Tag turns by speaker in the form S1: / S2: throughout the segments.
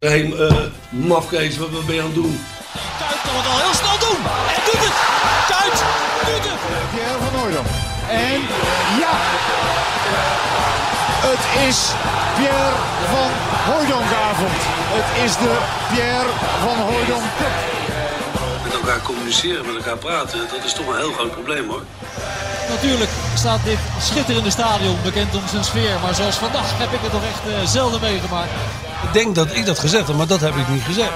S1: Hé, hey, eh, mafkees, wat, wat ben je aan het doen?
S2: Kuit kan het al heel snel doen. En doet het. Kuit doet het.
S3: Pierre van Hooydonk. En ja, het is Pierre van Hooijdonkavond. Het is de Pierre van Hooijdonk Cup.
S1: Met elkaar communiceren, met elkaar praten, dat is toch een heel groot probleem hoor.
S2: Natuurlijk staat dit schitterende stadion bekend om zijn sfeer. Maar zoals vandaag heb ik het nog echt eh, zelden meegemaakt.
S1: Ik denk dat ik dat gezegd heb, maar dat heb ik niet gezegd.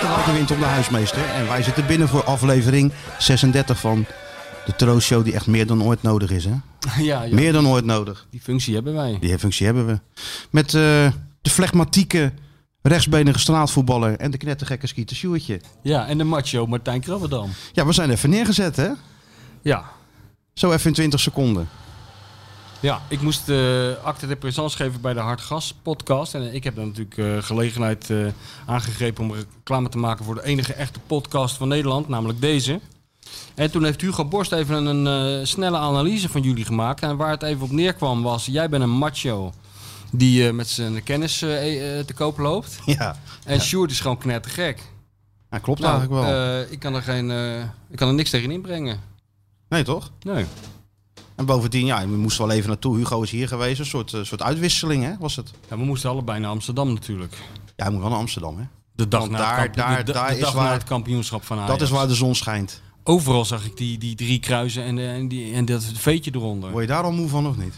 S4: De harde wind om de huismeester. En wij zitten binnen voor aflevering 36 van de troostshow die echt meer dan ooit nodig is. Hè?
S5: Ja, ja,
S4: Meer dan ooit nodig.
S5: die functie hebben wij.
S4: Die functie hebben we. Met eh, de flegmatieke rechtsbenige straatvoetballer en de knettergekke skieter Sjoertje.
S5: Ja, en de macho Martijn Krabbedam.
S4: Ja, we zijn even neergezet hè.
S5: Ja.
S4: Zo even in 20 seconden.
S5: Ja, ik moest eh acte de présence geven bij de Hartgas podcast. En eh, ik heb dan natuurlijk eh, gelegenheid eh, aangegrepen om reclame te maken voor de enige echte podcast van Nederland, namelijk deze. En toen heeft Hugo Borst even een eh, snelle analyse van jullie gemaakt. En waar het even op neerkwam was, jij bent een macho die eh, met zijn kennis eh, eh, te koop loopt.
S4: Ja,
S5: En Sjoerd is gewoon knettergek.
S4: ja klopt eigenlijk wel.
S5: eh, ik, kan er geen, eh, ik kan er niks tegen inbrengen.
S4: nee toch?
S5: Nee.
S4: En bovendien, ja, we moesten wel even naartoe. Hugo is hier geweest. Een soort, eh, soort uitwisseling hè, was het.
S5: Ja, we moesten allebei naar Amsterdam natuurlijk.
S4: Ja, hij moet wel naar Amsterdam hè.
S5: De dag,
S4: Want
S5: na,
S4: daar-
S5: het kampioen-
S4: daar-
S5: de, de
S4: daar is
S5: dag
S4: waar-
S5: na het kampioenschap van Ajax.
S4: Dat is waar de zon schijnt.
S5: Overal zag ik die, die drie kruisen en, eh, en, die, en dat veetje eronder.
S4: Word je daar al moe van of niet?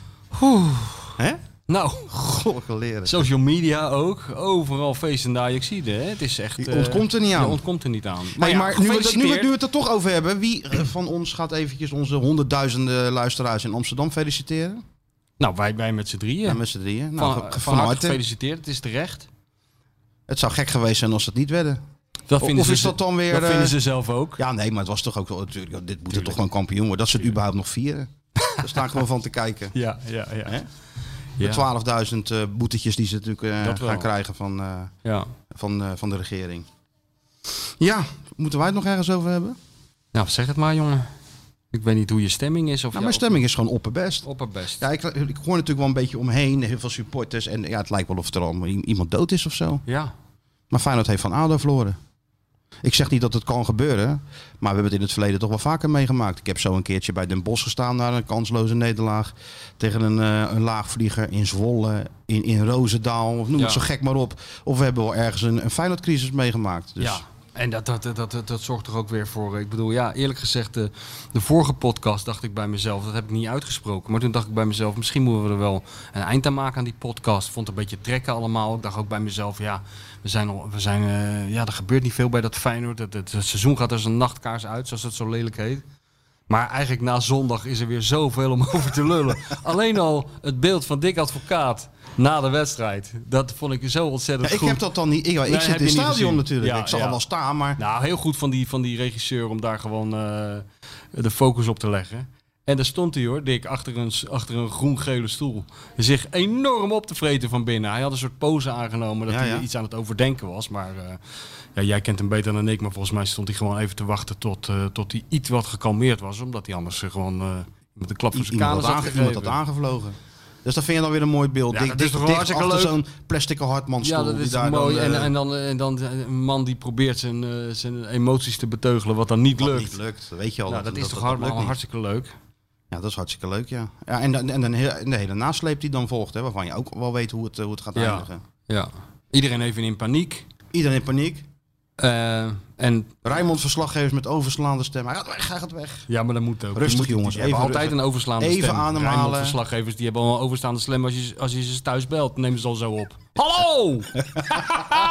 S4: Hè?
S5: Nou,
S4: Goddelijke leren.
S5: social media ook. Overal feestende Ajaxide. hè. Het is echt...
S4: Je
S5: eh,
S4: ontkomt er niet aan.
S5: Je ontkomt er niet aan.
S4: Maar,
S5: ja,
S4: maar nu, we het, nu, we,
S5: gefeliciteerd.
S4: nu we het er toch over hebben, wie eh, van ons gaat eventjes onze honderdduizenden luisteraars in Amsterdam feliciteren?
S5: Nou, wij, wij met z'n drieën.
S4: Ja, met z'n drieën. Nou,
S5: van,
S4: ge-
S5: van
S4: van
S5: harte
S4: harte.
S5: gefeliciteerd. Het is terecht.
S4: Het zou gek geweest zijn als ze het niet werden.
S5: Dat
S4: O-
S5: vinden
S4: of
S5: ze
S4: is dat dan weer,
S5: Dat
S4: eh,
S5: vinden ze zelf ook.
S4: Ja, nee, maar het was toch ook wel natuurlijk. Dit moet er toch gewoon kampioen worden. Dat ze het überhaupt nog vieren. Daar staan gewoon van te kijken.
S5: Ja, ja, ja.
S4: Hè?
S5: Ja,
S4: De 12.000 eh, boetetjes die ze natuurlijk eh,
S5: Dat wel.
S4: gaan krijgen van, eh,
S5: ja.
S4: van, eh, van de regering. Ja, moeten wij het nog ergens over hebben?
S5: Nou, zeg het maar, jongen. Ik weet niet hoe je stemming is. Of
S4: Nou, mijn stemming is gewoon opperbest.
S5: Opperbest.
S4: Ja, ik, ik hoor natuurlijk wel een beetje omheen, heel veel supporters. En ja, het lijkt wel of er al i- iemand dood is of zo.
S5: ja.
S4: Maar Feyenoord heeft van ADO verloren. Ik zeg niet dat het kan gebeuren, maar we hebben het in het verleden toch wel vaker meegemaakt. Ik heb zo een keertje bij Den Bosch gestaan naar een kansloze nederlaag. Tegen een, eh, een laagvlieger in Zwolle, in, in Roosendaal, of noem het
S5: Ja.
S4: zo gek maar op. Of we hebben wel ergens een, een Feyenoord-crisis meegemaakt. Dus
S5: Ja, en dat, dat, dat, dat, dat zorgt er ook weer voor. eh, Ik bedoel, ja, eerlijk gezegd, de, de vorige podcast dacht ik bij mezelf, dat heb ik niet uitgesproken. Maar toen dacht ik bij mezelf, misschien moeten we er wel een eind aan maken aan die podcast. Vond het een beetje trekken allemaal. Ik dacht ook bij mezelf, ja, we zijn al, we zijn, eh, ja er gebeurt niet veel bij dat Feyenoord. Het, het, het seizoen gaat als een nachtkaars uit, zoals dat zo lelijk heet. Maar eigenlijk na zondag is er weer zoveel om over te lullen. Alleen al het beeld van Dick Advocaat na de wedstrijd. Dat vond ik zo ontzettend
S4: Ja, ik
S5: goed.
S4: heb dat dan niet. Ik, ik
S5: heb
S4: zit
S5: je
S4: in het
S5: niet
S4: stadion
S5: gezien.
S4: natuurlijk.
S5: Ja,
S4: ik zal
S5: ja.
S4: er wel staan, maar
S5: Nou, heel goed van die, van die regisseur om daar gewoon eh, de focus op te leggen. En daar stond hij hoor, Dick, achter een, s- achter een groen-gele stoel. Zich enorm op te vreten van binnen. Hij had een soort pose aangenomen dat
S4: Ja,
S5: hij
S4: ja.
S5: iets aan het overdenken was. Maar eh, ja, jij kent hem beter dan ik. Maar volgens mij stond hij gewoon even te wachten tot, eh, tot hij iets wat gekalmeerd was. Omdat hij anders eh, gewoon eh, met een klap voor
S4: I-
S5: zijn
S4: iemand
S5: kanus
S4: had,
S5: had
S4: aange- iemand had
S5: gegeven.
S4: aangevlogen. Dus dat vind je dan weer een mooi beeld.
S5: Ja,
S4: Dik-
S5: dat
S4: dik-
S5: is toch wel
S4: dik
S5: hartstikke
S4: achter
S5: leuk?
S4: zo'n plastic hartmanstoel.
S5: Ja, dat
S4: die
S5: is
S4: daar
S5: mooi.
S4: Dan,
S5: en,
S4: eh,
S5: en, dan, en dan een man die probeert zijn, eh, zijn emoties te beteugelen, wat dan niet
S4: wat
S5: lukt.
S4: niet lukt. Weet je al.
S5: Nou, dat, is toch
S4: lukt
S5: allemaal
S4: niet.
S5: hartstikke leuk.
S4: Ja, dat is hartstikke leuk, ja. ja en, dan- en, dan heel- en de hele nasleep die dan volgt, hè, waarvan je ook wel weet hoe het, eh, hoe het gaat
S5: Ja.
S4: eindigen.
S5: Ja. Iedereen even in paniek.
S4: Iedereen in paniek.
S5: Eh, en
S4: Rijmond verslaggevers met overslaande stem. Hij gaat weg, hij gaat weg.
S5: ja, maar dat moet ook.
S4: Rustig,
S5: Je moet-
S4: jongens,
S5: Je hebt
S4: even
S5: altijd
S4: rustig.
S5: een overslaande
S4: Even
S5: stem.
S4: ademhalen.
S5: Rijnmond verslaggevers die hebben al een overstaande stem. Als je, als je ze thuis belt, nemen ze al zo op. Hallo!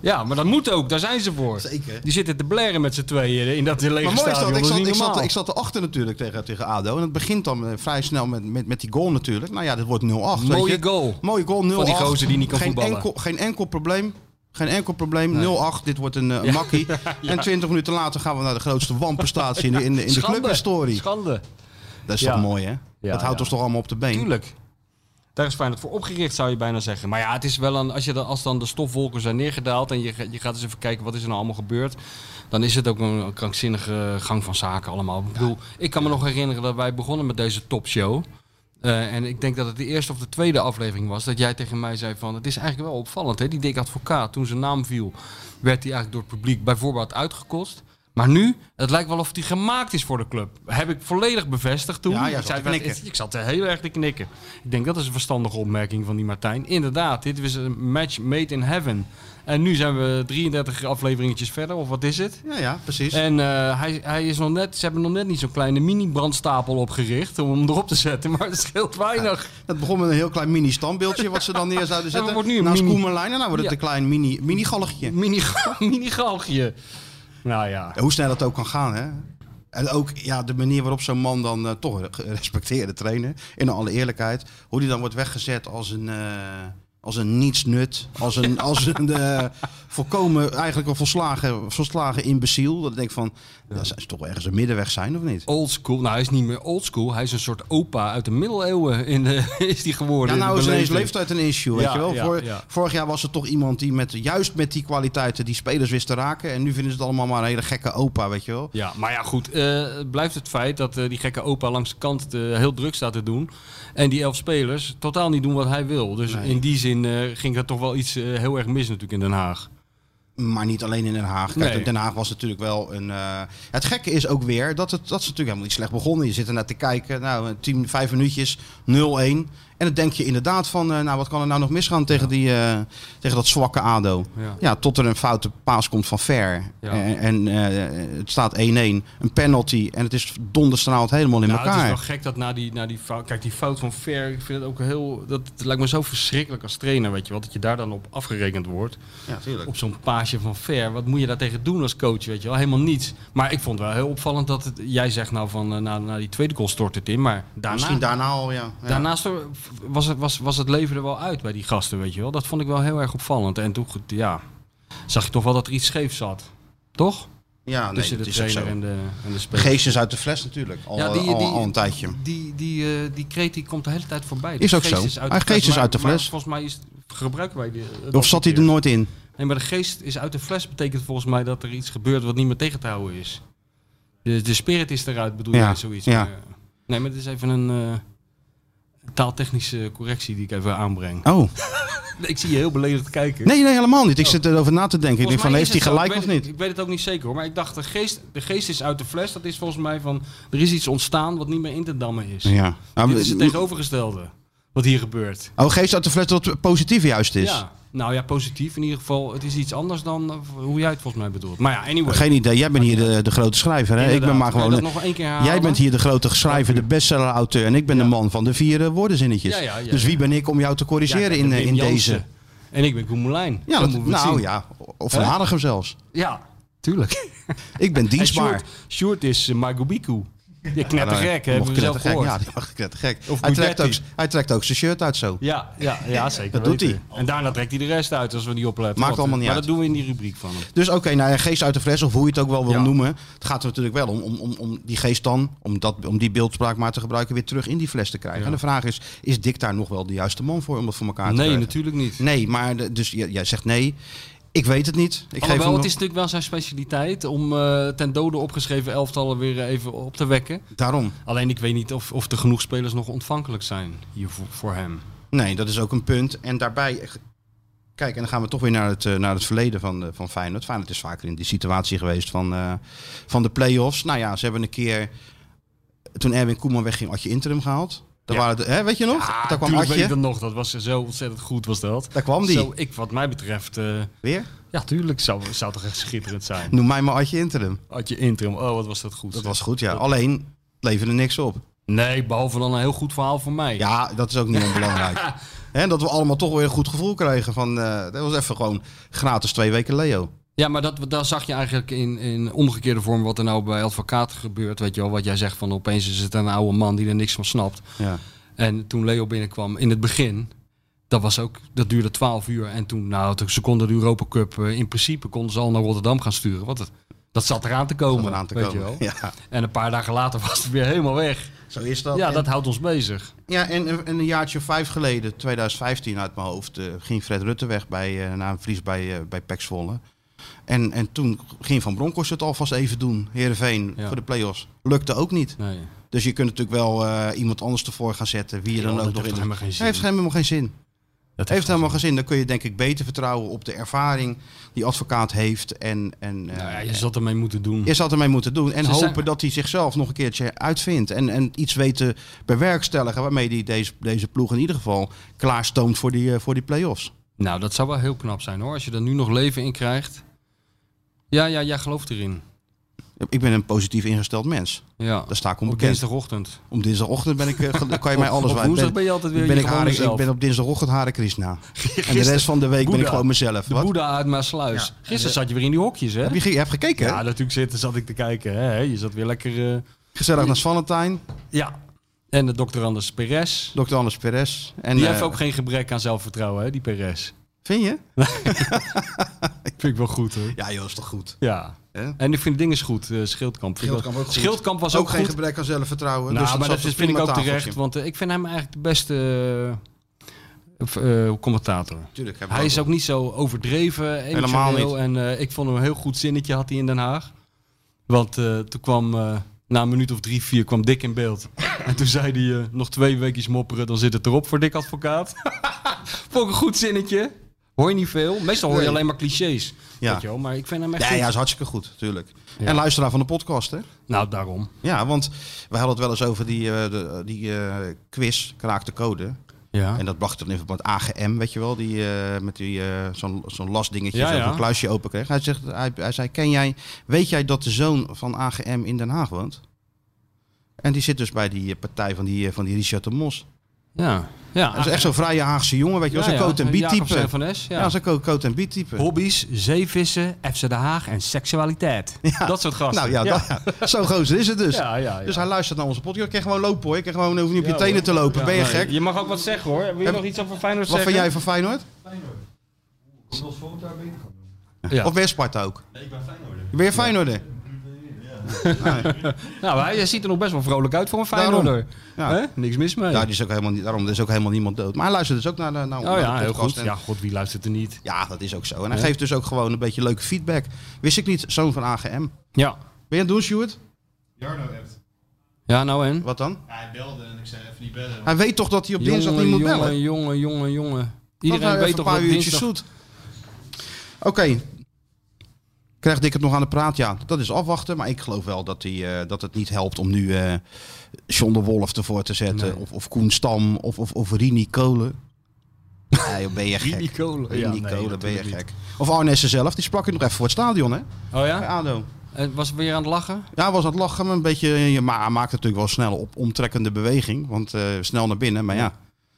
S5: ja, maar dat moet ook. Daar zijn ze voor.
S4: Zeker.
S5: Die zitten te blaren met z'n tweeën in dat lege
S4: Maar mooi is
S5: stadion.
S4: dat, ik
S5: is
S4: zat,
S5: niet
S4: ik, zat,
S5: normaal.
S4: ik zat erachter natuurlijk tegen, tegen ADO. En het begint dan eh, vrij snel met, met, met die goal natuurlijk. Nou ja, dit wordt 0-8. weet
S5: Mooie
S4: je.
S5: goal.
S4: Mooie goal, 0
S5: die gozer die niet kan
S4: geen
S5: voetballen.
S4: Enkel, geen enkel probleem. Geen enkel probleem. 0-8, dit wordt een eh, makkie. En 20 minuten later gaan we naar de grootste wanprestatie in de, in de, in de
S5: Schande.
S4: clubhistorie.
S5: Schande.
S4: Dat is
S5: Ja.
S4: toch mooi, hè? dat houdt
S5: ja.
S4: ons toch allemaal op de been.
S5: Tuurlijk. Daar is Feyenoord voor opgericht, zou je bijna zeggen. Maar ja, het is wel een, als, je dan, als dan de stofwolken zijn neergedaald en je, ga- je gaat eens even kijken wat is er nou allemaal gebeurd, dan is het ook een krankzinnige gang van zaken allemaal. Ik bedoel, ik kan me nog herinneren dat wij begonnen met deze topshow. Eh, en ik denk dat het de eerste of de tweede aflevering was dat jij tegen mij zei van het is eigenlijk wel opvallend. Hè? Die dik advocaat, toen zijn naam viel, werd hij eigenlijk door het publiek bijvoorbeeld uitgekost. Maar nu, het lijkt wel of hij gemaakt is voor de club. Heb ik volledig bevestigd toen.
S4: Ja, jij
S5: ik,
S4: zat te
S5: wel,
S4: knikken.
S5: is- ik zat er heel erg te knikken. Ik denk dat is een verstandige opmerking van die Martijn. Inderdaad, dit was een match made in heaven. En nu zijn we 33 afleveringetjes verder, of wat is het?
S4: Ja, ja, precies.
S5: En eh, hij, hij is nog net, ze hebben nog net niet zo'n kleine mini-brandstapel opgericht om hem erop te zetten, maar het scheelt weinig.
S4: Dat begon met een heel klein mini-standbeeldje wat ze dan neer zouden zetten.
S5: wordt nu een
S4: Naast
S5: mini-
S4: Koemerlijn en nou wordt het
S5: Ja.
S4: een klein mini- mini-galligje.
S5: Mini, mini-galgje. Nou ja.
S4: Ja, hoe snel het ook kan gaan, hè? En ook ja, de manier waarop zo'n man dan eh, toch een gerespecteerde trainer, in alle eerlijkheid, hoe die dan wordt weggezet als een, eh, als een nietsnut, als een, als een eh, volkomen, eigenlijk een volslagen, volslagen imbeciel. Dat ik denk van, dat zou toch wel ergens een middenweg zijn of niet?
S5: Old school. Nou, hij is niet meer old school. Hij is een soort opa uit de middeleeuwen in de, is die geworden.
S4: Ja,
S5: in
S4: nou
S5: de
S4: is ineens
S5: beleving.
S4: leeftijd een issue,
S5: Ja,
S4: weet je wel.
S5: ja,
S4: Vor-
S5: ja.
S4: Vorig jaar was er toch iemand die met, juist met die kwaliteiten die spelers wist te raken. En nu vinden ze het allemaal maar een hele gekke opa, weet je wel.
S5: Ja, maar ja, goed. eh, het blijft het feit dat eh, die gekke opa langs de kant eh, heel druk staat te doen. En die elf spelers totaal niet doen wat hij wil. Dus in die zin eh, ging dat toch wel iets eh, heel erg mis natuurlijk in Den Haag.
S4: Maar niet alleen in Den Haag. Kijk,
S5: Nee.
S4: Den Haag was natuurlijk wel een. eh, Het gekke is ook weer dat, het, dat ze natuurlijk helemaal niet slecht begonnen. Je zit er naar te kijken, nou, 10, 5 minuutjes, 0-1. En dan denk je inderdaad van, eh, nou, wat kan er nou nog misgaan tegen, die, eh, tegen dat zwakke ADO?
S5: Ja.
S4: Ja. tot er een foute paas komt van Ver.
S5: Ja.
S4: En, en, eh, het staat 1-1, een penalty. En het is donderstraald helemaal in
S5: Nou, het is
S4: elkaar.
S5: wel gek dat na die, na die fout... Kijk, die fout van Fer, ik vind het ook heel... Dat het lijkt me zo verschrikkelijk als trainer, weet je wel. Dat je daar dan op afgerekend wordt.
S4: Ja, tuurlijk.
S5: Op zo'n paasje van Fer. Wat moet je daar tegen doen als coach, weet je wel? Helemaal niets. Maar ik vond wel heel opvallend dat het... Jij zegt nou van, eh, na, na die tweede goal stort het in. Maar daarna...
S4: Misschien daarna al, ja. ja.
S5: Daarnaast er- was het, was, was het leven er wel uit bij die gasten, weet je wel. Dat vond ik wel heel erg opvallend. En toen, goed, ja, zag je toch wel dat er iets scheef zat. Toch?
S4: Ja, nee,
S5: Tussen
S4: dat
S5: de
S4: is ook zo.
S5: trainer en de, en de speler.
S4: Geest is uit de fles natuurlijk, al,
S5: Ja, die-
S4: al-
S5: die-
S4: al een tijdje.
S5: Die, die, eh, die kreet die komt de hele tijd voorbij.
S4: Is ook zo. Hij- geest is
S5: maar-
S4: uit de
S5: maar
S4: fles.
S5: volgens mij is, gebruiken wij die. eh, dat
S4: Of zat hij er
S5: weer.
S4: nooit in?
S5: Nee, maar de geest is uit de fles betekent volgens mij dat er iets gebeurt wat niet meer tegen te houden is. De, de spirit is eruit, bedoel je
S4: Ja,
S5: zoiets.
S4: ja.
S5: Maar, eh, nee, maar het is even een eh, taaltechnische correctie die ik even aanbreng.
S4: Oh.
S5: Ik zie je heel beledigd kijken.
S4: Nee, nee, helemaal niet. Ik zit erover na te denken. Ik denk
S5: Volgens
S4: van,
S5: mij
S4: heeft hij
S5: is het zo.
S4: gelijk
S5: Ik
S4: of
S5: weet het-
S4: niet?
S5: Ik weet het ook niet zeker hoor. Maar ik dacht, de geest, de geest is uit de fles. Dat is volgens mij van, er is iets ontstaan wat niet meer in te dammen is.
S4: Ja. Nou,
S5: Dit is het
S4: m-
S5: tegenovergestelde. Wat hier gebeurt.
S4: Oh, geest uit de fles dat het positief juist is.
S5: Ja. Nou ja, positief in ieder geval. Het is iets anders dan eh, hoe jij het volgens mij bedoelt. Maar ja, anyway.
S4: Geen idee. Jij bent hier de, de grote schrijver, hè? Ik ben
S5: Inderdaad.
S4: maar
S5: Kan je dat
S4: gewoon...
S5: nog één keer herhalen?
S4: Jij bent hier de grote schrijver, de bestseller-auteur. En ik ben de man van de vier eh, woordenzinnetjes.
S5: Ja, ja, ja,
S4: dus wie
S5: ja.
S4: ben ik om jou te
S5: Ja, ik
S4: corrigeren
S5: ben
S4: in, eh,
S5: Wim
S4: in
S5: Jansen.
S4: deze?
S5: En ik ben Koemelijn.
S4: Ja, dat,
S5: Zo moeten we het
S4: nou
S5: zien.
S4: ja. Of van
S5: Hè?
S4: Hanegem zelfs.
S5: Ja, tuurlijk.
S4: Ik ben
S5: En
S4: dienstbaar. Nou,
S5: Sjoerd, Sjoerd is uh, Magobiku. Je knettergek, hè,
S4: Ja,
S5: hebben we zelf
S4: knettergek.
S5: gehoord.
S4: Ja, die mag knettergek.
S5: Of
S4: Hij trekt, ook,
S5: Guidetti.
S4: hij trekt ook zijn shirt uit zo.
S5: Ja, ja, ja zeker.
S4: Dat doet
S5: weten. En daarna trekt hij de rest uit als we niet opletten.
S4: Maakt
S5: Want,
S4: allemaal niet
S5: maar
S4: uit.
S5: dat doen we in die rubriek van hem.
S4: Dus oké, nou ja, geest uit de fles, of hoe je het ook wel wil
S5: Ja.
S4: noemen. Het gaat er natuurlijk wel om, om, om, om die geest dan, om, dat, om die beeldspraak maar te gebruiken, weer terug in die fles te krijgen. En de vraag is, is Dick daar nog wel de juiste man voor om dat voor elkaar te
S5: Nee,
S4: krijgen?
S5: natuurlijk niet.
S4: Nee, maar de- dus jij, jij zegt nee. Ik weet het niet. Ik geef
S5: Alhoewel,
S4: hem
S5: het
S4: nog-
S5: is natuurlijk wel zijn specialiteit om eh, ten dode opgeschreven elftallen weer eh, even op te wekken.
S4: Daarom.
S5: Alleen ik weet niet of, of er genoeg spelers nog ontvankelijk zijn hier voor, voor hem.
S4: Nee, dat is ook een punt. En daarbij, eh, kijk, en dan gaan we toch weer naar het, eh, naar het verleden van, eh, van Feyenoord. Feyenoord is vaker in die situatie geweest van, eh, van de play-offs. Nou ja, ze hebben een keer, toen Erwin Koeman wegging, Adje Interim gehaald. Daar
S5: Ja.
S4: waren de, hè, weet je nog? Daar kwam
S5: tuurlijk weet ik
S4: Adje.
S5: dat nog. Dat was zo ontzettend goed was dat.
S4: Daar kwam die.
S5: Zo, ik, wat mij betreft, eh,
S4: Weer?
S5: ja tuurlijk zou, zou toch echt schitterend zijn.
S4: Noem mij maar Adje Interim.
S5: Had je interim, oh wat was dat goed.
S4: Dat
S5: zeg.
S4: was goed, ja. Alleen het leverde niks op.
S5: Nee, behalve dan een heel goed verhaal voor mij.
S4: Ja, dat is ook niet onbelangrijk. Hè, dat we allemaal toch weer een goed gevoel kregen van... eh, dat was even gewoon gratis twee weken Leo.
S5: Ja, maar dat, daar zag je eigenlijk in, in omgekeerde vorm wat er nou bij advocaat gebeurt. Weet je wel, wat jij zegt van opeens is het een oude man die er niks van snapt.
S4: Ja.
S5: En toen Leo binnenkwam in het begin, dat, was ook, dat duurde 12 uur. En toen, nou, toen ze konden de Europa Cup eh, in principe konden ze al naar Rotterdam gaan sturen. Want het, dat zat eraan te komen.
S4: eraan te
S5: weet
S4: komen,
S5: Je wel.
S4: ja.
S5: En een paar dagen later was het weer helemaal weg.
S4: Zo is dat.
S5: ja,
S4: En-
S5: dat houdt ons bezig.
S4: Ja, en, en een jaartje of vijf geleden, 2015 uit mijn hoofd, eh, ging Fred Rutte weg bij, eh, na een verlies bij, eh bij Pek Zwolle. En, en toen ging Van Bronckhorst het alvast even doen, Heerenveen,
S5: Ja.
S4: voor de play-offs. Lukte ook niet.
S5: Nee.
S4: Dus je kunt natuurlijk wel eh, iemand anders ervoor gaan zetten, wie je dan
S5: dat
S4: ook nog
S5: heeft
S4: in.
S5: helemaal geen zin.
S4: Heeft helemaal geen zin.
S6: Dat
S4: heeft helemaal geen zin. Dan kun je denk ik beter vertrouwen op de ervaring die advocaat heeft. En, en eh,
S5: Nou ja, je zat ermee moeten doen.
S4: je zou ermee moeten doen. En
S5: Ze
S4: hopen
S5: zijn-
S4: dat hij zichzelf nog een keertje uitvindt. En, en iets weet te bewerkstelligen. Waarmee hij deze, deze ploeg in ieder geval klaarstoomt voor die, eh, voor die play-offs.
S5: Nou, dat zou wel heel knap zijn hoor. Als je er nu nog leven in krijgt. Ja, ja, jij gelooft erin.
S4: Ik ben een positief ingesteld mens.
S5: Ja.
S4: Daar sta ik
S5: Op
S4: onbekend.
S5: dinsdagochtend.
S4: Om dinsdagochtend ben ik, eh, gel- kan je mij alles
S5: op
S4: wijten.
S5: woensdag ben je altijd weer
S4: ben
S5: je
S4: ik,
S5: gewone
S4: Hare- ik
S5: zelf.
S4: ben op dinsdagochtend Hare Krishna. en de rest van de week ben ik
S5: Boeddha.
S4: gewoon mezelf.
S5: De
S4: Wat?
S5: Boeddha uit Maasluis. Gisteren zat je weer in die hokjes, hè?
S4: Heb je, ge- je hebt gekeken, hè?
S5: Ja, natuurlijk zitten, zat ik te kijken. Hè? Je zat weer lekker... eh,
S4: Gezellig naar Valentijn,
S5: Ja. En de dokter Anders Perez.
S4: dokter Anders Perez. En,
S5: Die
S4: eh,
S5: heeft ook geen gebrek aan zelfvertrouwen, hè, die Perez.
S4: Vind je?
S5: Vind ik wel goed, hoor.
S4: Ja, joh, is toch goed.
S5: Ja.
S4: Hè?
S5: En ik vind dinges goed, eh, Schildkamp. Vind ik
S4: Schildkamp
S5: wel-
S4: ook goed.
S5: Schildkamp was ook,
S4: geen
S5: goed.
S4: gebrek aan zelfvertrouwen.
S5: Nou,
S4: dus
S5: maar
S4: zat
S5: dat
S4: een
S5: is- vind ik
S4: prima
S5: ook terecht.
S4: tafeltje.
S5: Want eh, ik vind hem eigenlijk de beste eh, v- eh, commentator.
S4: Tuurlijk, hebben we
S5: Hij is ook niet zo overdreven.
S4: Helemaal
S5: emotioneel. En eh, ik vond hem een heel goed zinnetje had hij in Den Haag. Want eh, toen kwam, eh, na een minuut of drie, vier, kwam Dick in beeld. en toen zei hij, eh, nog twee weekjes mopperen, dan zit het erop voor Dick Advocaat. vond ik een goed zinnetje. Hoor je niet veel. Meestal hoor je
S4: Nee.
S5: alleen maar clichés.
S4: Ja.
S5: Weet je wel, maar ik vind hem echt
S4: Ja,
S5: goed.
S4: ja, is hartstikke goed, tuurlijk.
S5: Ja.
S4: En luisteraar van de podcast, hè?
S5: Nou, daarom.
S4: Ja, want we hadden het wel eens over die, eh, de, die eh, quiz, Kraak de Code.
S5: Ja.
S4: En dat bracht dan even op het AGM, weet je wel, die, eh, met die, eh, zo'n, zo'n lastdingetje,
S5: Ja,
S4: zo'n
S5: ja.
S4: kluisje open kreeg. Hij, zegt, hij, hij zei, Ken jij, weet jij dat de zoon van AGM in Den Haag woont? En die zit dus bij die eh, partij van die, eh, van die Richard de Mos.
S5: ja. Ah, ja.
S4: Dat is echt zo'n vrije Haagse jongen, weet je wel, zo'n coat en beat type.
S5: Jacobsen van S, ja.
S4: Ja, zo'n co- coat en beat type.
S5: Hobby's, zeevissen, FC Den Haag en seksualiteit. Dat soort gasten.
S4: Nou ja, dat- zo'n gozer is het dus.
S5: Ja, ja, ja.
S4: Dus hij luistert naar onze podcast. Je kan gewoon lopen hoor, je kan gewoon je hoeft niet op je
S5: Ja,
S4: tenen
S5: hoor.
S4: te lopen.
S5: Ja,
S4: ben je
S5: nee.
S4: gek?
S5: Nou, Je mag ook wat zeggen hoor. Wil je
S4: Heb-
S5: nog iets over Feyenoord
S4: Wat
S5: zeggen?
S4: vind jij van Feyenoord?
S5: Ja.
S4: Of ben je Sparta ook? Nee, ik ben Feyenoorder. Ben je Feyenoorder? Nee.
S5: Nou, hij hij ziet er nog best wel vrolijk uit voor een Feyenoorder.
S4: Ja.
S5: Hè? Niks mis mee.
S4: Ja, die is ook helemaal niet, daarom is ook helemaal niemand dood. Maar hij luistert dus ook naar, de- naar,
S5: oh
S4: naar
S5: ja,
S4: de
S5: heel goed.
S4: podcast.
S5: Ja,
S4: En,
S5: god, wie luistert er niet?
S4: ja, dat is ook zo. En hij geeft dus ook gewoon een beetje leuke feedback. Wist ik niet, zoon van AGM. Ben
S5: Ja.
S4: je aan het doen, Stuart?
S6: Jarno hebt.
S5: Ja, nou en?
S4: Wat dan?
S6: hij belde en ik zei even niet bellen.
S4: Hij weet toch dat hij op dinsdag niet moet bellen?
S5: jongen, jongen, jongen, jongen.
S4: Dat
S5: Iedereen
S4: nou
S5: weet
S4: even
S5: toch
S4: een
S5: wat
S4: paar uurtjes
S5: dinsdag...
S4: zoet. Oké. Krijgt Dick het nog aan de praat? Ja, dat is afwachten. Maar ik geloof wel dat, die, eh, dat het niet helpt om nu eh John de Wolf ervoor te zetten. Of, of Koen Stam. Of, of, of Rini Kolen. Nee, joh, ben je gek.
S5: Rini Kolen.
S4: Rini
S5: Ja, nee,
S4: Kolen, ben je
S5: natuurlijk
S4: gek. Of Arnessen zelf. Die sprak je nog even voor het stadion, hè?
S5: Oh
S4: Bij
S5: ja?
S4: ADO.
S5: En was weer aan het lachen?
S4: Ja, hij was aan het lachen. maar Een beetje, je ma hij maakt natuurlijk wel snel op omtrekkende beweging. Want eh, snel naar binnen. Maar ja,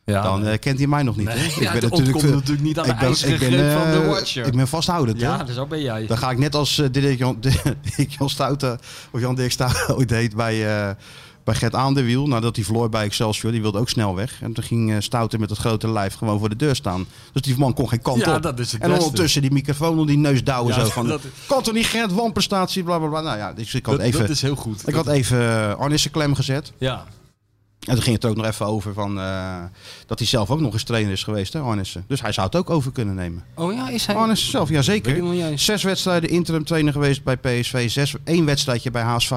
S5: Ja.
S4: dan eh, kent hij mij nog niet. hè?
S5: Ah, Nee, ja, het ontkomt
S4: veel-
S5: natuurlijk niet aan de ijzeren
S4: eh, ben,
S5: greep van de
S4: eh,
S5: Watcher.
S4: Ik ben vasthoudend.
S5: ja,
S4: hè?
S5: dus zo ben jij.
S4: Dan ga ik net als eh, Dirk Jan, Dirk Jan Stouten of Jan Dirk Stouten ooit deed bij, eh, bij Gert Aan de Wiel. Nadat hij verloor bij Excelsior, die wilde ook snel weg. En toen ging eh, Stouten met het grote lijf gewoon voor de deur staan. Dus die man kon geen kant
S5: Ja,
S4: op.
S5: dat is het
S4: en
S5: beste.
S4: ondertussen die microfoon om die neus douwen.
S5: Ja,
S4: zo van,
S5: dat-
S4: kan toch niet Gert, wanprestatie, bla bla bla. Nou ja, dus ik had
S5: Dat,
S4: even,
S5: dat is heel goed.
S4: ik had even eh, Arnissen klem gezet.
S5: Ja.
S4: En toen ging het er ook nog even over van, eh, dat hij zelf ook nog eens trainer is geweest, hè, Arnissen. Dus hij zou het ook over kunnen nemen.
S5: Oh ja, is hij...
S4: Arnissen zelf,
S5: Weet ik nog
S4: jazeker.
S5: niet eens.
S4: Zes wedstrijden interim trainer geweest bij PSV. Zes, één wedstrijdje bij HSV.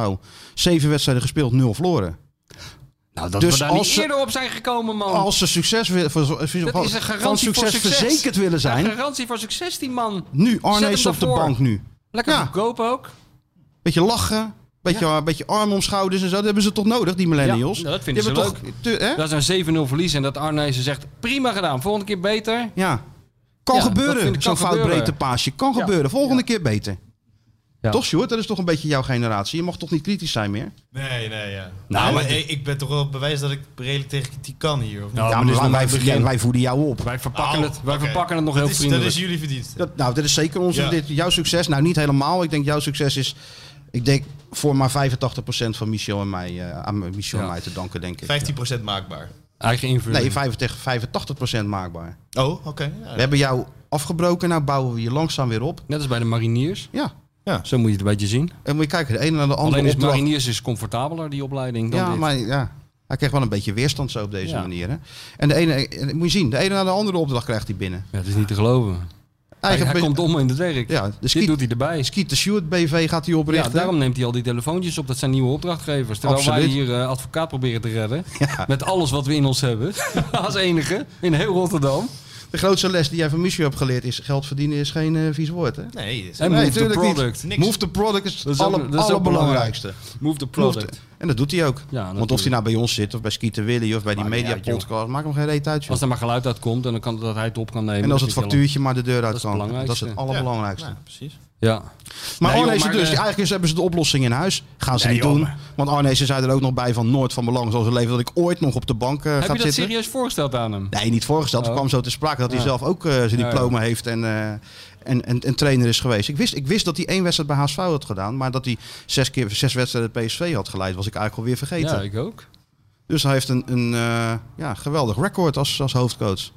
S4: Zeven wedstrijden gespeeld, nul verloren.
S5: Nou, dat
S4: Dus
S5: we daar
S4: als
S5: niet
S4: ze-
S5: eerder op zijn gekomen, man.
S4: Als ze succes, wi- voor- voor-
S5: Dat is
S4: van,
S5: een garantie
S4: succes
S5: voor succes.
S4: verzekerd willen
S5: Een
S4: zijn,
S5: garantie voor succes, die man.
S4: nu
S5: Zet
S4: Arnees
S5: hem
S4: op de
S5: daarvoor.
S4: bank nu.
S5: Lekker
S4: Ja.
S5: goedkoop ook.
S4: Beetje lachen, beetje, beetje arm om schouders en zo. Dat hebben ze toch nodig, die millennials?
S5: Ja, nou, dat vinden
S4: Die
S5: ze
S4: hebben Toch, te- hè?
S5: Dat is een 7-0 verlies en dat Arnezen zegt, prima gedaan, volgende keer beter.
S4: Ja. Kan
S5: Ja, dat vind
S4: gebeuren, zo'n
S5: ik kan
S4: fout
S5: gebeuren.
S4: breedte paasje. Kan
S5: Ja.
S4: gebeuren, volgende keer beter.
S5: Ja.
S4: Toch, Sjoerd? Dat is toch een beetje jouw generatie? Je mag toch niet kritisch zijn meer?
S6: Nee, nee, ja.
S5: Nou,
S6: Nou,
S5: maar
S6: maar ik, ik ben toch wel bewijs dat ik redelijk tegen kritiek kan hier. Of niet?
S5: Nou,
S4: ja,
S5: maar dit is
S4: maar
S5: nog
S4: wij,
S5: maar het begin.
S4: wij voeden jou op.
S5: Wij verpakken,
S6: Oh,
S5: het, wij
S6: oké.
S5: verpakken het nog heel
S6: dat, is, dat
S5: vriendelijk.
S6: is jullie verdienst.
S4: Dat, nou, dat is zeker onze,
S6: Ja.
S4: dit, jouw succes. Nou, niet helemaal. Ik denk jouw succes is, ik denk voor maar 85% van Michel en mij, eh, aan Michel
S5: Ja.
S4: en mij te danken, denk ik.
S6: 15% maakbaar.
S5: Eigen invulling.
S4: Nee, 85, 85% maakbaar.
S6: Oh, oké.
S4: We hebben jou afgebroken, nou bouwen we je langzaam weer op.
S5: Net als bij de mariniers.
S4: Ja,
S5: Zo moet je het een beetje zien.
S4: en moet je kijken, de ene naar de andere
S5: Alleen is
S4: opdracht.
S5: mariniers is comfortabeler, die opleiding, dan
S4: Ja,
S5: dit.
S4: maar ja. Hij kreeg wel een beetje weerstand zo op deze
S5: Ja.
S4: manier. Hè? En de ene, eh, moet je zien, de ene naar de andere opdracht krijgt hij binnen.
S5: Ja, het is niet te geloven. Hij,
S4: Eigen
S5: hij
S4: be-
S5: komt om in het werk.
S4: Ja, de ski-
S5: Dit doet hij erbij.
S4: Skeet de Stewart BV gaat hij
S5: Ja,
S4: oprichten.
S5: daarom neemt hij al die telefoontjes op. Dat zijn nieuwe opdrachtgevers. Terwijl wij
S4: Absoluut.
S5: hier eh, advocaat proberen te redden. Met alles wat we in ons hebben. Als enige. In heel Rotterdam.
S4: De grootste les die jij van Michio hebt geleerd is... geld verdienen is geen eh, vies woord, hè?
S6: Nee, dat is
S5: En
S4: Nee,
S5: move the
S4: tuurlijk niet.
S5: product.
S6: niks.
S4: Move the product is
S5: Dat
S4: het
S5: is ook-
S4: alle,
S5: dat is ook
S4: allerbelangrijkste.
S5: Move the
S4: Move
S5: product.
S4: the- En dat doet hij ook. Want of
S5: natuurlijk.
S4: hij nou bij ons zit of bij Skeeter Willy of bij die
S5: Maakt niet uit, joh.
S4: media-podcast... maakt hem geen reet uit, joh.
S5: Als er maar geluid uit komt. En dan kan dat hij het op kan nemen.
S4: En als
S5: dat
S4: het
S5: vind ik heel-
S4: factuurtje maar de deur uit
S5: is
S4: kan.
S5: het
S4: Dat is het
S5: belangrijkste.
S4: allerbelangrijkste.
S6: Ja, precies.
S5: Ja.
S4: Maar
S5: Nee, joh,
S4: Arnezen
S5: maar,
S4: dus,
S5: eh,
S4: eigenlijk hebben ze de oplossing in huis. Gaan ze
S5: Nee,
S4: niet
S5: joh,
S4: doen.
S5: maar-
S4: Want Arnezen zei er ook nog bij van nooit van belang zoals een leven... dat ik ooit nog op de bank eh, ga
S5: Heb je
S4: zitten.
S5: dat serieus voorgesteld aan hem?
S4: Nee, niet voorgesteld. Het
S5: Oh.
S4: kwam zo te sprake dat hij
S5: Ja.
S4: zelf ook eh, zijn
S5: Ja,
S4: diploma heeft en, eh, en, en, en trainer is geweest. Ik wist, ik wist dat hij één wedstrijd bij HSV had gedaan, maar dat hij zes keer zes wedstrijden PSV had geleid, was ik eigenlijk alweer vergeten.
S5: Ja, ik ook.
S4: Dus hij heeft een, een eh, ja, geweldig record als, als hoofdcoach.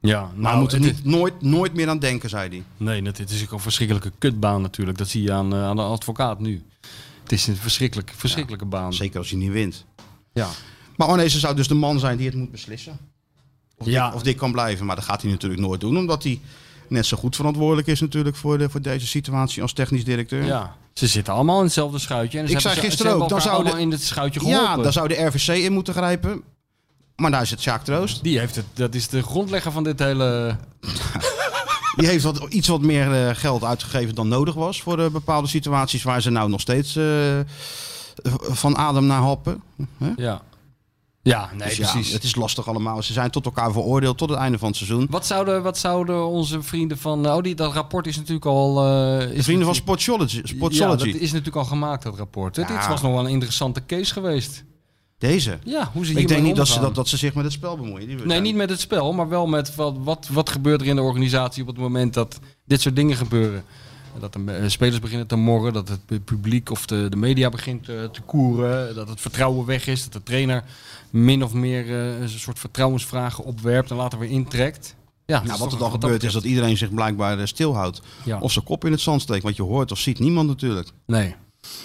S5: Ja, nou,
S4: Maar we moet er
S5: het-
S4: Nou, niet, nooit, nooit meer aan denken, zei hij.
S5: Nee, dat, het is ook een verschrikkelijke kutbaan natuurlijk. Dat zie je aan, eh, aan de advocaat nu. Het is een verschrikkelijk, verschrikkelijke baan.
S4: Zeker als hij niet wint.
S5: Ja.
S4: Maar Arnezen zou dus de man zijn die het moet beslissen. Of,
S5: Ja.
S4: dit, of dit kan blijven. Maar dat gaat hij natuurlijk nooit doen, omdat hij net zo goed verantwoordelijk is natuurlijk voor, de, voor deze situatie als technisch directeur.
S5: ja. Ze zitten allemaal in hetzelfde schuitje. En ze
S4: Ik
S5: hebben
S4: zei
S5: ze-
S4: gisteren
S5: ze hebben
S4: ook, dan
S5: elkaar
S4: zouden-
S5: allemaal in het schuitje geholpen.
S4: Ja, daar zou de RVC in moeten grijpen. Maar daar zit Sjaak Troost.
S5: Die heeft het, dat is de grondlegger van dit hele...
S4: Die heeft wat, iets wat meer eh, geld uitgegeven dan nodig was voor eh, bepaalde situaties waar ze nou nog steeds eh, van adem naar happen.
S5: Ja. Ja, nee,
S4: Dus ja,
S5: precies.
S4: Het is lastig allemaal. Ze zijn tot elkaar veroordeeld tot het einde van het seizoen.
S5: Wat, zouden, wat zouden onze vrienden van... Oh, die, dat rapport is natuurlijk al... eh, is
S4: De vrienden van
S5: natuurlijk-
S4: Sportsology.
S5: Ja,
S4: Sportsology.
S5: dat is natuurlijk al gemaakt, dat rapport. hè.
S4: Ja.
S5: Dit was nog wel een interessante case geweest.
S4: Deze.
S5: Ja, hoe ze
S4: Ik
S5: hiermee
S4: denk niet dat ze,
S5: omgaan.
S4: dat, dat ze zich met het spel bemoeien. Die-
S5: Nee, niet met het spel, maar wel met wat, wat, wat gebeurt er in de organisatie op het moment dat dit soort dingen gebeuren. Dat de eh, spelers beginnen te morren, dat het pu- publiek of de, de media begint eh, te koeren, dat het vertrouwen weg is, dat de trainer min of meer eh, een soort vertrouwensvragen opwerpt en later weer intrekt. Ja, dat
S4: Nou, wat
S5: is toch-
S4: er dan gebeurt is
S5: betreft-
S4: dat iedereen zich blijkbaar eh, stilhoudt.
S5: Ja.
S4: Of zijn kop in het zand steekt. Want je hoort of ziet niemand natuurlijk.
S5: Nee,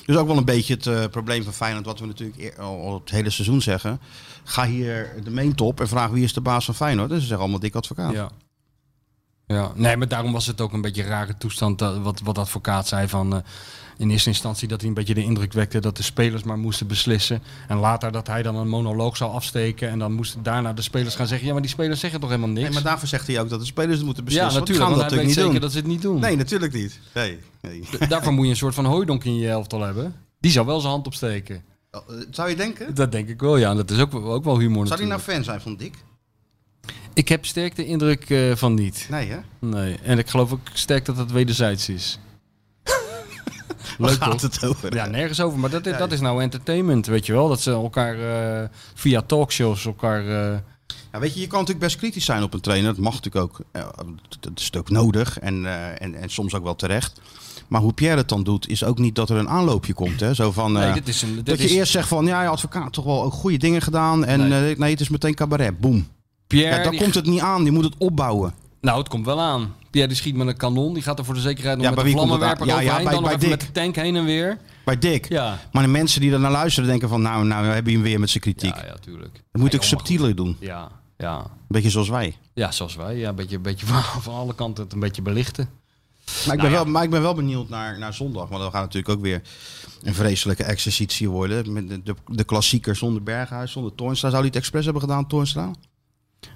S4: Dus ook wel een beetje het eh, probleem van Feyenoord, wat we natuurlijk eer- al, al het hele seizoen zeggen. Ga hier de main top en vraag wie is de baas van Feyenoord. En ze zeggen allemaal dik advocaat.
S5: ja. Ja, nee, maar daarom was het ook een beetje een rare toestand dat- wat, wat de advocaat zei van eh, in eerste instantie dat hij een beetje de indruk wekte dat de spelers maar moesten beslissen en later dat hij dan een monoloog zou afsteken en dan moesten daarna de spelers gaan zeggen ja, maar die spelers zeggen toch helemaal niks.
S4: Nee, maar daarvoor zegt hij ook dat de spelers het moeten
S5: ja,
S4: beslissen.
S5: natuurlijk,
S4: want
S5: want
S4: we
S5: hij
S4: gaan dat
S5: weet
S4: natuurlijk niet doen.
S5: zeker dat ze het niet doen.
S4: Nee, natuurlijk niet. Nee. nee.
S5: D- Daarvoor moet je een soort van hooidonk in je elftal hebben. Die zou wel zijn hand opsteken.
S4: Eh, Zou je denken?
S5: Dat denk ik wel, ja. En dat is ook, ook wel humor
S4: Zou nou- hij nou
S5: natuurlijk.
S4: fan zijn van Dick?
S5: Ik heb sterk de indruk eh, van niet.
S4: Nee, hè?
S5: Nee. En ik geloof ook sterk dat het wederzijds is.
S4: Waar
S5: Leuk toch?
S4: gaat het over?
S5: Ja, nergens over. Maar dat,
S4: Nee.
S5: dat is nou entertainment, weet je wel. Dat ze elkaar eh, via talkshows elkaar... eh,
S4: Ja, weet je, je kan natuurlijk best kritisch zijn op een trainer. Dat mag natuurlijk ook. Eh, Dat is natuurlijk nodig en, eh, en, en soms ook wel terecht. Maar hoe Pierre het dan doet, is ook niet dat er een aanloopje komt. Hè? Zo van,
S5: nee,
S4: eh,
S5: dit is een...
S4: Dat
S5: Dit
S4: je
S5: is
S4: eerst zegt van, ja, je advocaat toch wel ook goede dingen gedaan. En eh,
S5: Nee.
S4: nee, het is meteen cabaret. Boom.
S5: Pierre,
S4: Ja, daar
S5: die-
S4: komt het niet aan. Je moet het opbouwen.
S5: Nou, het komt wel aan. Pierre die schiet met een kanon. Die gaat er voor de zekerheid nog
S4: Ja,
S5: met
S4: bij
S5: een
S4: wie komt het
S5: vlammenwerper
S4: aan? Ja, ja,
S5: overheen.
S4: bij-
S5: dan nog
S4: bij
S5: even met de
S4: Dick.
S5: tank heen en weer.
S4: Bij Dick.
S5: Ja.
S4: Maar de mensen die er naar luisteren denken van, nou, nou, we hebben hem weer met zijn kritiek.
S5: Ja, ja, tuurlijk.
S4: Dat moet
S5: Ja,
S4: ik
S5: joh, maar
S4: subtieler doen.
S5: goed. Ja, ja.
S4: Een beetje zoals wij.
S5: Ja, zoals wij. Ja, een beetje, een beetje van, van alle kanten het een beetje belichten.
S4: Maar ik ben,
S5: Nou
S4: wel, maar ik ben wel benieuwd naar, naar zondag. Want dan gaat natuurlijk ook weer een vreselijke exercitie worden. Met de, de, de klassieker zonder Berghuis, zonder Toornstra. Zou hij het expres hebben gedaan, Toornstra?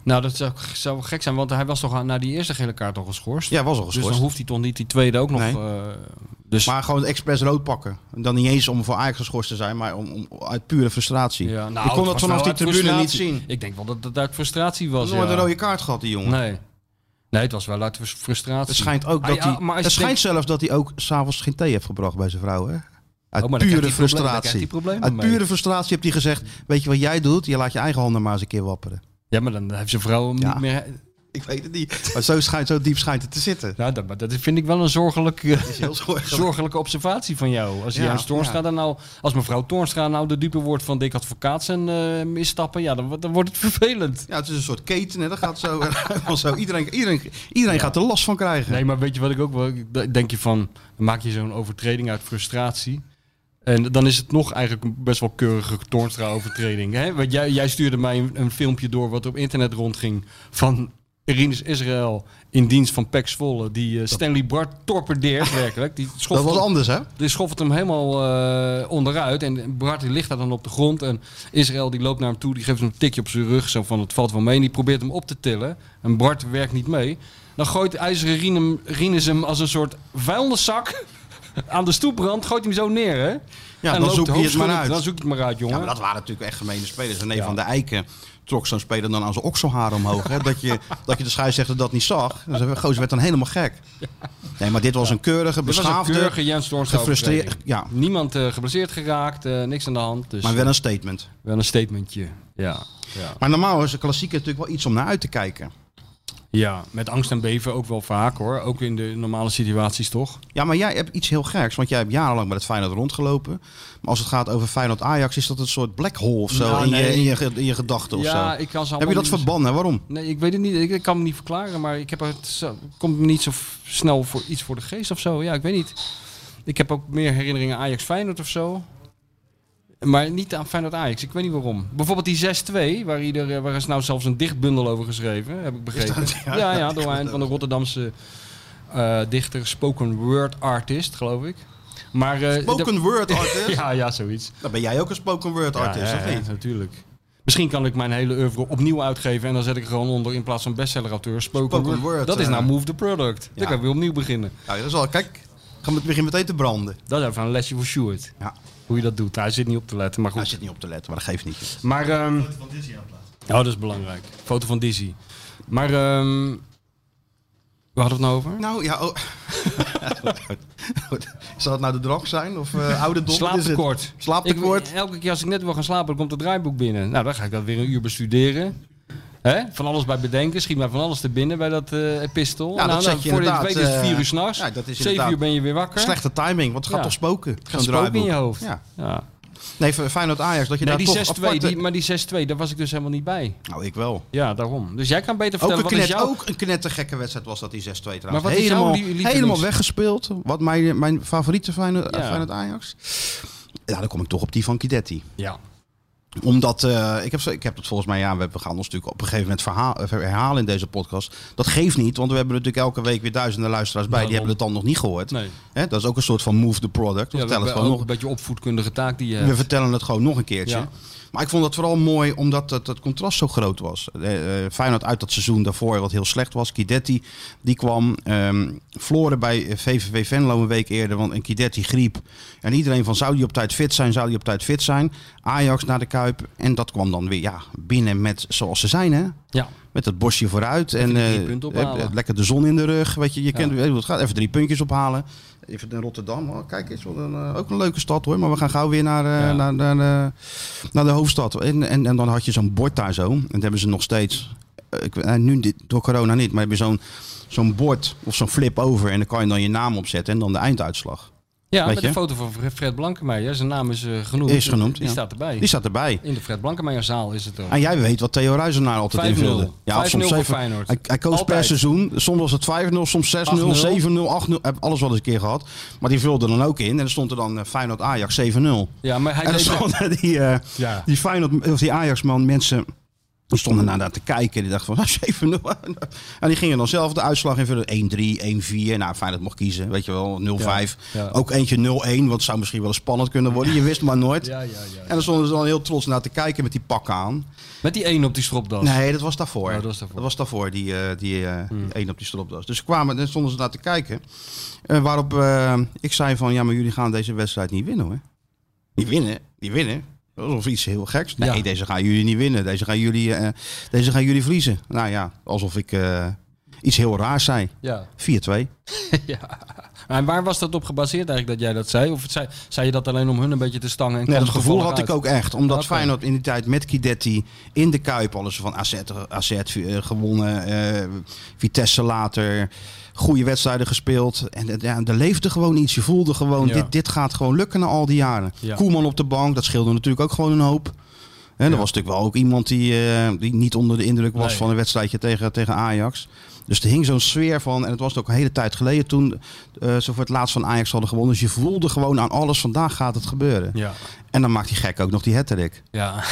S5: Nou, dat zou, zou gek zijn, want hij was toch aan- na die eerste gele kaart al geschorst.
S4: Ja, was al
S5: dus
S4: geschorst.
S5: dan hoeft hij toch niet die tweede ook nog...
S4: Nee.
S5: eh, dus,
S4: maar gewoon expres rood pakken. En dan niet eens om voor Ajax geschorst te zijn, maar om, om, uit pure frustratie.
S5: ja, nou,
S4: ik kon
S5: het
S4: dat
S5: was
S4: vanaf
S5: wel
S4: die
S5: uit
S4: tribune niet
S5: frustratie.
S4: zien.
S5: Ik denk wel dat het uit frustratie was,
S4: Nooit
S5: ja.
S4: een rode kaart gehad, die jongen.
S5: Nee. nee, het was wel uit frus- frustratie.
S4: Het schijnt ook dat
S5: Ah, ja,
S4: hij.
S5: maar als
S4: het
S5: je
S4: schijnt zelfs dat hij ook s'avonds geen thee heeft gebracht bij zijn vrouw. Hè? Uit
S5: Oh, maar dan krijgt hij
S4: pure
S5: problemen- dan krijgt hij
S4: frustratie.
S5: problemen
S4: Uit
S5: mee.
S4: pure frustratie heeft hij gezegd: Weet je wat jij doet? Je laat je eigen handen maar eens een keer wapperen.
S5: Ja, maar dan heeft zijn vrouw hem
S4: Ja.
S5: niet meer...
S4: Ik weet het niet. Maar zo, schijnt, zo diep schijnt het te zitten.
S5: Nou, dat, maar dat vind ik wel een zorgelijke,
S4: is heel zorgelijk.
S5: zorgelijke observatie van jou. Als, je
S4: Ja,
S5: aan Toornstra
S4: ja.
S5: dan nou, als mevrouw Toornstra nou de dupe wordt van Dick Advocaat zijn eh, misstappen, ja, dan, wo- dan wordt het vervelend.
S4: Ja, het is een soort keten. Hè? Dat gaat zo. helemaal zo. Iedereen, iedereen, iedereen gaat er last van krijgen.
S5: Nee, maar weet je wat ik ook wel... ik Denk je van, dan maak je zo'n overtreding uit frustratie. En dan is het nog eigenlijk een best wel keurige Toornstra overtreding. Hè? Want jij, jij stuurde mij een, een filmpje door wat op internet rondging van Rinus Israël in dienst van Pek Zwolle. Die eh, Stanley Bart torpedeert werkelijk. Die
S4: Dat
S5: schoffelt
S4: was
S5: hem-
S4: anders, hè?
S5: die schoffelt hem helemaal eh, onderuit. En Bart die ligt daar dan op de grond. En Israël die loopt naar hem toe. Die geeft hem een tikje op zijn rug. Zo van het valt wel mee. En die probeert hem op te tillen. En Bart werkt niet mee. Dan gooit IJzeren Rien hem- Rinus hem als een soort vuilniszak aan de stoeprand. Gooit hij hem zo neer, hè?
S4: Ja, dan
S5: En loopt
S4: zoek je het
S5: hoofdschuddend-
S4: maar uit.
S5: Dan zoek je het maar uit, jongen.
S4: Ja, maar dat waren natuurlijk echt gemene spelers. René van der Eiken trok zo'n speler dan aan zijn okselhaar omhoog. Hè? Dat, je, dat je de scheidsrechter dat niet zag. Dus de gozer werd dan helemaal gek. Nee, maar dit was een keurige,
S5: Dit was een
S4: beschaafde...
S5: keurige Jens Toornstra
S4: gefrustreerd-
S5: overtreding.
S4: ja.
S5: Niemand eh, geblesseerd geraakt, eh, niks aan de hand. Dus
S4: Maar wel een statement.
S5: wel een statementje. Ja. Ja.
S4: Maar normaal is de klassieker natuurlijk wel iets om naar uit te kijken.
S5: ja, met angst en beven ook wel vaak hoor. Ook in de normale situaties toch?
S4: Ja, maar jij hebt iets heel geks. Want jij hebt jarenlang met het Feyenoord rondgelopen. Maar als het gaat over Feyenoord-Ajax... is dat een soort black hole of zo
S5: Nou,
S4: in, je,
S5: nee.
S4: in, je, ge- in je gedachten of
S5: ja,
S4: zo.
S5: ik kan ze
S4: Heb je
S5: allemaal
S4: dat
S5: niet-
S4: verbannen? Waarom?
S5: Nee, ik weet het niet. Ik, ik kan me niet verklaren, maar ik heb het zo- komt me niet zo f- snel voor iets voor de geest of zo. Ja, ik weet niet. Ik heb ook meer herinneringen aan Ajax Feyenoord of zo. Maar niet aan Feyenoord Ajax. Ik weet niet waarom. Bijvoorbeeld die 6-2, waar, ieder, eh, waar is nou zelfs een dichtbundel over geschreven, heb ik begrepen. ja, ja, door een van de Rotterdamse eh, dichter, spoken word artist, geloof ik. Maar, eh,
S4: Spoken word artist?
S5: dat- ja, ja, zoiets.
S4: Dan ben jij ook een spoken word artist,
S5: Ja,
S4: of
S5: ja,
S4: niet?
S5: ja, natuurlijk. Misschien kan ik mijn hele oeuvre opnieuw uitgeven en dan zet ik er gewoon onder in plaats van bestsellerauteur spoken,
S4: Spoken
S5: word.
S4: word,
S5: Dat is
S4: eh.
S5: nou move the product.
S4: Ja.
S5: Dan kan ik weer opnieuw beginnen.
S4: Nou, dat is al... Kijk, gaan we het begin meteen te branden.
S5: Dat is even een lesje voor Stuart.
S4: Ja. nou,
S5: Hoe je dat doet. Hij zit niet op te letten, maar
S4: Hij
S5: goed.
S4: zit niet op te letten, maar dat geeft niet.
S5: Maar ehm,
S6: Van Disney aan plaats.
S5: Oh, dat is belangrijk. Foto van Dizzy. Maar, ehm we hadden het nou over?
S4: Nou ja, oh. zal het nou de drang zijn of eh ouderdom?
S5: Slaaptekort.
S4: Slaaptekort.
S5: Ik- Elke keer als ik net wil gaan slapen, dan komt het draaiboek binnen. Nou, dan ga ik dat weer een uur bestuderen. Hè? Van alles bij bedenken. Schiet mij van alles te binnen bij dat eh epistel.
S4: dat
S5: nou,
S4: zeg
S5: nou,
S4: je
S5: voor dit
S4: inderdaad,
S5: weet is het
S4: eh,
S5: vier uur s'nachts.
S4: ja, dat is
S5: Zeven
S4: inderdaad
S5: uur ben je weer wakker.
S4: Slechte timing, want het gaat
S5: Ja.
S4: toch spoken?
S5: Het gaat
S4: zo'n
S5: spook in je
S4: draaiboek.
S5: hoofd.
S4: Ja.
S5: Ja.
S4: Nee, voor Feyenoord-Ajax, dat je
S5: Nee,
S4: daar
S5: die
S4: toch
S5: 6-2,
S4: aparte-
S5: die, maar die 6-2, daar was ik dus helemaal niet bij.
S4: Nou, ik wel.
S5: Ja, daarom. Dus jij kan beter
S4: Ook
S5: vertellen
S4: een,
S5: wat is
S4: knet,
S5: jouw...
S4: ook een knettergekke wedstrijd was dat, die 6-2 trouwens.
S5: Maar wat is jouw
S4: helemaal,
S5: lie- lievelings-
S4: helemaal weggespeeld. Wat mijn, mijn favoriete Feyenoord-
S5: Ja.
S4: Feyenoord-Ajax. Ja, dan kom ik toch op die van Kidetti.
S5: Ja.
S4: Omdat, eh, ik, heb, zo- ik heb dat volgens mij, ja, we we gaan ons natuurlijk op een gegeven moment verhaal, eh, herhalen in deze podcast. Dat geeft niet, want we hebben natuurlijk elke week weer duizenden luisteraars bij. Die
S5: Daarom.
S4: hebben het dan nog niet gehoord.
S5: Nou, Nee.
S4: Hè, dat is ook een soort van move the product. We,
S5: Ja, we
S4: vertellen,
S5: hebben
S4: het gewoon
S5: ook
S4: nog,
S5: een beetje opvoedkundige taak die eh, je
S4: we
S5: hebt.
S4: vertellen het gewoon nog een keertje.
S5: Ja.
S4: Maar ik vond dat vooral mooi omdat het, het contrast zo groot was. Eh, eh, Feyenoord uit dat seizoen daarvoor wat heel slecht was. Kidetti, die kwam ehm verloren bij eh, VVV Venlo een week eerder. Want een Kidetti griep. En iedereen van zou die op tijd fit zijn, zou die op tijd fit zijn. Ajax naar de Kuip. En dat kwam dan weer ja, binnen met zoals ze zijn hè.
S5: Ja.
S4: Met dat bosje vooruit
S5: Even
S4: en
S5: die drie
S4: eh,
S5: punten ophalen.
S4: eh, lekker de zon in de rug. Weet je, je kent weet je hoe het gaat. Even drie puntjes ophalen. Even in Rotterdam. Oh, kijk eens, wat een, eh, ook een leuke stad hoor. Maar we gaan gauw weer naar, eh,
S5: Ja.
S4: naar, naar, eh, naar de hoofdstad. En, en, en dan had je zo'n bord daar zo. En dat hebben ze nog steeds. eh, Ik, eh, nu dit, door corona niet, maar hebben zo'n zo'n bord of zo'n flip over. En dan kan je dan je naam opzetten en dan de einduitslag.
S5: Ja,
S4: Weet
S5: met
S4: je?
S5: een foto van Fre- Fred Blankenmeijer. Zijn naam is eh, genoemd.
S4: Is genoemd,
S5: Die
S4: ja.
S5: staat erbij.
S4: Die staat erbij.
S5: In de Fred Blankenmeijerzaal is het er.
S4: En Ah, jij weet wat Theo Ruizenaar altijd
S5: 5-0.
S4: invulde.
S5: 5-0 voor
S4: zeven-
S5: Feyenoord.
S4: Hij, hij koos
S5: Altijd.
S4: per seizoen. Soms was het 5-0, soms 6-0,
S5: 8-0.
S4: 7-0, 8-0. Heb alles wel eens een keer gehad. Maar die vulde dan ook in. En dan stond er dan eh, Feyenoord-Ajax 7-0.
S5: Ja, maar hij
S4: en dan
S5: deed-
S4: stonden die, eh,
S5: Ja.
S4: die, Feyenoord, of die Ajax-man mensen... Die stonden daarna te kijken en die dachten van ah, 7-0. En die gingen dan zelf de uitslag invullen. 1-3, 1-4. Nou, Feyenoord mocht kiezen, weet je wel. 0-5.
S5: Ja, ja.
S4: Ook eentje 0-1, want het zou misschien wel eens spannend kunnen worden. Je wist maar nooit.
S5: Ja, ja, ja.
S4: En dan stonden ze dan heel trots naar te kijken met die pakken aan.
S5: Met die één op die stropdas.
S4: Nee, dat was daarvoor.
S5: Oh, dat was daarvoor. Hmm.
S4: die, eh, die, eh die één op die stropdas. Dus ze kwamen, en stonden ze naar te kijken. Eh, waarop eh, ik zei van, ja, maar jullie gaan deze wedstrijd niet winnen, hoor. Niet winnen? Die winnen? Of iets heel geks. Nee,
S5: Ja.
S4: deze gaan jullie niet winnen. Deze gaan jullie, eh, deze gaan jullie verliezen. Nou ja, alsof ik eh, iets heel raars zei. 4-2.
S5: Ja. ja. En waar was dat op gebaseerd eigenlijk dat jij dat zei? Of zei, zei je dat alleen om hun een beetje te stangen? En
S4: Nee,
S5: kwam
S4: dat
S5: het
S4: gevoel had
S5: toevallig
S4: ik ook echt. Omdat
S5: Oké.
S4: Feyenoord in die tijd met Kidetti in de Kuip alles van AZ, AZ eh, gewonnen. eh, Vitesse later. Goede wedstrijden gespeeld. En eh, ja, er leefde gewoon iets. Je voelde gewoon,
S5: Ja.
S4: dit, dit gaat gewoon lukken na al die jaren.
S5: Ja.
S4: Koeman op de bank, dat scheelde natuurlijk ook gewoon een hoop. En er was natuurlijk wel ook iemand die, eh, die niet onder de indruk was
S5: Nee.
S4: van een wedstrijdje tegen, tegen Ajax. Dus er hing zo'n sfeer van, en het was ook een hele tijd geleden toen eh, ze voor het laatst van Ajax hadden gewonnen. Dus je voelde gewoon aan alles, vandaag gaat het gebeuren.
S5: uit? Ja.
S4: En dan maakt die gek ook nog die hattrick.
S5: Oh, Ja.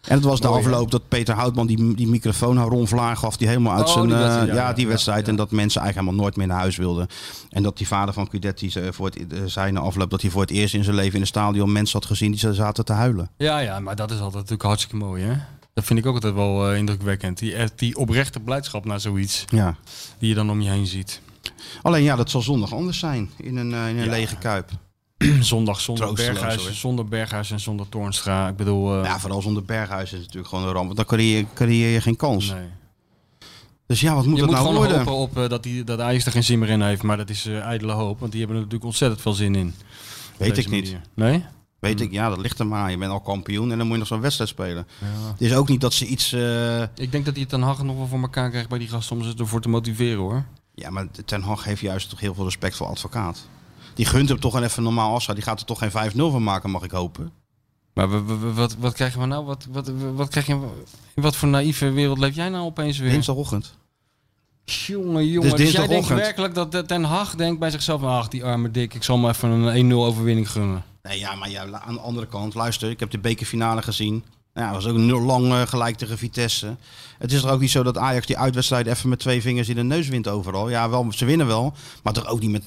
S4: En het was de
S5: Mooi, hè?
S4: afloop dat Peter Houtman die, die microfoon aan Ron Vlaar gaf. Die helemaal uit
S5: Oh,
S4: zijn...
S5: die
S4: eh,
S5: wedstrijd,
S4: ja,
S5: ja, ja,
S4: die
S5: ja,
S4: wedstrijd.
S5: ja.
S4: En dat mensen eigenlijk helemaal nooit meer naar huis wilden. En dat die vader van Cudet, die ze voor het, eh, zei na afloop... dat hij voor het eerst in zijn leven in het stadion mensen had gezien die ze zaten te huilen.
S5: Ja, ja, maar dat is altijd natuurlijk hartstikke mooi, hè? Dat vind ik ook altijd wel eh, indrukwekkend. Die, echt die oprechte blijdschap naar zoiets,
S4: Ja.
S5: die je dan om je heen ziet.
S4: Alleen ja, dat zal zondag anders zijn in een, eh, in een lege kuip.
S5: zondag zonder
S4: Troosteloos, hoor.
S5: Berghuis, zonder Berghuis en zonder Toornstra. Ik bedoel, eh,
S4: Ja, vooral zonder Berghuis is het natuurlijk gewoon een ramp. want Dan creëer, creëer je geen kans.
S5: nee.
S4: Dus ja, wat moet
S5: je
S4: het
S5: moet
S4: nou
S5: gewoon
S4: worden?
S5: hopen op eh, dat, die, dat Ajax er geen zin meer in heeft. Maar dat is eh, ijdele hoop, want die hebben er natuurlijk ontzettend veel zin in. Op
S4: Weet
S5: deze
S4: ik niet.
S5: manier. Mm. Nee?
S4: Weet ik, ja, dat ligt er maar aan. Je bent al kampioen en dan moet je nog zo'n wedstrijd spelen. Het is ook niet dat ze iets... eh,
S5: Ik denk dat hij het dan Hag nog wel voor elkaar krijgt bij die gasten om ze ervoor te motiveren, hoor.
S4: Ja, maar Ten Hag heeft juist toch heel veel respect voor advocaat. Die gunt hem toch een even normaal afscheid. Die gaat er toch geen 5-0 van maken, mag ik hopen.
S5: Maar we- we- we- wat, wat krijgen we nou? Wat, wat, wat krijg je, in wat voor naïeve wereld leef jij nou opeens weer?
S4: Dinsdagochtend.
S5: Jongen, jongen.
S4: Dus
S5: Dus jij denkt
S4: dinsdagochtend.
S5: werkelijk dat dat Den Haag denkt bij zichzelf... Ach, die arme dik, ik zal hem even een 1-0 overwinning gunnen.
S4: Nee, ja, maar ja, la- aan de andere kant, luister, ik heb de bekerfinale gezien. Nou, ja, dat was ook nul lang eh, gelijk tegen Vitesse. Het is toch ook niet zo dat Ajax die uitwedstrijd even met twee vingers in de neus wint overal. Ja, wel, ze winnen wel, maar toch ook niet met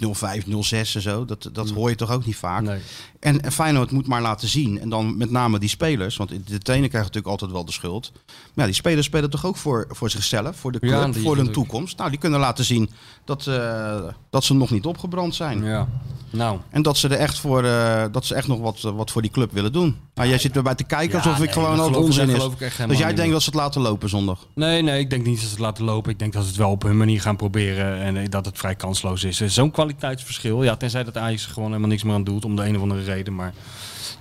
S4: 0-5, 0-6 en zo. Dat, dat hoor je toch ook niet vaak.
S5: Nee.
S4: En, en Feyenoord moet maar laten zien. En dan met name die spelers, want de trainer krijgt natuurlijk altijd wel de schuld. Maar ja, die spelers spelen toch ook voor, voor zichzelf, voor de
S5: Ja,
S4: club,
S5: die
S4: voor hun
S5: natuurlijk.
S4: toekomst. Nou, die kunnen laten zien dat, eh, dat ze nog niet opgebrand zijn.
S5: Ja. Nou.
S4: En dat ze er echt voor, eh, dat ze echt nog wat, eh, wat voor die club willen doen. Maar jij zit erbij te kijken alsof
S5: Ja,
S4: ik
S5: nee,
S4: gewoon
S5: dat
S4: al het
S5: geloof ik-
S4: onzin
S5: dat
S4: is.
S5: geloof ik echt
S4: dus
S5: helemaal
S4: jij
S5: niet
S4: denkt
S5: meer. Nou,
S4: dat ze het laten lopen zondag.
S5: Nee, nee, ik denk niet dat ze het laten lopen. Ik denk dat ze het wel op hun manier gaan proberen en eh, dat het vrij kansloos is. Er is Zo'n kwaliteitsverschil. Ja, tenzij dat Ajax er gewoon helemaal niks meer aan doet om de een of andere reden. Maar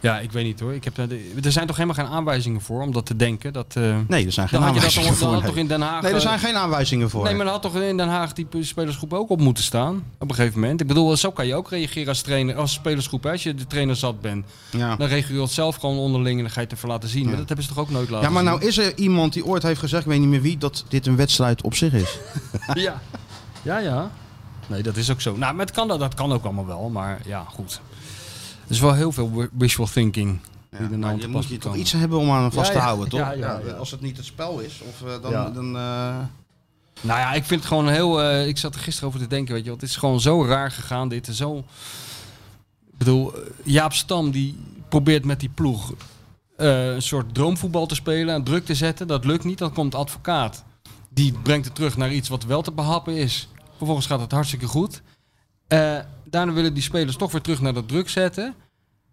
S5: ja, ik weet niet hoor. Ik heb, daar de- er zijn toch helemaal geen aanwijzingen voor om dat te denken. Dat, eh,
S4: Nee, er zijn geen
S5: dan had je dat toch,
S4: aanwijzingen
S5: dan
S4: voor.
S5: had
S4: nee.
S5: toch in Den Haag...
S4: Nee, er
S5: eh,
S4: zijn geen aanwijzingen voor.
S5: Nee, maar dan had toch in Den Haag die spelersgroep ook op moeten staan. Op een gegeven moment. Ik bedoel, eh, zo kan je ook reageren als trainer, als spelersgroep. hè. Als je de trainer zat bent,
S4: ja.
S5: dan reageer je het zelf gewoon onderling en dan ga je het ervoor laten zien. Maar dat hebben ze toch ook nooit laten
S4: ja, maar nou
S5: zien?
S4: is er iemand die ooit heeft gezegd, ik weet niet meer wie, dat dit een wedstrijd op zich is.
S5: Ja. ja, ja. Nee, dat is ook zo. Nou, maar het kan, dat- dat kan ook allemaal wel. Maar ja, goed. Er is wel heel veel wi- wishful thinking. die
S4: Ja,
S5: er
S4: maar
S5: nou aan
S4: je
S5: te
S4: moet
S5: pas
S4: je
S5: moet
S4: toch
S5: komen.
S4: iets hebben om aan vast
S5: Ja,
S4: te
S5: ja.
S4: houden, toch?
S5: Ja, ja, ja.
S4: Als het niet het spel is, of eh, dan...
S5: Ja.
S4: dan eh,
S5: Nou ja, ik vind het gewoon heel. eh, ik zat er gisteren over te denken, weet je, want het is gewoon zo raar gegaan. Dit en zo. Ik bedoel, eh, Jaap Stam die probeert met die ploeg eh, een soort droomvoetbal te spelen en druk te zetten. Dat lukt niet. Dan komt advocaat. Die brengt het terug naar iets wat wel te behappen is. Vervolgens gaat het hartstikke goed. Eh, daarna willen die spelers toch weer terug naar dat druk zetten.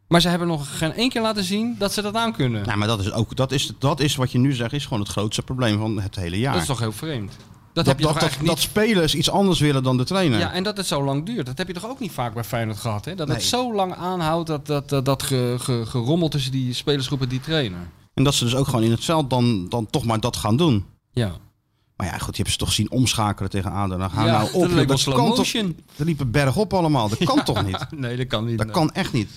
S5: Maar ze hebben nog geen één keer laten zien dat ze dat aan kunnen.
S4: Nou, maar dat is ook, dat is, dat is wat je nu zegt, is gewoon het grootste probleem van het hele jaar.
S5: Dat is toch heel vreemd. Dat,
S4: dat,
S5: heb je
S4: dat,
S5: toch
S4: dat-
S5: eigenlijk
S4: dat
S5: niet
S4: spelers iets anders willen dan de trainer.
S5: Ja, en dat het zo lang duurt. Dat heb je toch ook niet vaak bij Feyenoord gehad, hè? Dat het
S4: Nee.
S5: zo lang aanhoudt, dat, dat, dat, dat ge- ge- gerommel tussen die spelersgroepen die trainen.
S4: En dat ze dus ook gewoon in het veld dan, dan toch maar dat gaan doen.
S5: Ja.
S4: Maar ja, goed, je hebt ze toch zien omschakelen tegen ADO. Nou, ga
S5: Ja,
S4: nou
S5: dat
S4: op.
S5: leek wel
S4: joh,
S5: slow
S4: kan toch,
S5: motion.
S4: er liepen bergop allemaal. Dat kan toch niet?
S5: Nee, dat kan niet.
S4: Dat kan echt niet.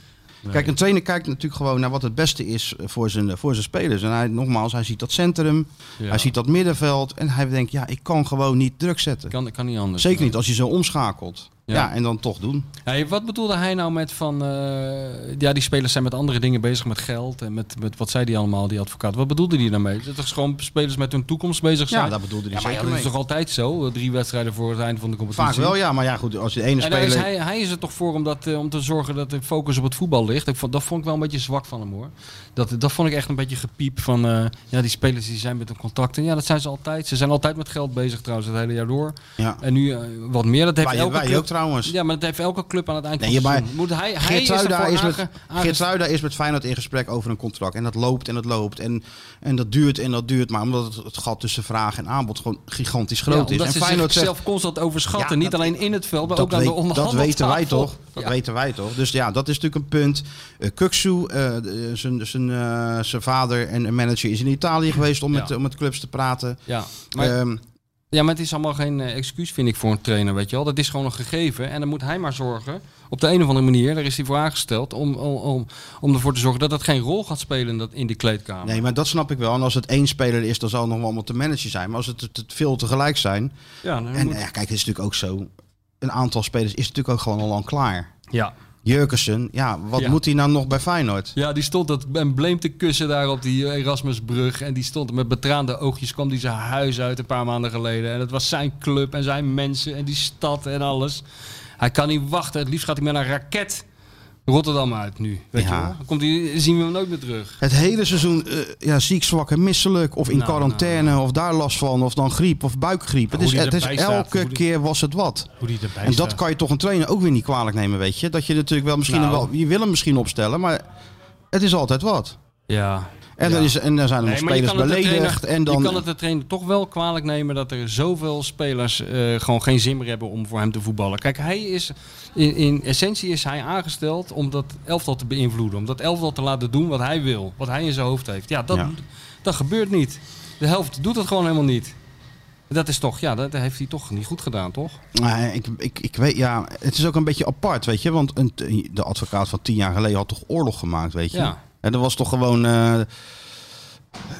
S4: Kijk, een trainer kijkt natuurlijk gewoon naar wat het beste is eh, voor zijn, voor zijn spelers. En hij, nogmaals, hij ziet dat centrum,
S5: Ja.
S4: hij ziet dat middenveld. En hij denkt, ja, ik kan gewoon niet druk zetten.
S5: Kan, kan niet anders.
S4: Zeker
S5: Nee.
S4: niet als je zo omschakelt. Ja.
S5: Ja.
S4: en dan toch doen.
S5: Hey, wat bedoelde hij nou met van... eh, ja, die spelers zijn met andere dingen bezig, met geld en met, met wat zei die allemaal, die advocaat. Wat bedoelde die daarmee? Dat er gewoon spelers met hun toekomst bezig zijn?
S4: Ja, daar bedoelde hij
S5: Ja, maar ja,
S4: zeker
S5: dat is
S4: mee.
S5: toch altijd zo? Eh, Drie wedstrijden voor het einde van de competitie.
S4: Vaak wel, ja. Maar ja, goed, als je de ene
S5: En daar is
S4: speler...
S5: hij, hij is er toch voor om, dat, eh, om te zorgen dat de focus op het voetbal ligt. Ik vond, dat vond ik wel een beetje zwak van hem hoor. Dat, dat vond ik echt een beetje gepiep van eh, ja, die spelers die zijn met hun contracten. Ja, dat zijn ze altijd. Ze zijn altijd met geld bezig trouwens het hele jaar door.
S4: Ja.
S5: En nu eh, wat meer. Dat heeft
S4: Wij,
S5: elke
S4: wij
S5: club,
S4: ook trouwens.
S5: Ja, maar dat heeft elke club aan het eind
S4: Nee,
S5: van het
S4: maar
S5: seizoen. Moet hij, hij is
S4: Geertruida
S5: ervoor
S4: is, met-
S5: aange- aange-
S4: Geertruida is met Feyenoord in gesprek over een contract. En dat loopt en dat loopt. En, en dat duurt en dat duurt. Maar omdat het, het gat tussen vraag en aanbod gewoon gigantisch
S5: Ja,
S4: groot is.
S5: omdat
S4: En
S5: ze
S4: Feyenoord zegt,
S5: zichzelf constant overschatten.
S4: Ja,
S5: niet
S4: dat-
S5: alleen in het veld, maar
S4: dat,
S5: ook aan de
S4: weet- dat
S5: onderhandeltafel.
S4: weten wij toch? Dat
S5: Ja.
S4: weten wij toch? Dus ja, dat is natuurlijk een punt. Eh Kuksu, eh, eh, zijn- zijn eh, zijn vader en en manager, is in Italië geweest om,
S5: Ja.
S4: met, om met clubs te praten.
S5: Ja, maar Oh.
S4: Ehm,
S5: Ja, maar het is allemaal geen eh, excuus, vind ik, voor een trainer, weet je wel. Dat is gewoon een gegeven en dan moet hij maar zorgen, op de een of andere manier, daar is hij voor aangesteld, om, om, om, om ervoor te zorgen dat dat geen rol gaat spelen in, dat, in de kleedkamer.
S4: Nee, maar dat snap ik wel. En als het één speler is, dan zal het nog wel allemaal te managen zijn. Maar als het te- te veel tegelijk zijn.
S5: Ja, dan
S4: En eh,
S5: moet-
S4: nou ja, kijk, het is natuurlijk ook zo. Een aantal spelers is natuurlijk ook gewoon al lang klaar.
S5: ja.
S4: Jurkensen, ja, wat
S5: Ja.
S4: moet hij nou nog bij Feyenoord?
S5: Ja, die stond dat embleem te kussen daar op die eh, Erasmusbrug. En die stond met betraande oogjes, kwam die zijn huis uit een paar maanden geleden. En dat was zijn club en zijn mensen en die stad en alles. Hij kan niet wachten. Het liefst gaat hij met een raket Rotterdam uit nu. Weet
S4: Ja.
S5: je wel? Dan komt hij, zien we hem nooit meer terug.
S4: Het hele seizoen eh, ja, ziek, zwak en misselijk. Of in
S5: Nou,
S4: quarantaine, of daar last van. Of dan griep of buikgriep. Het
S6: Hoe
S4: is,
S6: die
S4: het is
S6: erbij staat, hoe
S4: elke
S6: die-
S4: keer was het wat.
S6: Hoe die erbij
S4: En dat
S6: staat.
S4: kan je toch een trainer ook weer niet kwalijk nemen, weet je. Dat je natuurlijk wel misschien
S5: Nou.
S4: wel... Je wil hem misschien opstellen, maar het is altijd wat.
S5: Ja.
S4: En,
S5: Ja.
S4: er, is, en er zijn er nog
S5: maar je
S4: spelers
S5: kan het de
S4: beledigd.
S5: trainer-
S4: En
S5: Je
S4: dan,
S5: kan het de trainer toch wel kwalijk nemen dat er zoveel spelers eh, gewoon geen zin meer hebben om voor hem te voetballen. Kijk, hij is in, in essentie is hij aangesteld om dat elftal te beïnvloeden. Om dat elftal te laten doen wat hij wil. Wat hij in zijn hoofd heeft. Ja, dat,
S4: Ja.
S5: dat gebeurt niet. De helft doet dat gewoon helemaal niet. Dat is toch, ja, dat heeft hij toch niet goed gedaan, toch?
S4: Nee, ik, ik, ik weet, ja, het is ook een beetje apart, weet je. Want een, de advocaat van tien jaar geleden had toch oorlog gemaakt, weet je.
S5: Ja.
S4: En dat was toch gewoon... eh,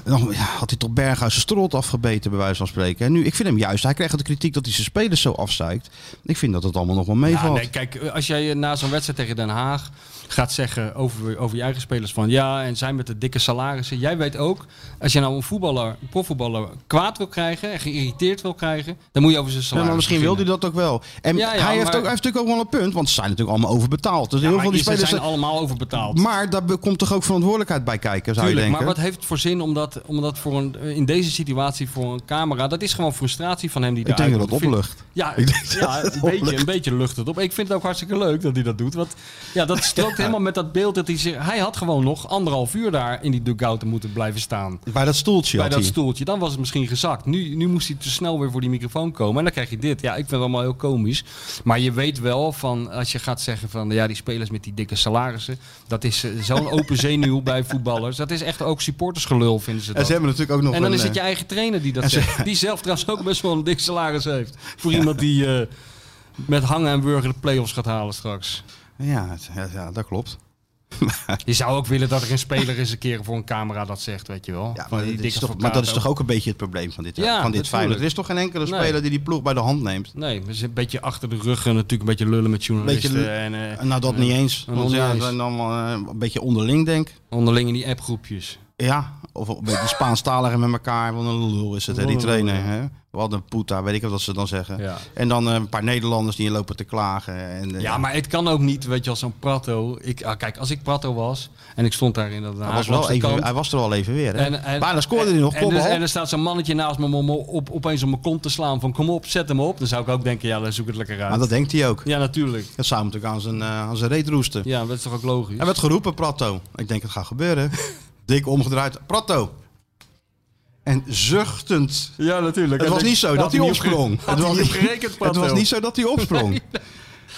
S4: dan ja, had hij toch Berghuis zijn strot afgebeten, bij wijze van spreken. En nu, ik vind hem juist... Hij kreeg de kritiek dat hij zijn spelers zo afzeikt. Ik vind dat het allemaal nog wel
S5: Ja,
S4: meevalt.
S5: nee, kijk, eh, als jij eh, na zo'n wedstrijd tegen Den Haag gaat zeggen over, over je eigen spelers van ja, en zij met de dikke salarissen. Jij weet ook, als je nou een voetballer, een profvoetballer kwaad wil krijgen en geïrriteerd wil krijgen, dan moet je over zijn
S4: Ja,
S5: salaris.
S4: maar misschien wil hij dat ook wel. En
S5: Ja, ja,
S4: hij, heeft
S5: maar-
S4: ook, hij heeft natuurlijk ook wel een punt, want ze zijn natuurlijk allemaal overbetaald. Dus heel veel die spelers
S5: zijn allemaal overbetaald.
S4: Maar daar be- komt toch ook verantwoordelijkheid bij kijken, zou
S5: Tuurlijk,
S4: je denken?
S5: maar wat heeft het voor zin om dat, om dat voor een, in deze situatie voor een camera... Dat is gewoon frustratie van hem die
S4: ik denk
S5: eruit
S4: dat het
S5: komt. Vind-
S4: oplucht.
S5: Ja,
S4: Ik denk
S5: ja,
S4: dat het
S5: een, beetje,
S4: oplucht.
S5: een beetje lucht het op. Ik vind het ook hartstikke leuk dat hij dat doet. Want ja, dat strookt helemaal met dat beeld dat hij zich... Hij had gewoon nog anderhalf uur daar in die dugout moeten blijven staan.
S4: Bij dat stoeltje
S5: Bij
S4: had
S5: dat
S4: hij.
S5: stoeltje. Dan was het misschien gezakt. Nu, nu moest hij te snel weer voor die microfoon komen. En dan krijg je dit. Ja, ik vind het allemaal heel komisch. Maar je weet wel van, als je gaat zeggen van... Ja, die spelers met die dikke salarissen. Dat is eh, zo'n open zenuw bij voetballers. Dat is echt ook supportersgelul, vinden ze dat.
S4: En ze hebben natuurlijk ook nog
S5: En dan
S4: een,
S5: is het je
S4: eh,
S5: eigen trainer die dat
S4: en ze-
S5: zegt. Die zelf trouwens ook best wel een dik salaris heeft. Voor iemand die eh, met hangen en wurgen de play-offs gaat halen straks.
S4: ja, het- ja, ja, dat klopt.
S5: Je zou ook willen dat er een speler eens een keer voor een camera dat zegt, weet je wel.
S4: Ja,
S5: Van
S4: maar,
S5: die
S4: dit is
S5: dikke
S4: toch, maar dat is
S5: advocaat
S4: toch ook een beetje het probleem van dit,
S5: Ja,
S4: van dit
S5: natuurlijk.
S4: Feyenoord. Er is toch geen enkele
S5: Nee.
S4: speler die die ploeg bij de hand neemt?
S5: Nee, we zijn een beetje achter de ruggen natuurlijk een beetje lullen met journalisten.
S4: Beetje lu-
S5: en eh,
S4: Nou, dat niet eens.
S5: dat
S4: Want
S5: niet
S4: ja,
S5: eens.
S4: dan allemaal eh, een beetje onderling, denk ik.
S5: onderling in die appgroepjes.
S4: Ja, of een beetje Spaanstaligen met elkaar. Wat een lul is het, hè, die
S5: Wat een lul,
S4: trainer. Hè? Wat een poeta, weet ik wat ze dan zeggen.
S5: Ja.
S4: En dan eh, een paar Nederlanders die lopen te klagen. En, eh,
S5: Ja, maar het kan ook niet, weet je, als zo'n Prato. Ik, ah, kijk, als ik Prato was en ik stond daar in dat
S4: hij
S5: Haag
S4: was, wel
S5: langs de
S4: even,
S5: kant.
S4: hij was er al even weer. Hè?
S5: En- en-
S4: maar dan scoorde hij nog
S5: en, dus-
S4: kopbal.
S5: en er staat zo'n mannetje naast me om me op, opeens om mijn kont te slaan van kom op, zet hem op. Dan zou ik ook denken, ja, dan zoek het lekker uit.
S4: maar dat denkt hij ook.
S5: Ja, natuurlijk.
S4: Dat zou hem natuurlijk aan zijn, eh, aan zijn reet roesten.
S5: Ja, dat is toch ook logisch.
S4: Hij werd geroepen, Prato. Ik denk, het gaat gebeuren. Dik omgedraaid, Prato. En zuchtend.
S5: Ja, natuurlijk.
S4: Het
S5: En
S4: was
S5: ik-
S4: niet zo
S5: had
S4: dat hij
S5: niet
S4: opsprong.
S5: opge- Had hij
S4: was
S5: niet op gerekend,
S4: het
S5: Prato.
S4: was niet zo dat hij opsprong.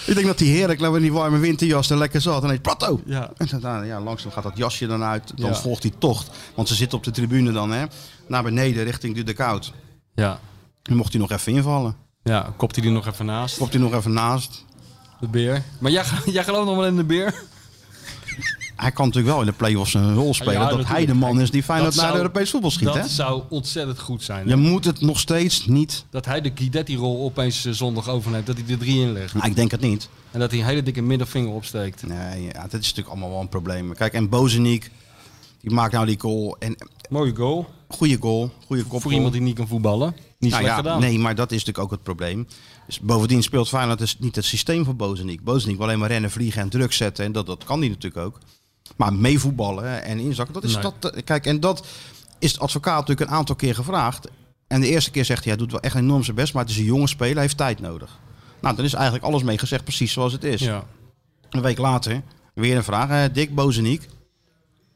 S4: Ik denk dat hij heerlijk nou, in die warme winterjas er lekker zat. En hij Prato.
S5: Ja.
S4: En dan- dan, ja, langzaam gaat dat jasje dan uit. Dan
S5: Ja.
S4: volgt die tocht. Want ze zitten op de tribune dan, hè. Naar beneden, richting Dudekoud.
S5: Ja.
S4: Nu mocht hij nog even invallen.
S5: Ja, kopt hij er nog even naast.
S4: Komt hij nog even naast.
S5: De beer. Maar jij, jij gelooft nog wel in de beer?
S4: Hij kan natuurlijk wel in de play-offs een rol spelen. dat
S5: natuurlijk.
S4: hij de man is die Feyenoord
S5: Dat
S4: naar
S5: zou-
S4: Europees voetbal schiet,
S5: dat
S4: hè.
S5: zou ontzettend goed zijn.
S4: Je moet het nog steeds niet...
S5: Dat hij de Guidetti-rol opeens eh, zondag overneemt. Dat hij de drie inlegt.
S4: Nou, ik denk het niet.
S5: En dat hij een hele dikke middelvinger opsteekt.
S4: Nee, ja, dat is natuurlijk allemaal wel een probleem. Kijk, en Bozeniek, die maakt nou die goal. En
S5: Mooie goal.
S4: goede goal, goede kop.
S5: Voor iemand die niet kan voetballen. Niet slecht gedaan.
S4: Nee, maar dat is natuurlijk ook het probleem. Dus bovendien speelt Feyenoord dus niet het systeem van Bozeniek. Bozeniek wil alleen maar rennen, vliegen en druk zetten. En dat, dat kan hij natuurlijk ook. Maar meevoetballen en inzakken, dat is
S5: Nee.
S4: dat. eh, Kijk, en dat is de advocaat natuurlijk een aantal keer gevraagd. En de eerste keer zegt hij, hij doet wel echt enorm zijn best, maar het is een jonge speler, hij heeft tijd nodig. Nou, dan is eigenlijk alles mee gezegd precies zoals het is.
S5: Ja.
S4: Een week later, weer een vraag. eh, Dick Bozeniek.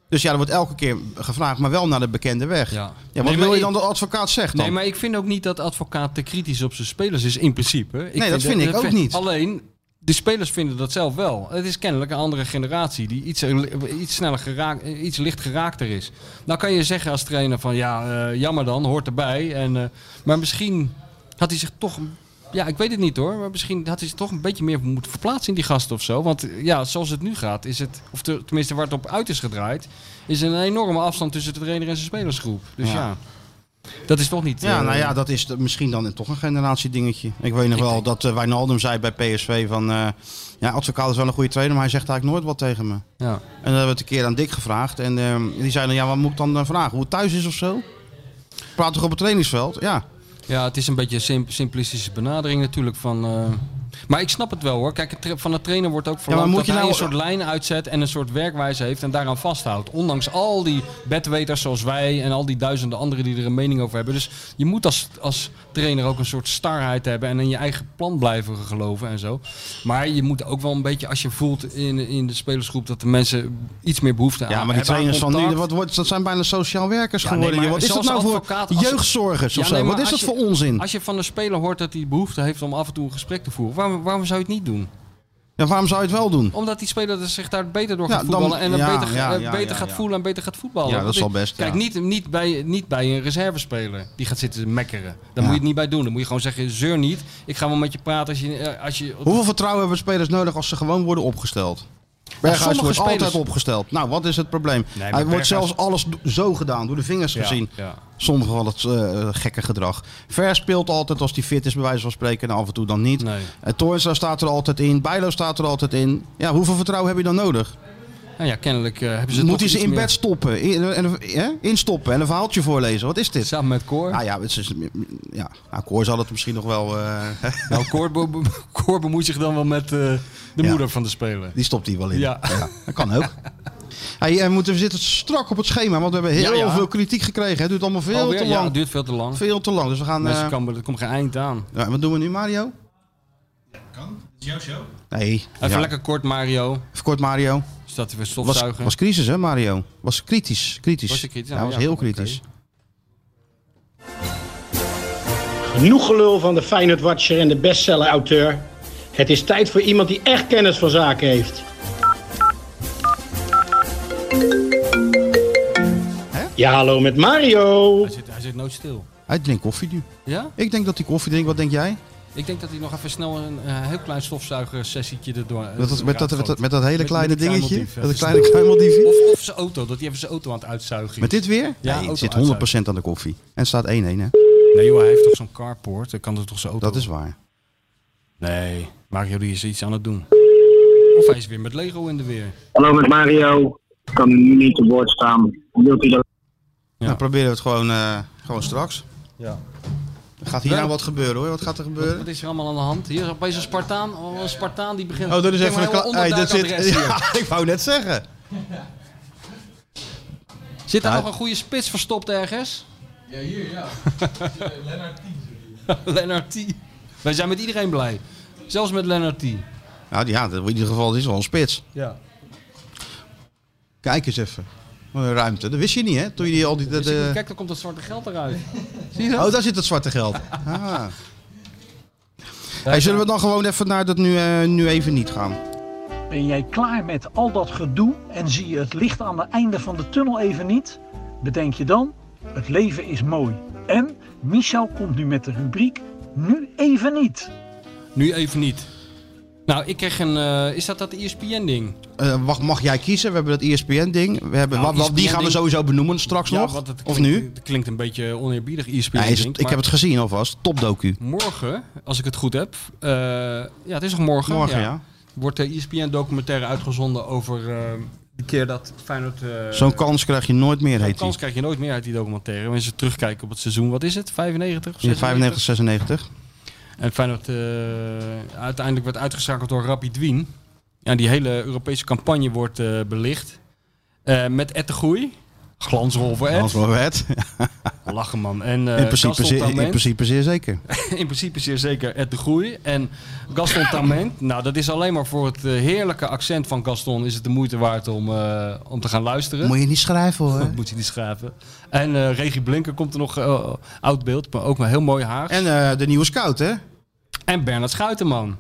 S4: Dus ja, er wordt elke keer gevraagd, maar wel naar de bekende weg.
S5: Ja.
S4: Ja. wat
S5: Nee, maar
S4: wil je
S5: ik-
S4: dan de advocaat zegt dan?
S5: Nee, maar ik vind ook niet dat advocaat te kritisch op zijn spelers is, in principe. Ik
S4: Nee, dat vind ik ook niet.
S5: Alleen, de spelers vinden dat zelf wel. Het is kennelijk een andere generatie die iets, eh, iets sneller geraakt, iets licht geraakter is. Nou kan je zeggen als trainer van, ja, eh, jammer dan, hoort erbij. En, eh, maar misschien had hij zich toch... Ja, ik weet het niet hoor, maar misschien had hij zich toch een beetje meer moeten verplaatsen in die gasten of zo. Want eh, ja, zoals het nu gaat, is het, of te- tenminste waar het op uit is gedraaid, is er een enorme afstand tussen de trainer en zijn spelersgroep. Dus
S4: Ja.
S5: ja. Dat is toch niet...
S4: Ja,
S5: eh,
S4: nou ja, dat is de- misschien dan toch een generatiedingetje. Ik weet nog wel dat eh, Wijnaldum zei bij PSV van... eh ja, Advocaat is wel een goede trainer, maar hij zegt eigenlijk nooit wat tegen me.
S5: ja.
S4: En dan hebben we het een keer aan Dick gevraagd. En eh, die zei dan, ja, wat moet ik dan eh, vragen? Hoe het thuis is of zo? Praat toch op het trainingsveld? Ja.
S5: Ja, het is een beetje een simp- simplistische benadering natuurlijk van... eh, Maar ik snap het wel hoor. Kijk, het tra- van de trainer wordt ook verwacht
S4: maar moet
S5: dat
S4: je
S5: hij
S4: nou-
S5: een soort lijn uitzet en een soort werkwijze heeft en daaraan vasthoudt. Ondanks al die bedweters zoals wij en al die duizenden anderen die er een mening over hebben. Dus je moet als, als trainer ook een soort starheid hebben en in je eigen plan blijven geloven en zo. Maar je moet ook wel een beetje, als je voelt in, in de spelersgroep dat de mensen iets meer behoefte aan
S4: Ja,
S5: hebben
S4: maar die
S5: aan
S4: trainers van nu,
S5: contact.
S4: wat wordt, dat zijn bijna sociaal werkers
S5: Ja, nee,
S4: geworden.
S5: maar
S4: joh. wat is dat
S5: zelfs
S4: nou voor
S5: advocaat, als-
S4: jeugdzorgers of
S5: Ja,
S4: zo?
S5: nee, maar
S4: wat is dat
S5: als je-
S4: voor onzin?
S5: Als je van een speler hoort dat hij behoefte heeft om af en toe een gesprek te voeren, waarom, waarom zou je het niet doen?
S4: Ja, waarom zou je het wel doen?
S5: Omdat die speler er zich daar beter door
S4: Ja,
S5: gaat
S4: dan-
S5: voetballen. En dan
S4: ja,
S5: beter,
S4: ja,
S5: eh,
S4: ja,
S5: beter
S4: ja,
S5: gaat
S4: ja.
S5: voelen en beter gaat voetballen.
S4: Ja, dat
S5: Want
S4: is wel
S5: ik-
S4: best,
S5: Kijk,
S4: ja.
S5: niet, niet, bij, niet bij een reservespeler die gaat zitten mekkeren. Daar moet je het niet bij doen. Dan moet je gewoon zeggen, zeur niet. Ik ga wel met je praten als je... eh, Als je
S4: Hoeveel vertrouwen hebben spelers nodig als ze gewoon worden opgesteld? Berghuis
S5: sommige
S4: wordt
S5: spelers-
S4: altijd opgesteld. Nou, wat is het probleem?
S5: maar
S4: Hij wordt
S5: Berghuis-
S4: zelfs alles do- zo gedaan, door de vingers
S5: Ja,
S4: gezien.
S5: ja.
S4: Sommige van het eh, gekke gedrag. Ver speelt altijd als hij fit is, bij wijze van spreken. En af en toe dan niet.
S5: Nee.
S4: En Toornstra staat er altijd in. Bijlo staat er altijd in. Ja, hoeveel vertrouwen heb je dan nodig?
S5: Nou ja, kennelijk eh, hebben ze
S4: Moet
S5: toch
S4: hij ze
S5: iets
S4: in
S5: meer-
S4: bed stoppen? In, en, hè? Instoppen en een verhaaltje voorlezen? Wat is dit?
S5: Samen met Cor.
S4: Nou ja, het is, ja. Nou, Koor zal het misschien nog wel... eh,
S5: Nou, Cor, be- be- Cor bemoeit zich dan wel met eh, de
S4: Ja.
S5: moeder van de speler.
S4: Die stopt hij wel in.
S5: Ja.
S4: Ja. dat kan ook. Hey, eh, moeten we zitten strak op het schema, want we hebben heel
S5: Ja, ja.
S4: veel kritiek gekregen. Het duurt allemaal veel
S5: Alweer?
S4: te
S5: Ja,
S4: lang.
S5: het duurt veel te lang.
S4: veel te lang. Dus we gaan.
S5: Mensen
S4: eh,
S5: kan, er komt geen eind aan.
S4: ja, wat doen we nu, Mario?
S6: is jouw show.
S4: Nee.
S5: Even
S4: ja.
S5: lekker kort, Mario.
S4: Even kort, Mario.
S5: Dus dat we
S4: Was,
S5: stofzuigen.
S4: was crisis, hè, Mario? Was kritisch. Kritisch.
S5: Was je kritisch?
S4: Ja,
S5: Nou,
S4: was
S5: ja,
S4: heel
S5: oké.
S4: kritisch.
S7: Genoeg gelul van de Feyenoord Watcher en de bestseller-auteur. Het is tijd voor iemand die echt kennis van zaken heeft. Ja, hallo met Mario.
S5: Hij zit, hij zit nooit stil.
S4: Hij drinkt koffie nu.
S5: Ja?
S4: Ik denk dat hij koffie drinkt. Wat denk jij?
S5: Ik denk dat hij nog even snel een eh, heel klein stofzuigersessietje erdoor... eh,
S4: Dat, dat- met, dat, met, dat, met dat hele
S5: Met-
S4: kleine
S5: met die
S4: dingetje.
S5: kruimeldief, ja.
S4: Dat kleine kruimeldiefje.
S5: Of, of zijn auto, dat hij even zijn auto aan het uitzuigen is.
S4: Met dit weer?
S5: Ja,
S4: nee,
S5: auto
S4: het zit 100% aan de koffie. En het staat 1-1, hè?
S5: Nee joh, hij heeft toch zo'n carport? Dan kan er toch zijn auto...
S4: Dat is waar.
S5: Nee, Mario die is iets aan het doen. Of hij is weer met Lego in de weer.
S8: Hallo met Mario. Ik kan niet te woord staan. Wilt u dat?
S4: Dan Nou, proberen we het gewoon, eh, gewoon straks.
S5: Ja.
S4: Er Gaat hier nou wat gebeuren hoor? Wat gaat er gebeuren?
S5: Wat is er allemaal aan de hand? Hier is opeens een Spartaan. Oh, een Spartaan die begint...
S4: Oh, dat is
S5: Ik
S4: even
S5: ken
S4: een
S5: maar
S4: kla-
S5: heel
S4: Hey, dit
S5: onderduikadres
S4: zit...
S5: hier.
S4: Ja, ik wou net zeggen.
S5: Zit daar
S4: Ja.
S5: nog een goede spits verstopt ergens? Ja, hier, ja. Lennart T. Wij zijn met iedereen blij. Zelfs met Lennart T.
S4: Nou ja, dat- in ieder geval dit is wel een spits.
S5: Ja.
S4: Kijk eens even. Wat een ruimte. Dat wist je niet hè? Toen je die al die... dat, eh,
S5: Kijk, dan komt dat zwarte geld eruit. nou.
S4: Oh, daar zit het zwarte geld. Ah. Hey, zullen we dan gewoon even naar dat nu, eh, nu even niet gaan?
S9: Ben jij klaar met al dat gedoe en zie je het licht aan het einde van de tunnel even niet? Bedenk je dan, het leven is mooi. En Michel komt nu met de rubriek Nu even niet.
S5: Nu even niet. Nou, ik kreeg een... eh, is dat dat ESPN-ding?
S4: Eh, wacht, mag jij kiezen? We hebben dat E ESPN-ding. We hebben,
S5: Nou,
S4: wat- wat- die
S5: ESPN
S4: gaan we sowieso benoemen straks nog.
S5: want het
S4: of
S5: klinkt-
S4: nu?
S5: Het klinkt een beetje oneerbiedig, E ESPN.
S4: Nee, is het-
S5: denk,
S4: ik
S5: maar Eh,
S4: heb het gezien alvast. Topdocu.
S5: Morgen, als ik het goed heb... eh, ja, het is nog morgen?
S4: Morgen, ja.
S5: Wordt de E ESPN-documentaire uitgezonden over... eh, die keer dat Feyenoord... eh,
S4: Zo'n kans krijg je nooit meer,
S5: Zo'n
S4: heet die.
S5: kans krijg je nooit meer uit die documentaire. Mensen terugkijken op het seizoen, wat is het? 95?
S4: In
S5: 96?
S4: 95, 96.
S5: En Feyenoord eh, uiteindelijk werd uitgeschakeld door Rapid Wien. Ja, die hele Europese campagne wordt eh, belicht. Eh, met Ed de Groei. Glansrol voor Ed.
S4: Hans van
S5: Eh,
S4: Wet.
S5: Lachen man. En, eh,
S4: In principe,
S5: Gaston
S4: zeer, in
S5: Tament.
S4: principe zeer zeker.
S5: in principe zeer zeker Ed de Groei. En Gaston Tament. Nou, dat is alleen maar voor het eh, heerlijke accent van Gaston is het de moeite waard om, eh, om te gaan luisteren.
S4: Moet je niet schrijven hoor.
S5: Dat moet je niet schaven. En eh Regie Blinker komt er nog, eh, oud beeld, maar ook maar heel mooi haar. En,
S4: En eh, de nieuwe scout, hè?
S5: Bernard Schuitenman.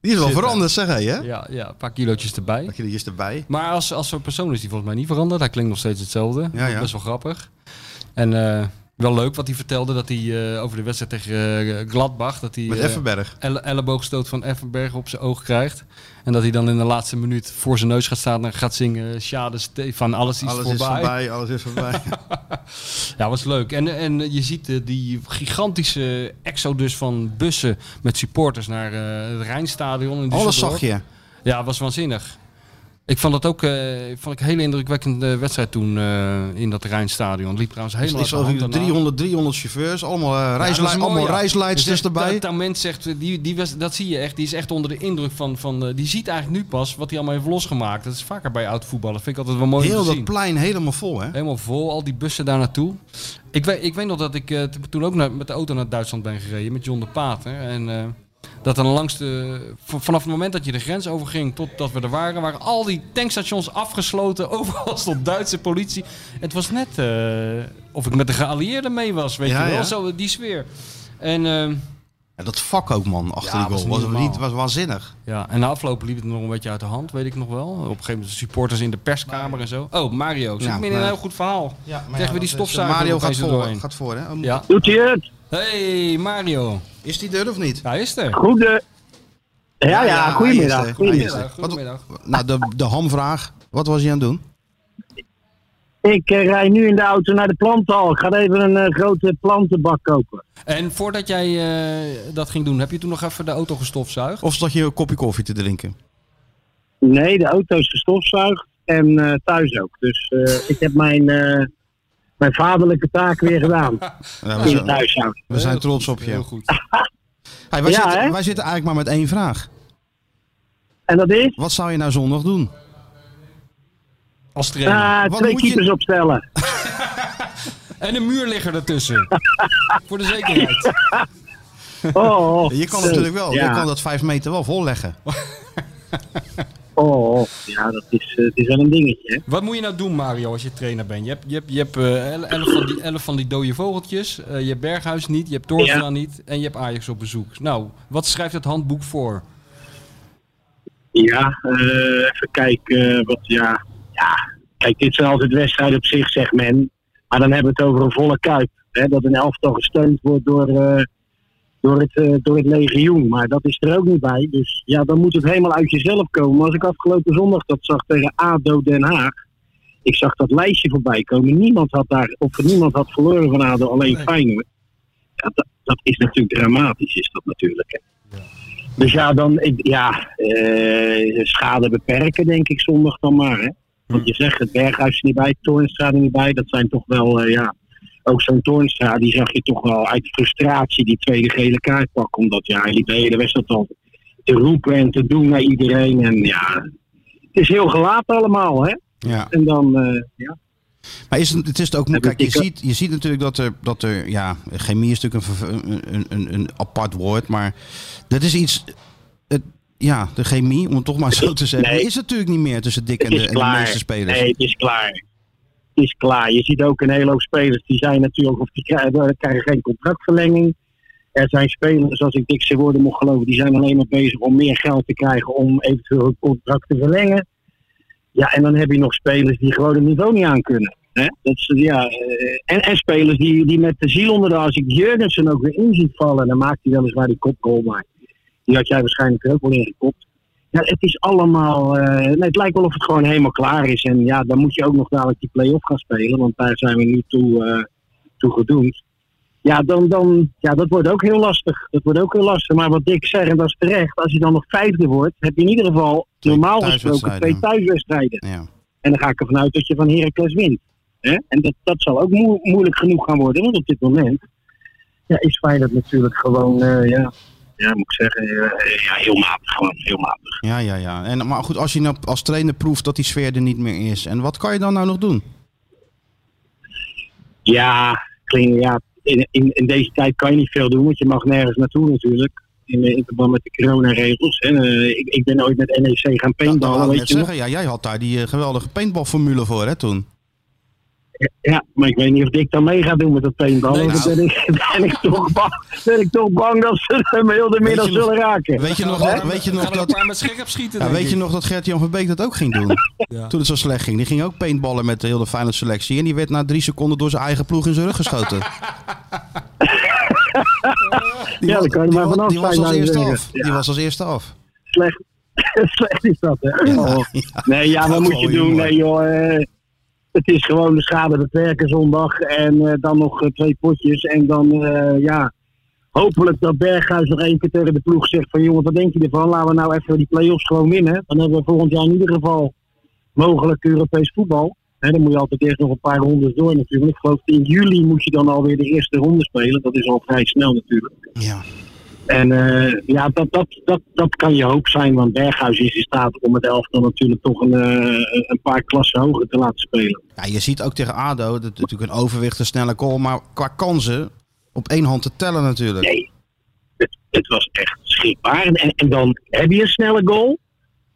S4: Die is wel
S5: Zit er.
S4: veranderd, zeg hij, hè?
S5: Ja, ja, een paar kilootjes erbij.
S4: Dat je die is erbij.
S5: Maar als, als zo'n persoon is die volgens mij niet veranderd. Hij klinkt nog steeds hetzelfde.
S4: Ja, ja.
S5: Best wel grappig. En eh, Wel leuk wat hij vertelde dat hij eh, over de wedstrijd tegen eh, Gladbach. Dat hij,
S4: Met
S5: eh,
S4: Effenberg.
S5: elle- elleboogstoot van Effenberg op zijn oog krijgt. En dat hij dan in de laatste minuut voor zijn neus gaat staan en gaat zingen. Sjade, Stefan, alles is
S4: Alles is
S5: voorbij.
S4: voorbij, alles is voorbij.
S5: Ja, was leuk. En, en je ziet eh, die gigantische exodus van bussen met supporters naar eh, het Rijnstadion. In
S4: alles
S5: Düsseldorf.
S4: zag je.
S5: Ja, was waanzinnig. Ik vond dat ook eh, vond ik een hele indrukwekkende wedstrijd toen eh, in dat Rijnstadion. Het liep trouwens
S4: Dus Het
S5: helemaal
S4: is
S5: uit de hand
S4: alweer
S5: daarna.
S4: 300, 300 chauffeurs, allemaal, eh,
S5: Ja, dat is
S4: reislei-
S5: mooi,
S4: allemaal
S5: ja.
S4: reisleidsters
S5: Dus dat-
S4: erbij.
S5: Dat, dat mens zegt, eh, die, die was, dat zie je echt, die is echt onder de indruk van, van eh, die ziet eigenlijk nu pas wat hij allemaal heeft losgemaakt. Dat is vaker bij oud voetballen, vind ik altijd wel mooi om
S4: Heel
S5: te
S4: dat
S5: zien.
S4: plein helemaal vol, hè?
S5: Helemaal vol, al die bussen daar naartoe. Ik weet, ik weet nog dat ik eh, t- toen ook naar- met de auto naar Duitsland ben gereden met John de Pater. En eh, dat dan langs de. v- vanaf het moment dat je de grens overging totdat we er waren, waren al die tankstations afgesloten. Overal stond Duitse politie. Het was net eh, of ik met de geallieerden mee was, weet
S4: Ja,
S5: je wel.
S4: ja.
S5: Zo, die sfeer. En, eh,
S4: En dat vak ook, man, achter
S5: Ja,
S4: die
S5: was
S4: goal.
S5: niet
S4: Was,
S5: normaal.
S4: niet, was waanzinnig.
S5: ja, en na afloop liep het nog een beetje uit de hand, weet ik nog wel. Op een gegeven moment supporters in de perskamer en zo. Oh, Mario. Zit
S4: Ja,
S5: ik midden in een
S4: maar-
S5: heel goed verhaal.
S6: Ja, maar
S5: Tegen
S6: ja,
S5: we die
S6: dat is-
S5: stofzuiger
S4: Mario
S5: nog
S4: gaat
S5: eens er
S4: voor,
S5: doorheen.
S4: gaat voor, hè? Oh,
S5: Ja.
S8: Doet hij het?
S5: Hey Mario,
S4: Is die deur of niet?
S5: hij is er.
S8: Goede.
S4: hij
S8: Ja,
S4: is
S8: ja,
S4: er, hij is
S8: goedemiddag.
S4: er,
S8: goedemiddag.
S4: hij is er. Wat-
S5: Goedemiddag.
S4: nou, de, de hamvraag. Wat was hij aan het doen?
S8: Ik eh, rij nu in de auto naar de plantenhal. Ik ga even een eh, grote plantenbak kopen.
S5: En voordat jij eh, dat ging doen, heb je toen nog even de auto gestofzuigd?
S4: Of zat je een kopje koffie te drinken?
S8: Nee, de auto is gestofzuigd en eh, thuis ook. Dus eh, ik heb mijn, eh, mijn vaderlijke taak weer gedaan
S4: Ja, we,
S8: in het
S4: zijn,
S8: huishouden.
S4: we zijn
S5: Heel
S4: trots
S5: goed,
S4: op
S5: Heel
S4: je.
S5: goed.
S4: Hey, wij,
S8: Ja,
S4: zitten,
S8: hè?
S4: wij zitten eigenlijk maar met één vraag.
S8: En dat is
S4: Wat zou je nou zondag doen?
S5: Als trainer.
S8: eh,
S4: Wat
S8: twee
S4: moet je-
S8: keepers opstellen.
S5: En een muurligger ertussen. Voor de zekerheid.
S8: Oh, oh.
S4: Je kan
S8: Zo,
S4: natuurlijk wel.
S8: Ja.
S4: Je kan dat vijf meter wel volleggen.
S8: Oh, oh. ja, dat is, eh, het is wel een dingetje. Hè?
S5: Wat moet je nou doen, Mario, als je trainer bent? Je hebt, je hebt, je hebt eh, el- elf, van die, elf van die dode vogeltjes. eh, je hebt Berghuis niet, je hebt Toornstra
S8: Ja.
S5: niet. En je hebt Ajax op bezoek. Nou, wat schrijft het handboek voor?
S8: Ja, eh, even kijken. eh, wat, ja. ja, kijk, dit zijn altijd wedstrijden op zich, zegt men. Maar dan hebben we het over een volle kuip. Hè, dat een elftal gesteund wordt door, eh, door, het, eh, door het legioen. Maar dat is er ook niet bij. Dus ja, dan moet het helemaal uit jezelf komen. Maar als ik afgelopen zondag dat zag tegen ADO Den Haag. Ik zag dat lijstje voorbij komen. Niemand had, daar, of niemand had verloren van ADO, alleen Feyenoord. Ja, dat, dat is natuurlijk dramatisch, is dat natuurlijk. hè. Dus ja, dan, ik, ja eh, schade beperken denk ik zondag dan maar. Hè? Want je zegt het, Berghuis is niet bij, Toornstra er niet bij. Dat zijn toch wel, eh, ja, ook zo'n Toornstra, die zag je toch wel uit frustratie die tweede gele kaart pakken. Omdat ja, hij liep de hele wedstrijd al te roepen en te doen naar iedereen. En ja, het is heel gelaten allemaal, hè.
S4: Ja.
S8: En dan, eh, ja.
S4: Maar is het, het is het ook moeilijk. Kijk,
S8: dus ik-
S4: je ziet, je ziet natuurlijk dat er, dat er. Ja, chemie is natuurlijk een, verv- een, een, een apart woord. Maar dat is iets. Het, ja, de chemie, om het toch maar zo te zeggen.
S8: Nee.
S4: Is het natuurlijk niet meer tussen Dick en
S8: Het
S4: de,
S8: is
S4: en de
S8: klaar.
S4: meeste spelers.
S8: Nee, het is klaar. Het is klaar. Je ziet ook een hele hoop spelers die zijn natuurlijk of die krijgen, eh, krijgen geen contractverlenging. Er zijn spelers, als ik dikse woorden mocht geloven, die zijn alleen maar bezig om meer geld te krijgen om eventueel hun contract te verlengen. Ja, en dan heb je nog spelers die gewoon het niveau niet aan kunnen. Hè? Dat is, ja, eh, en, en spelers die, die met de ziel onder de als ik Jurgensen ook weer in ziet vallen, dan maakt hij weliswaar die kopgoal, maar die had jij waarschijnlijk er ook wel ingekopt. Ja, het is allemaal. eh, nee, het lijkt wel of het gewoon helemaal klaar is. En ja, dan moet je ook nog dadelijk die play-off gaan spelen. Want daar zijn we nu toe, eh, toe gedoemd. Ja, dan, dan, ja, dat wordt ook heel lastig. Dat wordt ook heel lastig. Maar wat Dick zegt, en dat is terecht. Als je dan nog vijfde wordt, heb je in ieder geval
S4: Twee
S8: normaal gesproken twee
S4: thuiswedstrijden.
S8: thuiswedstrijden.
S4: Ja.
S8: En dan ga ik ervan uit dat je van Heracles wint. Hè? En dat, dat zal ook moe- moeilijk genoeg gaan worden. Want op dit moment ja, is Feyenoord natuurlijk gewoon, eh, ja, ja, moet ik zeggen, eh, ja, heel matig. Gewoon, heel matig.
S4: ja, ja, ja. En, maar goed, als je nou als trainer proeft dat die sfeer er niet meer is. En wat kan je dan nou nog doen?
S8: Ja, klinkt, ja in, in, in deze tijd kan je niet veel doen, want je mag nergens naartoe natuurlijk. In, eh, in verband met de coronaregels. En, eh, ik, ik ben ooit met NEC gaan
S4: Ja, dat
S8: paintballen,
S4: wou ik
S8: Nou, weet
S4: net
S8: je nog?
S4: zeggen. Ja, jij had daar die eh, geweldige paintballformule voor, hè, toen.
S8: Ja, maar ik weet niet of ik dan mee ga doen met dat teenbal.
S5: Nee,
S8: want dan
S4: nou.
S8: ben ik, ben, ik toch bang, ben ik toch bang dat ze hem heel de middag
S4: Weet je nog-
S8: zullen raken.
S4: Weet je nog,
S8: Hè?
S4: dat, weet je nog
S5: Gaan er een
S4: dat...
S5: paar met scherp schieten,
S4: Ja,
S5: denk
S4: weet je
S5: ik.
S4: nog dat Gert-Jan van Beek dat ook ging doen?
S5: Ja.
S4: Toen het zo slecht ging. Die ging ook paintballen met de hele fijne selectie. En die werd na drie seconden door zijn eigen ploeg in zijn rug geschoten. Die
S8: Ja,
S4: was-
S8: daar kan je
S4: die
S8: maar
S4: was-
S8: vanaf
S4: Die was als
S8: zijn, zou je
S4: eerste
S8: zeggen.
S4: af. Die was als eerste af.
S8: Slecht, slecht is dat, hè? Oh. Nee, ja,
S4: Dat
S8: wat
S4: is
S8: moet je
S4: wel
S8: doen?
S4: humor.
S8: Nee, joh. eh, het is gewoon de schade beperken zondag. En eh, dan nog eh, twee potjes. En dan, eh, ja. Hopelijk dat Berghuis nog één keer tegen de ploeg zegt: van jongen, wat denk je ervan? Laten we nou even die play-offs gewoon winnen. Dan hebben we volgend jaar in ieder geval mogelijk Europees voetbal. En dan moet je altijd eerst nog een paar rondes door natuurlijk. Ik geloof in juli moet je dan alweer de eerste ronde spelen. Dat is al vrij snel natuurlijk.
S4: Ja.
S8: En eh, ja, dat, dat, dat, dat kan je hoop zijn, want Berghuis is in staat om het elftal natuurlijk toch een, eh, een paar klassen hoger te laten spelen.
S4: Ja, je ziet ook tegen ADO, dat is natuurlijk een overwicht, een snelle goal. Maar qua kansen, op één hand te tellen natuurlijk.
S8: Nee, het, het was echt schrikbaar. En, en, en dan heb je een snelle goal.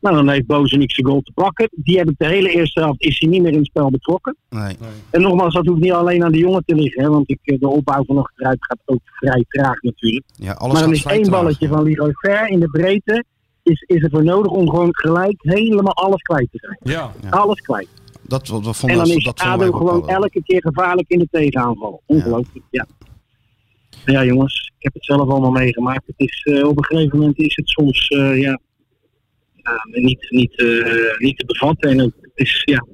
S8: Nou, dan heeft Bozenik zijn goal te pakken. Die heb ik de hele eerste helft, is hij niet meer in het spel betrokken.
S4: Nee.
S8: En nogmaals, dat hoeft niet alleen aan de jongen te liggen, hè, want ik, eh, de opbouw van achteruit gaat ook vrij traag natuurlijk.
S4: Ja, alles
S8: maar
S4: gaat
S8: dan is
S4: vrij
S8: één
S4: traag.
S8: balletje van Leroy Ver in de breedte. Is, is er voor nodig om gewoon gelijk helemaal alles kwijt te zijn.
S5: Ja.
S8: Alles kwijt.
S4: Dat, dat, dat
S8: en
S4: vonden
S8: dan
S4: we-
S8: is
S4: dat vonden wij
S8: ADO
S4: ook
S8: gewoon
S4: wel.
S8: elke keer gevaarlijk in de tegenaanval. Ongelooflijk, ja. Nou ja. jongens, ik heb het zelf allemaal meegemaakt. Het is, eh, op een gegeven moment is het soms eh, ja, ja, niet, niet, eh, niet te bevatten. En het is ja,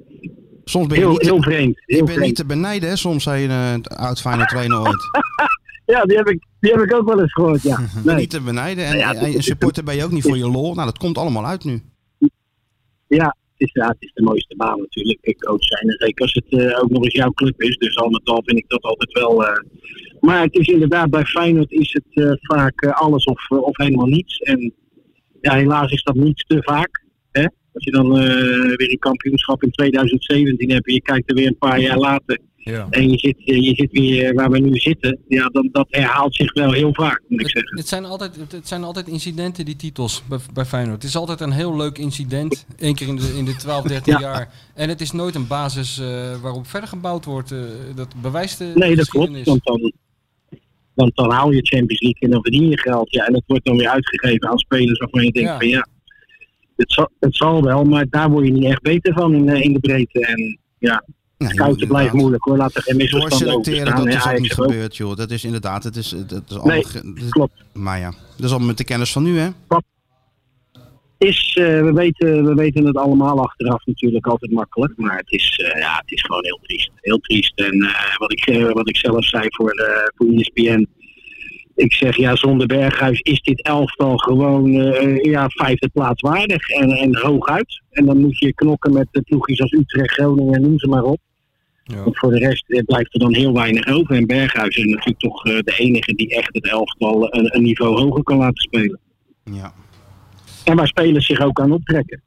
S4: Soms ben je
S8: heel,
S4: niet
S8: heel
S4: te,
S8: vreemd.
S4: je
S8: Heel
S4: bent niet
S8: vreemd.
S4: te benijden, hè, soms zei een eh, oud fijne trainer ooit.
S8: Ja, die heb, ik, die heb ik ook wel eens gehoord, ja. Nee.
S4: Niet te benijden. En,
S8: Nou ja,
S4: en- en
S8: het is-
S4: supporter ben je ook niet voor je lol. Nou, dat komt allemaal uit nu.
S8: Ja, het is, ja, het is de mooiste baan natuurlijk. Ik coach zijn. En zeker als het eh, ook nog eens jouw club is. Dus al met al vind ik dat altijd wel. eh, maar het is inderdaad, bij Feyenoord is het eh, vaak eh, alles of, eh, of helemaal niets. En ja, helaas is dat niets te vaak. Hè? Als je dan eh, weer een kampioenschap in 2017 hebt en je kijkt er weer een paar jaar later.
S5: Ja.
S8: En je zit, eh, je zit weer waar we nu zitten. Ja, dan, dat herhaalt zich wel heel vaak, moet ik
S5: Dus Het,
S8: zeggen.
S5: het zijn altijd, het, het zijn altijd incidenten, die titels bij, bij Feyenoord. Het is altijd een heel leuk incident. Eén keer in de, in de 12, 13 jaar. En het is nooit een basis eh, waarop verder gebouwd wordt. eh, dat bewijst de
S8: Nee, dat
S5: geschiedenis.
S8: klopt. Want dan, want dan haal je Champions League en dan verdien je geld. Ja, en dat wordt dan weer uitgegeven aan spelers waarvan je denkt
S5: Ja.
S8: van ja, het zal, het zal wel, maar daar word je niet echt beter van in, eh, in de breedte. En ja,
S4: Nou,
S8: scouten blijft moeilijk hoor. Laat er geen misverstand over
S4: Doorselecteren,
S8: staan.
S4: dat
S8: En
S4: is ook
S8: Ajax
S4: niet
S8: ook.
S4: gebeurd, joh. Dat is inderdaad, het is, het, het is allemaal...
S8: Nee,
S4: ge- dit-
S8: klopt.
S4: Maar ja, dat is allemaal met de kennis van nu, hè?
S8: Is, eh, we, weten, we weten het allemaal achteraf natuurlijk altijd makkelijk. Maar het is, eh, ja, het is gewoon heel triest. Heel triest. En eh, wat, ik, eh, wat ik zelf zei voor, eh voor ESPN. Ik zeg, ja, zonder Berghuis is dit elftal gewoon eh, ja, vijfde plaats waardig. En, en hooguit. En dan moet je knokken met de ploegjes als Utrecht, Groningen en noem ze maar op.
S5: Ja.
S8: Want voor de rest eh, blijft er dan heel weinig over. En Berghuis is natuurlijk toch eh, de enige die echt het elftal een, een niveau hoger kan laten spelen.
S4: Ja.
S8: En waar spelers zich ook aan optrekken.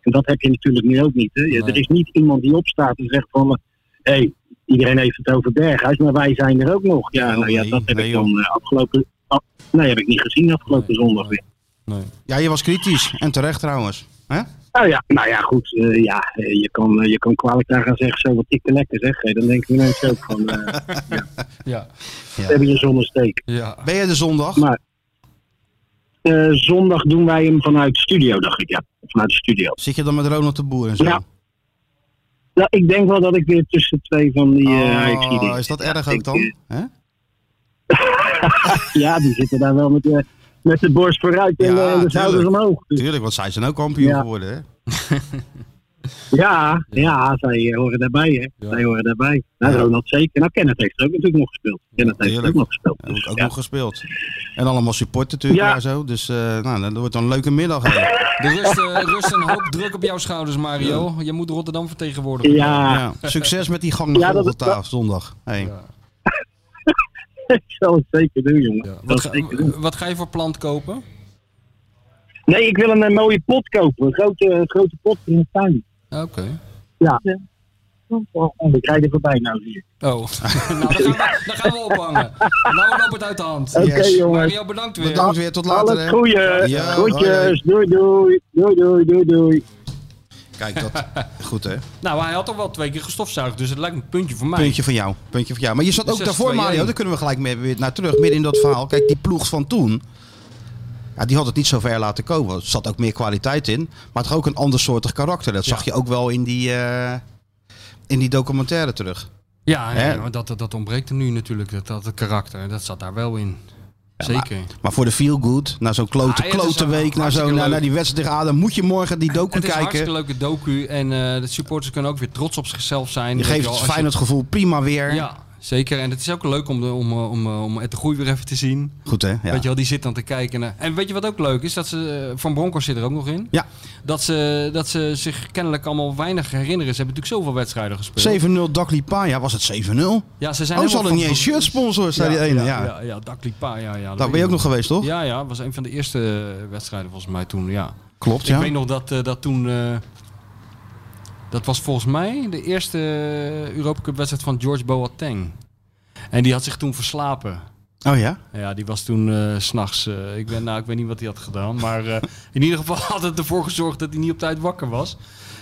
S8: En dat heb je natuurlijk nu ook niet. Hè? Je-
S5: Nee.
S8: Er is niet iemand die opstaat en zegt van... Hé, hey, iedereen heeft het over Berghuis, maar wij zijn er ook nog. Ja,
S4: Oh,
S8: nou ja,
S4: nee,
S8: dat heb
S4: nee,
S8: ik dan eh, afgelopen... af- nee, heb ik niet gezien afgelopen
S5: Nee,
S8: zondag
S5: nee.
S8: weer.
S5: Nee.
S4: ja, je was kritisch. En terecht trouwens. Hè?
S8: Nou ja, nou ja goed. eh, ja, eh, je, kan, eh, je kan kwalijk daar gaan zeggen, zo wat tikke lekker zeg. Hé, dan denken mensen ook van... eh
S5: Ja.
S8: Heb je een zonnesteek?
S5: Ja.
S4: Ben je de zondag?
S8: Maar eh, zondag doen wij hem vanuit de studio, dacht ik. Ja, vanuit de studio.
S4: Zit je dan met Ronald de Boer en zo?
S8: Ja. Nou, ik denk wel dat ik weer tussen twee van die eh Ajaxiden
S4: Oh,
S8: zit.
S4: is dat
S8: Ja,
S4: erg
S8: ik,
S4: ook dan?
S8: eh,
S4: Hè?
S8: Ja, die zitten daar wel met, de- met de borst vooruit en
S4: Ja,
S8: eh, de schouders
S4: tuurlijk.
S8: omhoog. Dus
S4: Tuurlijk, want zij zijn ook kampioen
S8: Ja.
S4: geworden, hè?
S8: ja, ja, zij eh, horen daarbij, hè.
S5: Ja.
S8: Zij horen daarbij. Nou,
S4: Ja.
S8: Ronald zeker. Nou, Kenneth heeft er ook natuurlijk nog gespeeld. Kenneth heeft er
S4: tuurlijk.
S8: ook nog gespeeld.
S4: Heb
S8: Dus,
S4: ik ook
S8: ja.
S4: nog gespeeld. En allemaal support natuurlijk
S8: Ja.
S4: daar zo. Dus eh, nou, dat wordt dan een leuke middag. hè.
S5: De rust, eh, rust en hoop druk op jouw schouders, Mario. Je moet Rotterdam vertegenwoordigen.
S8: ja,
S4: Ja. Succes met die gang
S8: Ja,
S4: naar
S8: dat-
S4: Golgotha zondag. Hey.
S5: Ja.
S8: ik zal het zeker doen, jongen.
S5: Ja.
S8: Ik zal
S5: Wat,
S8: het
S5: ga,
S8: zeker doen.
S5: wat ga je voor plant kopen?
S8: Nee, ik wil een, eh, mooie pot kopen. Een grote, grote pot in de tuin.
S5: Oké.
S8: Ja. Oh, ik rijd er voorbij nou, zie ik.
S5: Oh, nou, dan gaan, we, dan gaan we ophangen. Nou loopt het uit de hand.
S8: Oké,
S4: Yes.
S8: jongens.
S5: Mario, bedankt weer.
S4: Bedankt weer, tot later.
S8: Alles
S4: hè.
S8: goeie.
S4: Ja,
S8: Groetjes. Doei, doei. Doei, doei, doei, doei.
S4: Kijk, dat... Goed, hè?
S5: Nou, hij had al wel twee keer gestofzuigd, dus het lijkt me een puntje voor mij.
S4: Puntje van jou. Puntje van jou. Maar je zat ook
S5: Dus
S4: daarvoor,
S5: 6-2-1.
S4: Mario. Daar kunnen we gelijk mee weer naar terug. Midden in dat verhaal. Kijk, die ploeg van toen. Ja, die had het niet zo ver laten komen. Er zat ook meer kwaliteit in. Maar toch ook een ander soortig karakter. Dat zag je ook wel in die, eh, in die documentaire terug.
S5: Ja, ja,
S4: Hè?
S5: ja, maar dat, dat ontbreekt hem nu natuurlijk, dat, dat karakter. Dat zat daar wel in. Zeker.
S4: Maar voor de feel good, na zo'n klote,
S5: Ah, ja, dat is
S4: klote week, naar,
S5: hartstikke
S4: zo'n naar,
S5: leuk.
S4: naar die wedstrijd tegen Adam, moet je morgen die docu
S5: Het is een hartstikke
S4: kijken.
S5: leuke docu en eh, de supporters kunnen ook weer trots op zichzelf zijn.
S4: Je
S5: Weet
S4: geeft
S5: wel,
S4: het
S5: als je-
S4: fijn het gevoel, prima weer.
S5: Ja, zeker. En het is ook leuk om, de, om, eh, om, eh, om Ed de Groei weer even te zien.
S4: Goed hè? Ja.
S5: Weet je wel, die zit dan te kijken. naar- En weet je wat ook leuk is? Dat ze, eh, Van Bronckhorst zit er ook nog in.
S4: Ja.
S5: Dat ze, dat ze zich kennelijk allemaal weinig herinneren. Ze hebben natuurlijk zoveel wedstrijden gespeeld.
S4: 7-0 Dakli Paya, was het 7-0?
S5: Ja, ze zijn
S4: Oh, ze
S5: helemaal
S4: hadden niet
S5: van-
S4: eens shirtsponsor, zei die ene. Ja.
S5: Ja, ja, ja Dak Lipa, ja, ja.
S4: Daar ben je ook nog geweest, toch?
S5: Ja, ja, was een van de eerste eh, wedstrijden volgens mij toen, ja.
S4: Klopt, ja.
S5: Ik weet nog dat, eh, dat toen... eh, dat was volgens mij de eerste eh, Europa Cup wedstrijd van George Boateng. En die had zich toen verslapen.
S4: Oh ja?
S5: Ja, die was toen eh, s s'nachts. ik, ben, nou, ik weet niet wat hij had gedaan. Maar eh, in ieder geval had het ervoor gezorgd dat hij niet op tijd wakker was.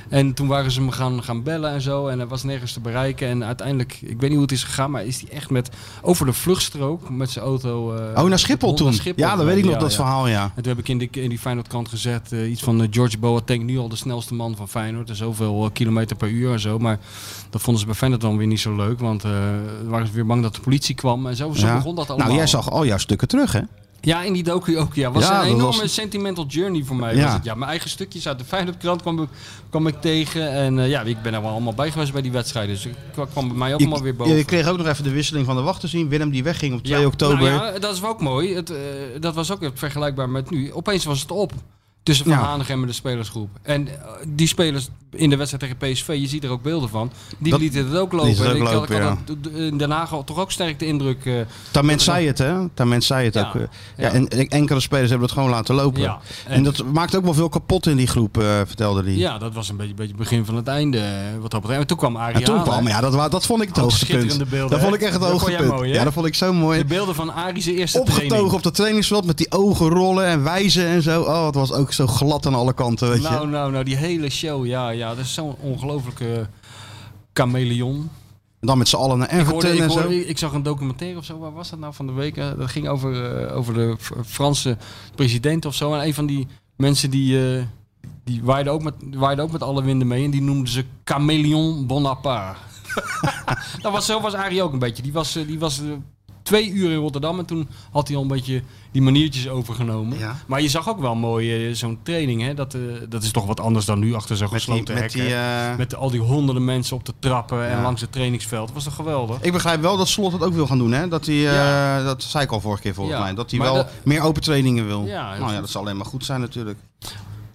S5: En toen waren ze hem gaan, gaan bellen en zo. En hij was nergens te bereiken. En uiteindelijk, ik weet niet hoe het is gegaan. Maar is hij echt met over de vluchtstrook met zijn auto. eh,
S4: Oh, naar
S5: met
S4: Schiphol
S5: de hond
S4: toen.
S5: naar Schiphol
S4: ja, dat weet ik nog,
S5: gereden.
S4: dat
S5: Ja, ja.
S4: verhaal, ja.
S5: En toen heb ik in die, in die Feyenoord-krant gezet eh, iets van eh, George Boateng, nu al de snelste man van Feyenoord. En zoveel eh, kilometer per uur en zo. Maar dat vonden ze bij Feyenoord dan weer niet zo leuk. Want eh waren ze weer bang dat de politie kwam. En zo, zo
S4: ja.
S5: begon dat allemaal.
S4: Nou, jij zag al jouw stukken terug, hè?
S5: Ja, in die docu ook. Ja, was
S4: Ja,
S5: een
S4: dat
S5: enorme
S4: was-
S5: sentimental journey voor mij.
S4: Ja.
S5: Was het. ja, mijn eigen stukjes uit de Feyenoordkrant kwam ik, kwam ik tegen. En eh, ja, ik ben er wel allemaal bij geweest bij die wedstrijden. Dus ik kwam- kwam bij mij ook allemaal weer boven.
S4: je kreeg ook nog even de wisseling van de wacht te zien. Willem die wegging op 2
S5: Ja,
S4: oktober.
S5: Nou ja, dat is wel ook mooi. Het, eh, dat was ook weer vergelijkbaar met nu. Opeens was het op. Tussen Van
S4: Ja.
S5: Hanegem en de spelersgroep. En eh, die spelers in de wedstrijd tegen PSV, je ziet er ook beelden van. Die
S4: Dat-
S5: lieten het ook lopen.
S4: het ook
S5: ik, had-
S4: lopen,
S5: ik had
S4: ja.
S5: dat- in Den Haag toch ook sterk de indruk. eh,
S4: Tament zei het, hè? Tament zei het
S5: Ja.
S4: ook. eh.
S5: Ja.
S4: Ja, en en enkele spelers hebben het gewoon laten lopen.
S5: Ja.
S4: En, dat maakt ook wel veel kapot in die groep, eh, vertelde hij.
S5: Ja, dat was een beetje, beetje het begin van het einde. eh, Wat dat betreft. En toen kwam Ariane.
S4: En toen kwam, ja, dat, wa- dat vond ik het
S5: Ook
S4: hoogste
S5: schitterende
S4: punt.
S5: beelden,
S4: dat
S5: hè?
S4: vond ik echt het
S5: Dat vond
S4: hoogste
S5: jij
S4: punt.
S5: mooi, hè?
S4: ja, dat vond ik zo mooi.
S5: De beelden van Ari's eerste training.
S4: Opgetogen op dat trainingsveld met die ogen rollen en wijzen en zo. Oh, het was ook zo glad aan alle kanten, weet je.
S5: Nou, nou, nou, die hele show. Ja, ja, dat is zo'n ongelofelijke chameleon.
S4: En dan met z'n allen naar
S5: Ik,
S4: Everton
S5: hoorde, ik,
S4: en zo.
S5: hoorde- ik zag een documentaire of zo. Waar was dat nou van de week? Eh, Dat ging over, eh, over de F- Franse president of zo. En een van die mensen die, eh, die waaide, ook met, waaide ook met alle winden mee. En die noemden ze Chameleon Bonaparte. dat was, zo was Arie ook een beetje. Die was, eh, die was eh, twee uur in Rotterdam. En toen had hij al een beetje die maniertjes overgenomen.
S4: Ja.
S5: Maar je zag ook wel mooi eh, zo'n training. Hè? Dat, eh, dat is toch wat anders dan nu achter zo'n
S4: Met die,
S5: gesloten
S4: met
S5: hek.
S4: die,
S5: hè?
S4: eh,
S5: Met al die honderden mensen op de trappen en
S4: Ja.
S5: langs het trainingsveld. Dat was toch geweldig?
S4: Ik begrijp wel dat Slot dat ook wil gaan doen. Hè? Dat hij, eh,
S5: Ja.
S4: dat zei ik al vorige keer volgens
S5: Ja,
S4: mij, dat hij
S5: maar
S4: wel
S5: dat-
S4: meer open trainingen wil.
S5: Ja, dat
S4: nou ja,
S5: is-
S4: dat zal alleen maar goed zijn natuurlijk.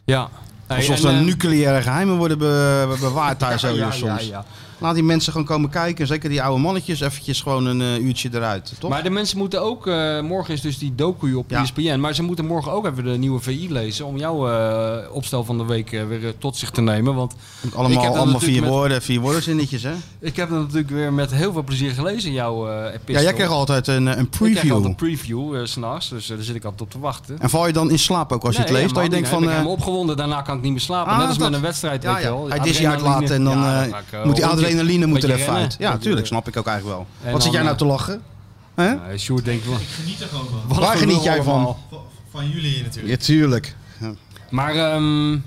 S5: Ja. eh,
S4: Alsof er nucleaire geheimen worden be- be- bewaard daar zo joh, soms.
S5: ja.
S4: Laat die mensen gewoon komen kijken. Zeker die oude mannetjes eventjes gewoon een eh, uurtje eruit, toch?
S5: Maar de mensen moeten ook, eh, morgen is dus die docu op
S4: Ja.
S5: ESPN, maar ze moeten morgen ook even de nieuwe VI lezen om jouw eh, opstel van de week eh, weer eh, tot zich te nemen. Want ik heb
S4: allemaal
S5: dat
S4: allemaal vier
S5: natuurlijk met-
S4: woorden, vier woordenzinnetjes, hè?
S5: ik heb dat natuurlijk weer met heel veel plezier gelezen, jouw eh epistel.
S4: Ja, jij krijgt altijd een, eh, een
S5: Ik krijg
S4: preview.
S5: altijd een preview eh, 's s'nachts, dus eh, daar zit ik altijd op te wachten.
S4: En val je dan in slaap ook als je
S5: Nee,
S4: het leest? dat
S5: helemaal
S4: je denkt
S5: niet.
S4: van...
S5: Ik ben
S4: eh,
S5: helemaal opgewonden, daarna kan ik niet meer slapen.
S4: Ah,
S5: Net als met
S4: dat-
S5: een wedstrijd,
S4: ja,
S5: weet je
S4: ja.
S5: wel.
S4: Hij is je uitlaten en dan
S5: Ja,
S4: eh,
S5: dan ga ik, eh,
S4: moet die
S5: hondje-
S4: adrenaline moet er
S5: beetje
S4: even uit.
S5: rennen.
S4: Ja,
S5: Dat,
S4: tuurlijk,
S5: eh,
S4: snap ik ook eigenlijk wel.
S5: en
S4: Wat zit
S5: dan,
S4: jij nou
S5: eh,
S4: te lachen? Hè?
S5: nou, Sjoerd denkt, wat,
S6: Geniet er gewoon van.
S5: wat
S4: Waar
S5: een
S4: geniet
S5: lul
S4: jij van?
S5: allemaal.
S6: Van, van jullie hier natuurlijk.
S4: Ja, tuurlijk. Ja,
S5: Maar, ehm,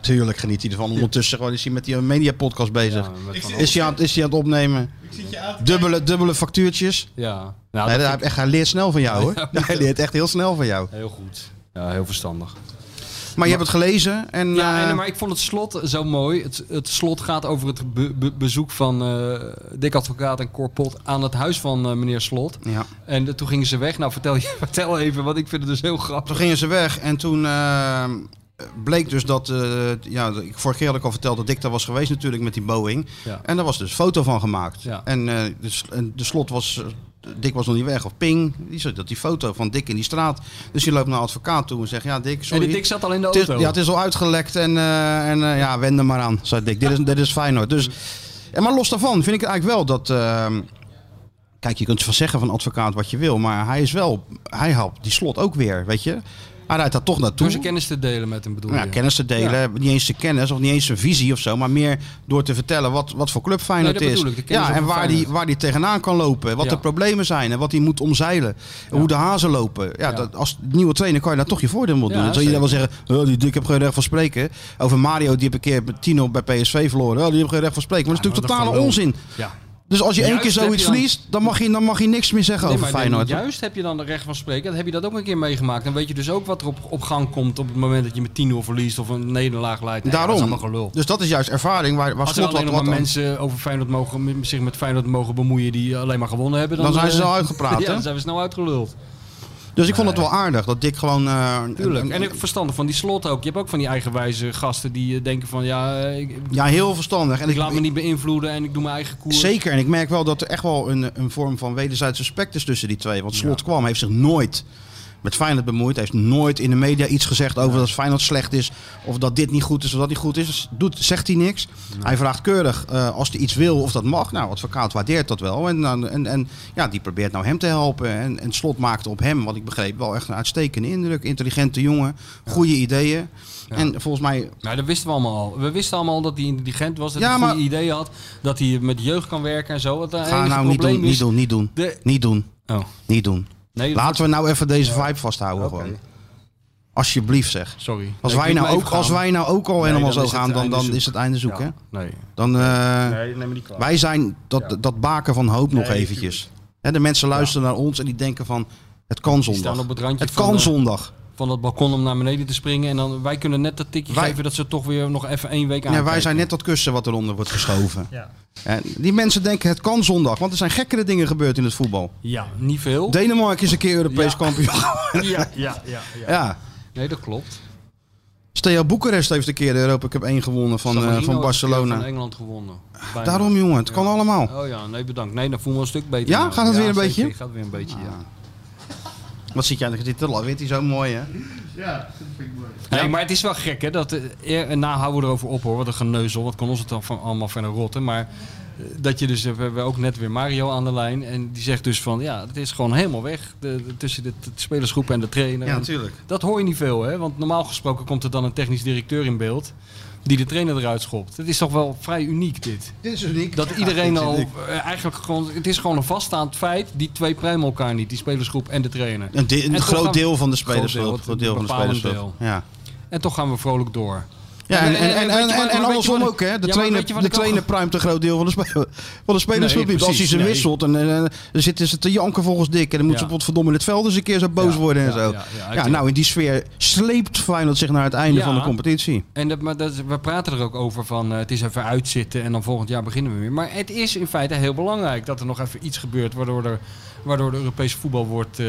S4: tuurlijk geniet hij ervan. Ondertussen gewoon is hij met die media podcast bezig.
S5: ja, met
S6: Ik
S5: van-
S6: zie-
S4: Is hij, aan, is hij aan het opnemen?
S6: Ik zit je aan te kijken.
S4: Dubbele, dubbele factuurtjes.
S5: ja. Nou, dat
S4: Nee,
S5: vind
S4: hij,
S5: ik-
S4: heeft echt, hij leert snel van jou hoor. hij leert echt heel snel van jou.
S5: Heel goed. Ja, heel verstandig.
S4: Maar je hebt het gelezen en...
S5: Ja, en,
S4: eh,
S5: maar ik vond het slot zo mooi. Het, het slot gaat over het be- be- bezoek van eh Dick Advocaat en Cor Pot aan het huis van eh, meneer Slot.
S4: ja.
S5: En eh, toen gingen ze weg. Nou, vertel, je, vertel even, want ik vind het dus heel
S4: Toen
S5: grappig.
S4: gingen ze weg en toen eh, bleek dus dat... eh, ja, ik, vorige keer had ik al verteld dat Dick daar was geweest natuurlijk met die Boeing.
S5: Ja.
S4: En daar was dus foto van gemaakt.
S5: Ja.
S4: En eh, de, s- en de slot was... eh, Dick was nog niet weg, of Ping. Die zag dat die foto van Dick in die straat. Dus die loopt naar advocaat toe en zegt: Ja, Dick,
S5: En
S4: sorry.
S5: die Dick zat al in de
S4: Het is,
S5: auto.
S4: ja, het is al uitgelekt en, eh, en eh, ja, wend er maar aan, zei Dick. Dit is, dit is Feyenoord. Dus, en maar los daarvan vind ik eigenlijk wel dat... ehm, kijk, je kunt van zeggen van advocaat wat je wil, maar hij is wel... Hij helpt die slot ook weer, weet je. Hij rijdt daar toch naartoe.
S5: Door zijn kennis te delen met hem bedoel
S4: Nou
S5: je?
S4: ja, kennis te delen. Niet eens zijn kennis of niet eens zijn visie of zo. Maar meer door te vertellen wat, wat voor club Feyenoord
S5: Nee, dat
S4: is.
S5: bedoel ik, de kennis
S4: ja, en
S5: over
S4: waar die,
S5: Feyenoord.
S4: waar die tegenaan kan lopen. Wat
S5: Ja.
S4: de problemen zijn. En wat hij moet omzeilen. en Hoe de hazen lopen. Ja,
S5: Ja.
S4: Dat, als nieuwe trainer kan je daar toch je voordeel mee doen.
S5: Ja,
S4: dan zal je dan wel zeggen, oh, die dik heb geen recht van spreken. Over Mario, die heb een keer met Tino bij PSV verloren. Oh, die heb geen recht van spreken. Maar dat is
S5: Ja,
S4: natuurlijk
S5: maar dat
S4: totale
S5: is gewoon
S4: onzin.
S5: Ja.
S4: Dus als je één
S5: Juist
S4: keer
S5: heb
S4: zoiets
S5: je dan-
S4: verliest, dan mag, je, dan mag je niks meer zeggen
S5: Nee,
S4: over
S5: maar
S4: Feyenoord.
S5: dan- juist heb je dan de recht van spreken. Dan heb je dat ook een keer meegemaakt. Dan weet je dus ook wat er op, op gang komt op het moment dat je met 10-0 verliest of een nederlaag leidt. Nee,
S4: Daarom.
S5: Dat is allemaal gelul.
S4: Dus dat is juist ervaring waar, waar
S5: Als er
S4: Slot wat,
S5: alleen nog
S4: wat
S5: maar
S4: aan-
S5: mensen over Feyenoord mogen, zich met Feyenoord mogen bemoeien die eh, alleen maar gewonnen hebben. Dan,
S4: Dan zijn ze
S5: eh,
S4: al uitgepraat,
S5: ja,
S4: hè?
S5: dan zijn we snel uitgeluld.
S4: Dus ik vond het wel aardig dat Dick gewoon. eh,
S5: Tuurlijk.
S4: een-
S5: En ik verstandig van die slot ook. Je hebt ook van die eigenwijze gasten die eh, denken van ja, eh, ik, ik
S4: ja, heel verstandig. En ik,
S5: laat me niet beïnvloeden en ik doe mijn eigen koers.
S4: Zeker. En ik merk wel dat er echt wel een, een vorm van wederzijds respect is tussen die twee. Want Slot kwam, heeft zich nooit met Feyenoord bemoeid. Hij heeft nooit in de media iets gezegd over dat Feyenoord slecht is. Of dat dit niet goed is of dat niet goed is. Dus doet, zegt hij niks. Hij vraagt keurig eh, als hij iets wil of dat mag. Nou, advocaat waardeert dat wel. En, dan- en, en ja, die probeert nou hem te helpen. En, en Slot maakte op hem, wat ik begreep, wel echt een uitstekende indruk. Intelligente jongen, goede ideeën. En volgens mij
S5: Nou, dat wisten we allemaal al. We wisten allemaal dat hij intelligent was, dat
S4: Ja,
S5: hij goede
S4: maar-
S5: ideeën had, dat hij met jeugd kan werken en zo. eh, Het
S4: Ga
S5: enige
S4: nou niet
S5: probleem
S4: doen, niet
S5: is-
S4: doen, niet doen.
S5: De-
S4: Niet doen,
S5: Oh,
S4: niet doen.
S5: nee, dat-
S4: Laten we nou even deze vibe vasthouden
S5: Oké.
S4: gewoon. Alsjeblieft zeg.
S5: sorry.
S4: Als,
S5: Nee,
S4: wij,
S5: ik wil
S4: nou ook,
S5: even
S4: als
S5: gaan.
S4: wij nou ook al
S5: Nee,
S4: helemaal
S5: dan
S4: zo
S5: is het
S4: gaan, dan,
S5: einde
S4: dan
S5: zoek.
S4: is het einde zoek hè.
S5: Ja, Nee.
S4: Dan, eh,
S5: Nee, neem me niet kwalijk.
S4: wij zijn dat, dat baken van hoop nog
S5: Nee,
S4: eventjes. Hè, de mensen luisteren naar ons en die denken van, het kan
S5: Die staan op
S4: zondag.
S5: het randje
S4: Het
S5: van,
S4: kan
S5: eh,
S4: zondag.
S5: van dat balkon om naar beneden te springen. En dan, wij kunnen net dat tikje
S4: Wij-
S5: geven dat ze toch weer nog even één week aan.
S4: Ja, wij zijn net dat kussen wat eronder wordt geschoven.
S6: Ja.
S4: En die mensen denken, het kan zondag. Want er zijn gekkere dingen gebeurd in het voetbal.
S5: Ja, niet veel.
S4: Denemarken is een keer Europees
S5: Ja.
S4: kampioen.
S5: Ja, ja, ja, ja.
S4: ja.
S5: Nee, dat klopt.
S4: Stea Boekarest heeft een keer de Europa Cup 1 gewonnen van, eh,
S5: San Marino
S4: van
S5: heeft Van
S4: Barcelona.
S5: Engeland gewonnen. Bijna.
S4: Daarom jongen, het kan
S5: Ja.
S4: allemaal.
S5: Oh ja, nee bedankt. Nee, dan voelen we een stuk beter.
S4: Ja?
S5: nou.
S4: Gaat het weer een
S5: zeker.
S4: beetje? Ah.
S5: Gaat weer een beetje, ja. eh,
S4: Wat zit jij nou dit te lachen? Weet hij zo mooi hè?
S5: Nee, maar het is wel gek, hè? Dat, eh, eer- en na houden we erover op, hoor. Wat een geneuzel. Wat kon ons het dan van, allemaal verder rotten. Maar eh, dat je dus... We hebben ook net weer Mario aan de lijn. En die zegt dus van... Ja, het is gewoon helemaal weg. De, de- tussen de, de spelersgroep en de trainer. En
S4: natuurlijk.
S5: dat hoor je niet veel, hè? Want normaal gesproken komt er dan een technisch directeur in beeld... die de trainer eruit schopt. Het is toch wel vrij uniek, dit.
S4: Dit is uniek.
S5: Dat iedereen al... eh, Eigenlijk gewoon... Het is gewoon een vaststaand feit. Die twee pruimen elkaar niet. Die spelersgroep en de trainer.
S4: Een, de- een
S5: En toch
S4: groot
S5: gaan-
S4: deel van de
S5: Groot
S4: spelers.
S5: deel,
S4: wel,
S5: het
S4: groot deel van de
S5: bepalend
S4: spelers. wel. Ja.
S5: En toch gaan we vrolijk door.
S4: Ja, en, en, en,
S5: weet je
S4: en,
S5: wat-
S4: en,
S5: maar weet je
S4: andersom
S5: wat-
S4: ook, hè? De
S5: ja, maar
S4: trainer,
S5: weet je wat
S4: de
S5: ik ook-
S4: trainer pruimt een groot deel van de, spe- van de spelersgroep
S5: Nee,
S4: niet. Als hij ze
S5: precies, nee.
S4: wisselt en, en, en dan zitten ze te janken volgens Dick. En dan moeten
S5: Ja.
S4: ze potverdomme in het veld eens een keer zo boos
S5: Ja,
S4: worden en
S5: ja,
S4: zo.
S5: ja, ja,
S4: Ja,
S5: uiteraard.
S4: nou, in die sfeer sleept Feyenoord zich naar het einde
S5: Ja.
S4: van de competitie.
S5: En dat, maar dat, we praten er ook over van eh, het is even uitzitten en dan volgend jaar beginnen we weer. Maar het is in feite heel belangrijk dat er nog even iets gebeurt waardoor er, waardoor de Europese voetbal wordt eh,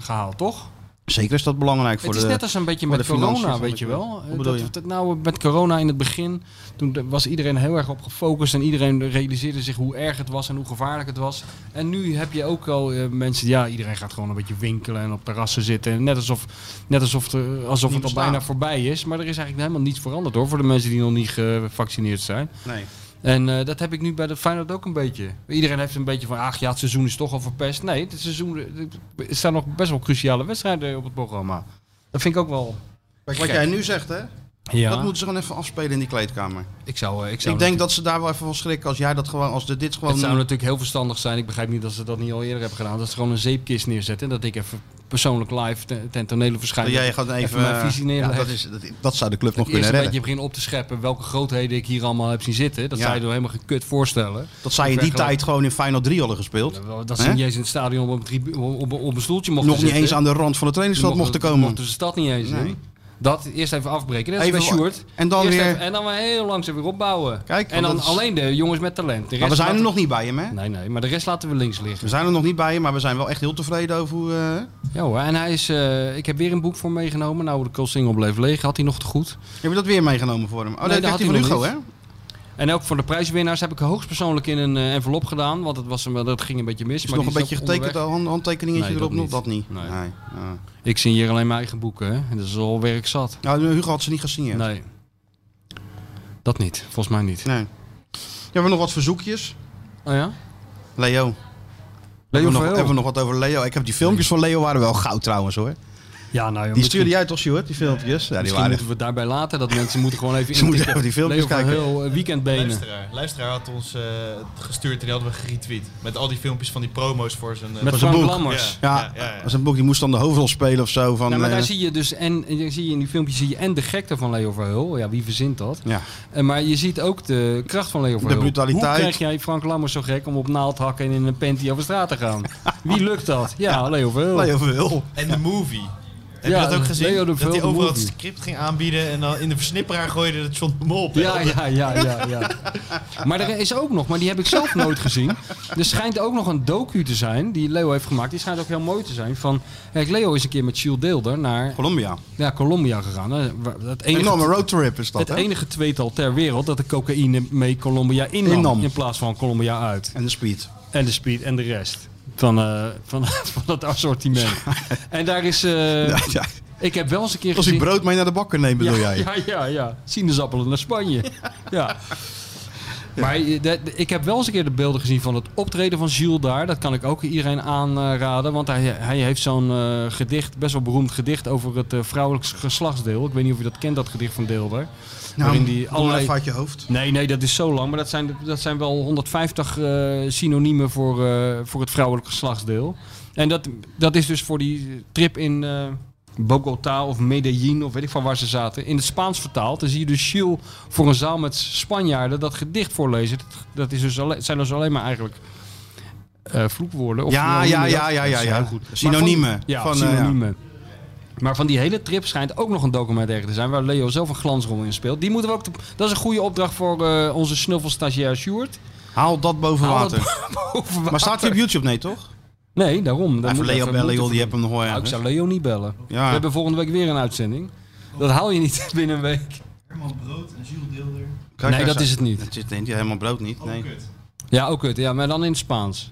S5: gehaald, toch?
S4: Zeker is dat belangrijk voor
S5: het is
S4: de...
S5: net als een beetje
S4: voor
S5: met
S4: de financiën
S5: corona,
S4: van
S5: weet
S4: de
S5: je
S4: club.
S5: wel. Eh,
S4: Hoe bedoel
S5: Dat,
S4: je?
S5: dat nou met corona in het begin, toen de- was iedereen heel erg op gefocust en iedereen realiseerde zich hoe erg het was en hoe gevaarlijk het was. En nu heb je ook al eh, mensen, ja, iedereen gaat gewoon een beetje winkelen en op terrassen zitten. En net alsof, net alsof, er- alsof het al
S4: bestaan.
S5: bijna voorbij is. Maar er is eigenlijk helemaal niets veranderd hoor, voor de mensen die nog niet gevaccineerd zijn.
S4: Nee.
S5: En eh, dat heb ik nu bij de Feyenoord ook een beetje. Iedereen heeft een beetje van, ach ja, het seizoen is toch al verpest. Nee, het seizoen, er staan nog best wel cruciale wedstrijden op het programma. Dat vind ik ook wel...
S4: Kijk,
S5: Gek.
S4: Wat jij nu zegt, hè?
S5: Ja,
S4: Dat moeten ze gewoon even afspelen in die kleedkamer.
S5: ik zou... eh, Ik, zou
S4: Ik denk dat ze daar wel even van schrikken als jij dat gewoon, als de, dit gewoon.
S5: Het zou natuurlijk heel verstandig zijn, ik begrijp niet dat ze dat niet al eerder hebben gedaan, dat ze gewoon een zeepkist neerzetten en dat ik even persoonlijk live ten, ten tonele verschijn.
S4: dat jij gaat even. eh,
S5: mijn visie
S4: ja,
S5: neerleggen.
S4: dat, is, dat, dat zou de club nog
S5: Eerst
S4: kunnen redden.
S5: een beetje beginnen op te scheppen welke grootheden ik hier allemaal heb zien zitten. Dat
S4: Ja.
S5: zou je door helemaal geen kut voorstellen.
S4: dat zij in die
S5: vergelijk-
S4: tijd gewoon in Final 3 hadden gespeeld.
S5: Dat ze
S4: Hè?
S5: niet eens in het stadion op een, tribu- op, op, op een stoeltje mochten
S4: nog niet
S5: zitten.
S4: eens aan de rand van het trainingsveld mochten komen.
S5: Mochten ze stad niet eens
S4: Nee.
S5: doen. Dat eerst even afbreken. Net
S4: Even
S5: even bij
S4: wa-
S5: Sjoerd.
S4: en dan
S5: Eerst
S4: weer-
S5: even- en dan weer heel langzaam weer opbouwen.
S4: Kijk,
S5: en
S4: want
S5: dan
S4: dat is-
S5: alleen de jongens met talent. De
S4: Maar we
S5: rest
S4: zijn er nog
S5: laten-
S4: niet bij hem, hè?
S5: Nee, nee, maar de rest laten we links
S4: We
S5: liggen.
S4: zijn er nog niet bij hem, maar we zijn wel echt heel tevreden over hoe. eh,
S5: Ja hoor, en hij is... eh, ik heb weer een boek voor hem meegenomen. Nou, de Koolsingel bleef leeg. Had hij nog te goed.
S4: Heb je dat weer meegenomen voor hem? Oh,
S5: Nee,
S4: dat
S5: dat
S4: heeft
S5: had
S4: hij van
S5: hij nog
S4: Hugo, hè?
S5: niet. En ook voor de prijswinnaars heb ik hoogstpersoonlijk in een eh, envelop gedaan. Want het was, hem wel- dat ging een beetje mis.
S4: Is
S5: maar
S4: nog een
S5: die
S4: beetje
S5: ook
S4: getekend, eh,
S5: onderweg.
S4: hand, handtekeningetje
S5: Nee, dat
S4: erop nog?
S5: niet.
S4: Dat niet.
S5: Nee.
S4: Ah.
S5: Ik zie hier alleen mijn eigen boeken. Hè. En dat is al werk zat.
S4: Nou, Hugo had ze niet gesigneerd.
S5: Nee. Dat niet. Volgens mij niet.
S4: Nee. We hebben nog wat verzoekjes.
S5: Oh ja?
S4: Leo. hebben,
S5: Leo
S4: we nog,
S5: Verheul.
S4: hebben we nog wat over Leo? Ik heb die filmpjes van Leo waren wel goud trouwens hoor.
S5: Ja, nou ja,
S4: Die
S5: misschien-
S4: stuurde jij toch, Stuart? Die filmpjes? Ja, die
S5: Misschien
S4: waren
S5: moeten we het daarbij laten. Dat mensen moeten gewoon even
S4: Ze moeten
S5: intikken.
S4: even die filmpjes
S5: Leo van
S4: kijken.
S5: Heel, eh, weekendbenen.
S6: Luisteraar. Luisteraar had ons eh, gestuurd en die hadden we geretweet. Met al die filmpjes van die promo's voor zijn... eh,
S5: Met
S6: voor
S4: zijn
S5: Frank
S4: boek.
S5: Lammers.
S4: Ja,
S6: Ja, ja, ja.
S4: als een boek die moest dan de hoofdrol spelen of zo. Van,
S5: Nou, maar daar
S4: eh,
S5: zie je dus en, en daar zie je in die filmpjes zie je en de gekte van Leo Verheul. Ja, wie verzint dat?
S4: ja.
S5: En maar je ziet ook de kracht van Leo Verheul.
S4: brutaliteit.
S5: Hoe krijg jij Frank Lammers zo gek om op naaldhakken en in een panty over straat te gaan? Wie lukt dat? Ja, Leo Verheul.
S4: Leo Verheul.
S6: En de movie. Heb
S5: Ja,
S6: je dat ook gezien?
S5: Leo de
S6: dat hij
S5: Vulde
S6: overal het
S5: movie.
S6: script ging aanbieden en dan in de versnipperaar gooide dat John de Mol op. hè?
S5: Ja, ja, ja, ja, ja. Maar er is ook nog, maar die heb ik zelf nooit gezien. Er schijnt ook nog een docu te zijn die Leo heeft gemaakt. Die schijnt ook heel mooi te zijn. Van, kijk, Leo is een keer met Jules Deelder naar
S4: Colombia.
S5: ja, Colombia gegaan. Eh, waar- Het
S4: Enorme
S5: enige,
S4: roadtrip is dat,
S5: het
S4: hè?
S5: enige tweetal ter wereld dat de cocaïne mee Colombia innam.
S4: Innam.
S5: In plaats van Colombia uit.
S4: En de speed.
S5: En de speed en de rest. Van, eh, van, van dat assortiment. En daar is... eh,
S4: Ja, ja.
S5: Ik heb wel eens een keer
S4: Als hij
S5: gezien...
S4: brood mee naar de bakker neemt, bedoel
S5: Ja,
S4: jij?
S5: ja, ja, ja. Sinaasappelen naar Spanje. Ja. Maar eh, de- de- ik heb wel eens een keer de beelden gezien van het optreden van Jules daar. Dat kan ik ook iedereen aanraden. Want hij, hij heeft zo'n eh, gedicht, best wel beroemd gedicht over het eh, vrouwelijk geslachtsdeel. Ik weet niet of je dat kent, dat gedicht van Deelder. waarin die allerlei...
S4: Nou, even uit je hoofd.
S5: Nee, nee, dat is zo lang. Maar dat zijn, dat zijn wel 150 eh, synoniemen voor, eh, voor het vrouwelijk geslachtsdeel. En dat, dat is dus voor die trip in eh, Bogota of Medellin of weet ik van waar ze zaten. In het Spaans vertaald. Dan zie je dus Chiel voor een zaal met Spanjaarden dat gedicht voorlezen. Dat, dat is dus alle- zijn dus alleen maar eigenlijk eh, vloekwoorden. Of
S4: Ja,
S5: hoe
S4: ja,
S5: noem je dat?
S4: ja, ja,
S5: Dat is
S4: ja,
S5: heel
S4: ja.
S5: goed. Maar
S4: Synoniemen.
S5: van- ja,
S4: Van, eh,
S5: synoniemen. Maar van die hele trip schijnt ook nog een documentaire te zijn waar Leo zelf een glansrol in speelt. Die moeten we ook. te- Dat is een goede opdracht voor eh, onze snuffelstagiair Sjoerd.
S4: Haal dat boven
S5: Haal
S4: water.
S5: dat boven water.
S4: Maar staat hij op YouTube? Nee, toch?
S5: Nee, daarom. Dan
S4: Even
S5: moet-
S4: Leo
S5: even-
S4: bellen,
S5: moet-
S4: joh, die Ah. heb hem nog wel
S5: Nou, ik
S4: ergens.
S5: zou Leo niet bellen.
S4: Ja.
S5: We hebben volgende week weer een uitzending. Dat haal je niet binnen een week.
S6: Herman Brood en Jules Deelder.
S4: Kijk,
S5: nee,
S4: daar
S5: dat is het niet. Oh,
S4: Het zit niet, helemaal brood niet. Nee,
S6: Kut.
S5: Ja, ook het. Ja, maar dan in het Spaans.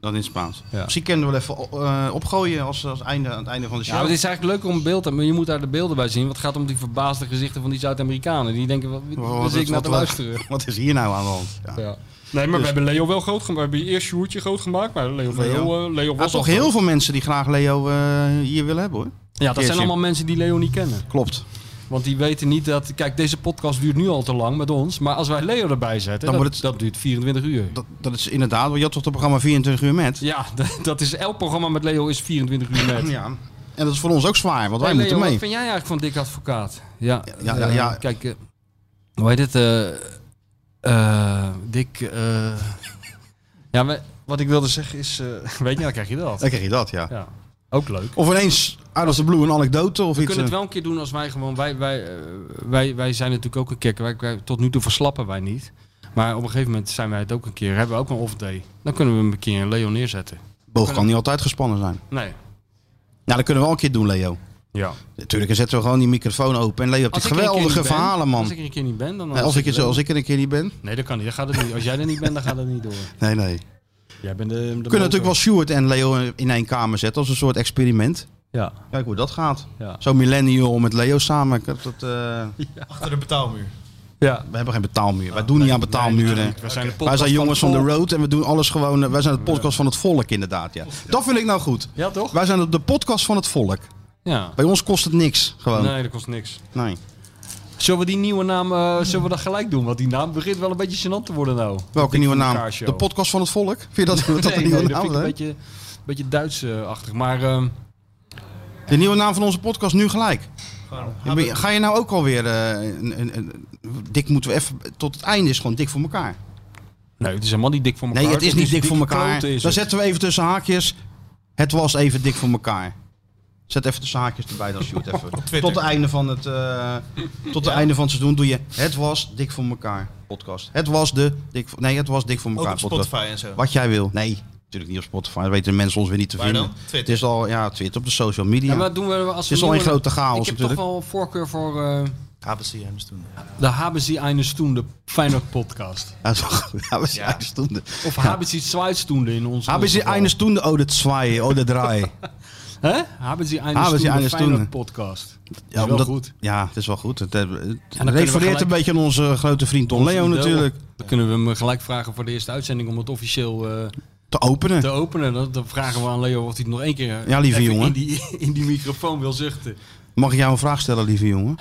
S4: dan in het Spaans.
S5: Ja.
S4: Misschien kunnen we wel even eh, opgooien als, als einde, aan het einde van de
S5: Ja,
S4: show.
S5: maar het is eigenlijk leuker om beeld te maar je moet daar de beelden bij zien. Want het gaat om die verbaasde gezichten van die Zuid-Amerikanen. Die denken, wat,
S4: Wat-
S5: wat,
S4: wat-
S5: zit ik nou
S4: wat-
S5: te
S4: wat-
S5: luisteren?
S4: Wat is hier nou aan de hand? Ja.
S5: Ja. Dus- Nee, maar we hebben Leo wel groot gemaakt. We hebben eerst Sjoerdje groot gemaakt, maar Leo,
S4: Leo.
S5: Heel, eh, Leo
S4: Er
S5: was
S4: zijn toch
S5: al
S4: heel
S5: groot.
S4: veel mensen die graag Leo eh, hier willen hebben, hoor.
S5: Ja, dat zijn
S4: Keertje.
S5: allemaal mensen die Leo niet kennen.
S4: Klopt.
S5: Want die weten niet dat... Kijk, deze podcast duurt nu al te lang met ons. Maar als wij Leo erbij zetten,
S4: Dan
S5: dat,
S4: wordt het-
S5: dat duurt 24 uur.
S4: Dat, dat is inderdaad, want je had toch het programma 24 uur met?
S5: Ja, d- dat is... Elk programma met Leo is 24 uur net.
S4: Ja. En dat is voor ons ook zwaar, want wij
S5: Hey, Leo,
S4: moeten mee.
S5: wat vind jij eigenlijk van Dick Advocaat? Ja,
S4: Ja, ja,
S5: eh,
S4: ja.
S5: kijk, eh, hoe heet het? eh eh, Dick... eh, ja, maar wat ik wilde zeggen is... eh, weet je, dan krijg je dat.
S4: Dan krijg je dat, ja.
S5: Ja, ook leuk.
S4: Of ineens, uit als de blue, een anekdote of
S5: We
S4: iets.
S5: kunnen het
S4: eh.
S5: wel een keer doen als wij gewoon... Wij, wij, eh, wij, wij zijn natuurlijk ook een keer... Wij, wij- tot nu toe verslappen wij niet. Maar op een gegeven moment zijn wij het ook een keer. Hebben we ook een off-day. Dan kunnen we hem een keer een Leo neerzetten.
S4: Boog kan niet altijd gespannen zijn.
S5: Nee.
S4: Nou, dat kunnen we wel een keer doen, Leo.
S5: Ja.
S4: Natuurlijk, dan zetten we gewoon die microfoon open. En Leo hebt
S5: Als
S4: dit
S5: ik er een keer
S4: geweldige
S5: niet ben-
S4: verhalen,
S5: Als
S4: man.
S5: ik er een keer niet ben, dan...
S4: Nee, als, ik, het-
S5: er
S4: als
S5: wel-
S4: ik er een keer niet ben.
S5: Nee, dat kan niet. Dat gaat het niet. Als jij er niet bent, dan gaat het niet door.
S4: Nee, nee.
S5: Jij bent de, de
S4: We kunnen natuurlijk wel Stuart en Leo in één kamer zetten. Als een soort experiment.
S5: Ja,
S4: Kijk hoe dat gaat.
S5: ja.
S4: Zo millennial met Leo samen. Ik heb Dat, eh,
S6: Achter de betaalmuur.
S5: ja.
S4: we hebben geen betaalmuur. Wij doen niet aan betaalmuren.
S5: We zijn de
S4: wij
S5: podcast
S4: zijn jongens van
S5: het
S4: de
S5: volk.
S4: road en we doen alles gewoon. eh, Wij zijn de podcast van het volk, inderdaad. Ja. Dat vind ik nou goed.
S5: Ja, toch?
S4: Wij zijn de podcast van het volk.
S5: Ja.
S4: Bij ons kost het niks. Gewoon.
S5: Nee, dat kost niks.
S4: Nee.
S5: Zullen we die nieuwe naam, eh, zullen we dat gelijk doen? Want die naam begint wel een beetje gênant te worden nou.
S4: Welke nieuwe naam?
S5: Kaarshow.
S4: De podcast van het volk? Vind je dat, dat
S5: nee,
S4: een nieuwe
S5: nee, dat
S4: naam
S5: vind ik
S4: is,
S5: een
S4: hè?
S5: beetje, beetje Duits-achtig. Maar ehm,
S4: De nieuwe naam van onze podcast nu gelijk.
S6: Gewoon
S4: Ja, maar Ga je nou ook alweer... eh een, een, een- dik moeten we even... Tot het einde is gewoon dik voor elkaar.
S5: nee, het is helemaal niet dik voor elkaar.
S4: Nee, het is niet dik voor
S5: dikke
S4: elkaar.
S5: kloten is
S4: Dan
S5: het.
S4: zetten we even tussen haakjes... Het was even dik voor elkaar. Zet even tussen haakjes erbij dan, Sjoerd. Even.
S6: Twitter.
S4: Tot het einde van het... eh, tot het einde van het seizoen doe je... Het was dik voor elkaar podcast. Het was de... Dik, voor- nee, het was dik voor
S6: Ook
S4: elkaar
S6: op
S4: podcast.
S6: Spotify en zo.
S4: Wat jij wil. Nee, natuurlijk niet op Spotify. Dat weten de mensen ons weer niet te
S6: Waar
S4: vinden.
S6: dan? Twitter.
S4: Het is al... Ja, Twitter op de social media.
S5: Ja, maar doen we als we
S4: Het is al een
S5: nieuwe-
S4: grote
S5: Ik
S4: chaos
S5: heb
S4: natuurlijk.
S5: toch wel voorkeur voor eh,
S6: KBC en toen.
S5: de Haben Sie eine Stunde Feyenoord podcast.
S4: Ja, toch? Ja, we zijn ja. stonden.
S5: Of Haben Sie zwei Stunden in ons
S4: Haben Sie
S5: geval.
S4: eine Stunde oder zwei oder drei?
S5: Hè? Haben Sie eine
S4: Haben Sie
S5: Stunde
S4: eine Stunde?
S5: Feyenoord podcast.
S4: Ja,
S5: wel goed.
S4: Ja, het is wel goed. Het, eh, het
S5: we
S4: refereert
S5: gelijk-
S4: een beetje aan onze grote vriend Don Leo natuurlijk.
S5: Dan kunnen we hem gelijk vragen voor de eerste uitzending om het officieel eh,
S4: te openen.
S5: te openen. Dan, dan vragen we aan Leo of hij het nog één keer eh,
S4: Ja, lieve
S5: even
S4: jongen.
S5: In, die, in die microfoon wil zuchten.
S4: Mag ik jou een vraag stellen, lieve jongen?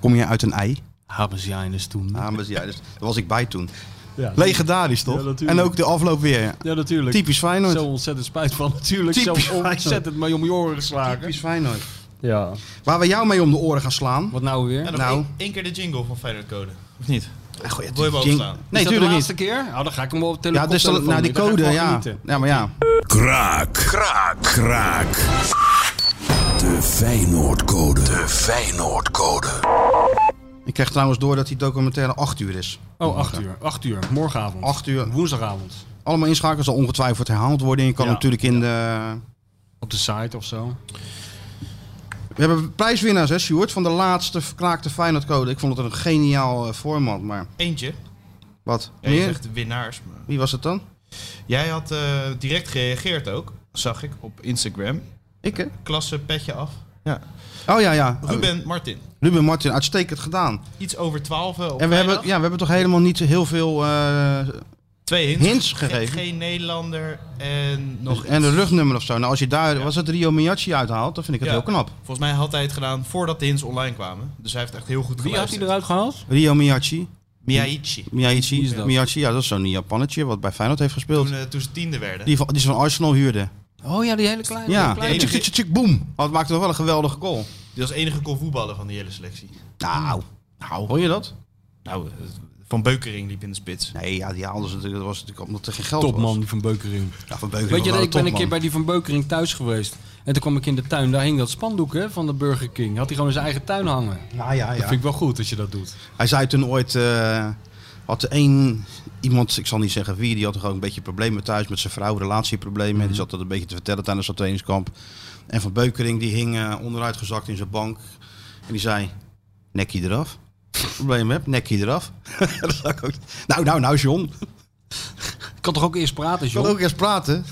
S4: Kom jij uit een ei?
S5: Hebben ze ja in de stoel.
S4: Ah, maar ja, dus, daar was ik bij toen.
S5: Ja,
S4: Legendarisch,
S5: Ja,
S4: toch?
S5: natuurlijk.
S4: en ook de afloop weer.
S5: Ja, natuurlijk.
S4: Typisch Feyenoord.
S5: Zo ontzettend spijt van natuurlijk.
S4: Typisch
S5: zo ontzettend mee om je oren geslagen.
S4: Typisch Feyenoord.
S5: Ja.
S4: Waar we jou mee om de oren gaan slaan.
S5: Wat nou weer?
S6: En
S5: Is
S6: dan
S4: Nou.
S6: één, één keer de jingle van Feyenoord Code. Of niet?
S4: Ah, goh, ja,
S6: Wil je hem
S4: jing-
S6: overslaan?
S4: Nee,
S5: dat
S6: Is
S5: de
S4: natuurlijk niet.
S5: laatste keer? Nou, dan ga ik hem wel op
S4: Ja,
S5: telefoon.
S4: dus dan, nou, die code, ja.
S5: eh,
S4: Ja, maar ja.
S10: Kraak. Kraak. Kraak. De Feyenoordcode. De Feyenoordcode.
S4: Ik krijg trouwens door dat die documentaire 8 uur is.
S5: Oh, 8 uur. 8 uur. Morgenavond.
S4: 8 uur.
S5: Woensdagavond.
S4: Allemaal inschakelen zal ongetwijfeld herhaald worden. Je kan
S5: Ja.
S4: natuurlijk in de...
S5: Op de site of zo.
S4: We hebben prijswinnaars, hè, Sjoerd? Van de laatste verkraakte Feyenoordcode. Ik vond het een geniaal eh, format, maar...
S6: Eentje.
S4: Wat?
S6: Ja, je
S4: Meer?
S6: zegt winnaars. Maar...
S4: Wie was het dan?
S6: Jij had eh, direct gereageerd ook, zag ik op Instagram.
S4: Ik, hè?
S6: Klasse, petje af. Ja.
S4: Oh ja, ja.
S6: Ruben Martin.
S4: Ruben Martin, uitstekend gedaan.
S6: Iets over 12 eh, op
S4: En we hebben,
S6: vrijdag.
S4: ja, we hebben toch helemaal niet heel veel... eh,
S6: Twee hints,
S4: hints
S6: Ge-
S4: gegeven. Dus-
S6: geen Nederlander en nog
S4: en de
S6: iets.
S4: rugnummer of zo. Nou, als je daar... Was het Rio Miyachi uithaalt, dan vind ik het
S6: Ja.
S4: heel knap.
S6: Volgens mij had hij het gedaan voordat de hints online kwamen. Dus hij heeft echt heel goed
S5: Wie had hij
S6: geluisterd.
S5: eruit gehaald?
S4: Rio Miyachi.
S6: Miyaichi.
S4: Miyachi,
S5: Wie is dat?
S4: Miyachi, ja, dat is zo'n Japannetje wat bij Feyenoord heeft gespeeld.
S6: Toen, eh, toen ze tiende werden.
S4: Die, van, die is van Arsenal huurde.
S5: Oh ja, die hele kleine.
S4: Ja,
S5: kleine.
S4: tjik, tjik, tjik, tjik, boom. Oh, het maakte nog wel een geweldige goal.
S6: Die was de enige goal voetballer van die hele selectie.
S4: Nou, nou, hoor je dat?
S6: Nou, eh, Van Beukering liep in de spits.
S4: Nee, ja, die haalden ze natuurlijk, dat was natuurlijk omdat er geen geld was.
S5: Topman, die van Beukering.
S4: Ja, van Beukering
S5: Weet je,
S4: was wel
S5: dat ik ben een
S4: topman.
S5: keer bij die van Beukering thuis geweest. En toen kwam ik in de tuin, daar hing dat spandoek hè, van de Burger King. Had hij gewoon in zijn eigen tuin hangen.
S4: Nou ja,
S5: Dat
S4: ja.
S5: vind ik wel goed dat je dat doet.
S4: Hij zei toen ooit, eh, had er één iemand, ik zal niet zeggen wie, die had gewoon een beetje problemen thuis met zijn vrouw, relatieproblemen.
S5: Mhm.
S4: Die zat dat een beetje te vertellen tijdens dat trainingskamp. En Van Beukering, die hing eh, onderuitgezakt in zijn bank. En die zei, nekje eraf. Probleem heb, nekje eraf. Dat zou ik ook- nou, nou, nou, John.
S5: Ik kan toch ook eerst praten,
S4: Ik wil
S5: John?
S4: ook eens praten.